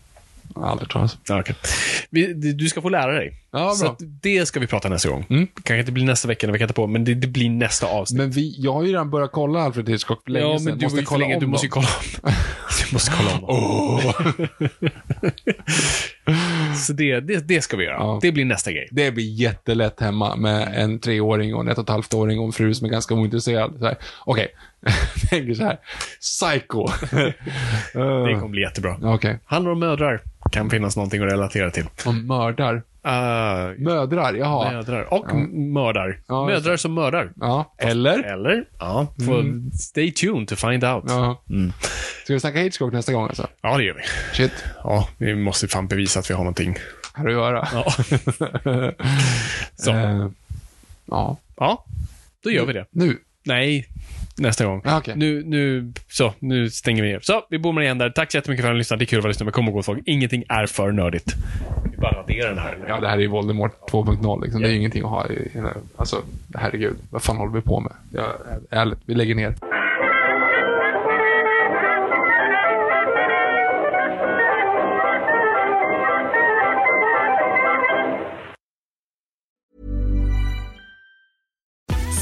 B: Aldrig talas.
C: Ja, okej. vi, du du ska få lära dig.
B: Ja,
C: så
B: bra. Mm.
C: att det ska vi prata nästa gång. Kanske inte blir nästa vecka eller veckan därpå, men det, det blir nästa avsnitt.
B: Men vi, jag har ju redan börjat kolla Alfred Hitchcock för länge
C: ja,
B: sedan.
C: men du,
B: måste
C: måste
B: jag kolla
C: länge,
B: om
C: du måste ju
B: dem?
C: kolla om. Du måste kolla om. Så det, det, det ska vi göra.
B: Ja.
C: Det blir nästa grej.
B: Det blir jättelätt hemma med en treåring och en ett och ett halvt åring och en fru som är ganska ointresserad. Så här, Okej, Jag tänker så här. Psycho.
C: Det
B: uh,
C: kommer bli jättebra.
B: Okej,
C: Handlar om mödrar. Kan finnas någonting att relatera till.
B: och mördar.
C: Ah,
B: Mödrar, jaha.
C: Mödrar och m- mördar.
B: Ja, just
C: mödrar som mördar.
B: Ja, eller?
C: Eller? Ja. Får- Stay tuned to find out. Mm. Ja, Mm.
B: Ja. Ska vi snacka Hitchcock nästa gång alltså?
C: det gör vi.
B: Shit,
C: Ja, vi måste fan bevisa att vi har någonting.
B: här att göra.
C: Ja. Så.
B: Eh, ja,
C: Ja, då gör vi det.
B: nu.
C: Nej, nästa gång.
B: Ja, okej.
C: Nu, nu, så, nu stänger vi ner. Så, vi bommar igen där. Tack så jättemycket för att ni lyssnade. Det är kul att vara lyssnare, men kom ihåg folk. Ingenting är för nördigt. Vi bara raderar den här. eller?
B: Ja, det här är ju Voldemort 2.0 liksom. Det är ingenting att ha i- i... Alltså, herregud. Vad fan håller vi på med? Ja, ärligt, vi lägger ner.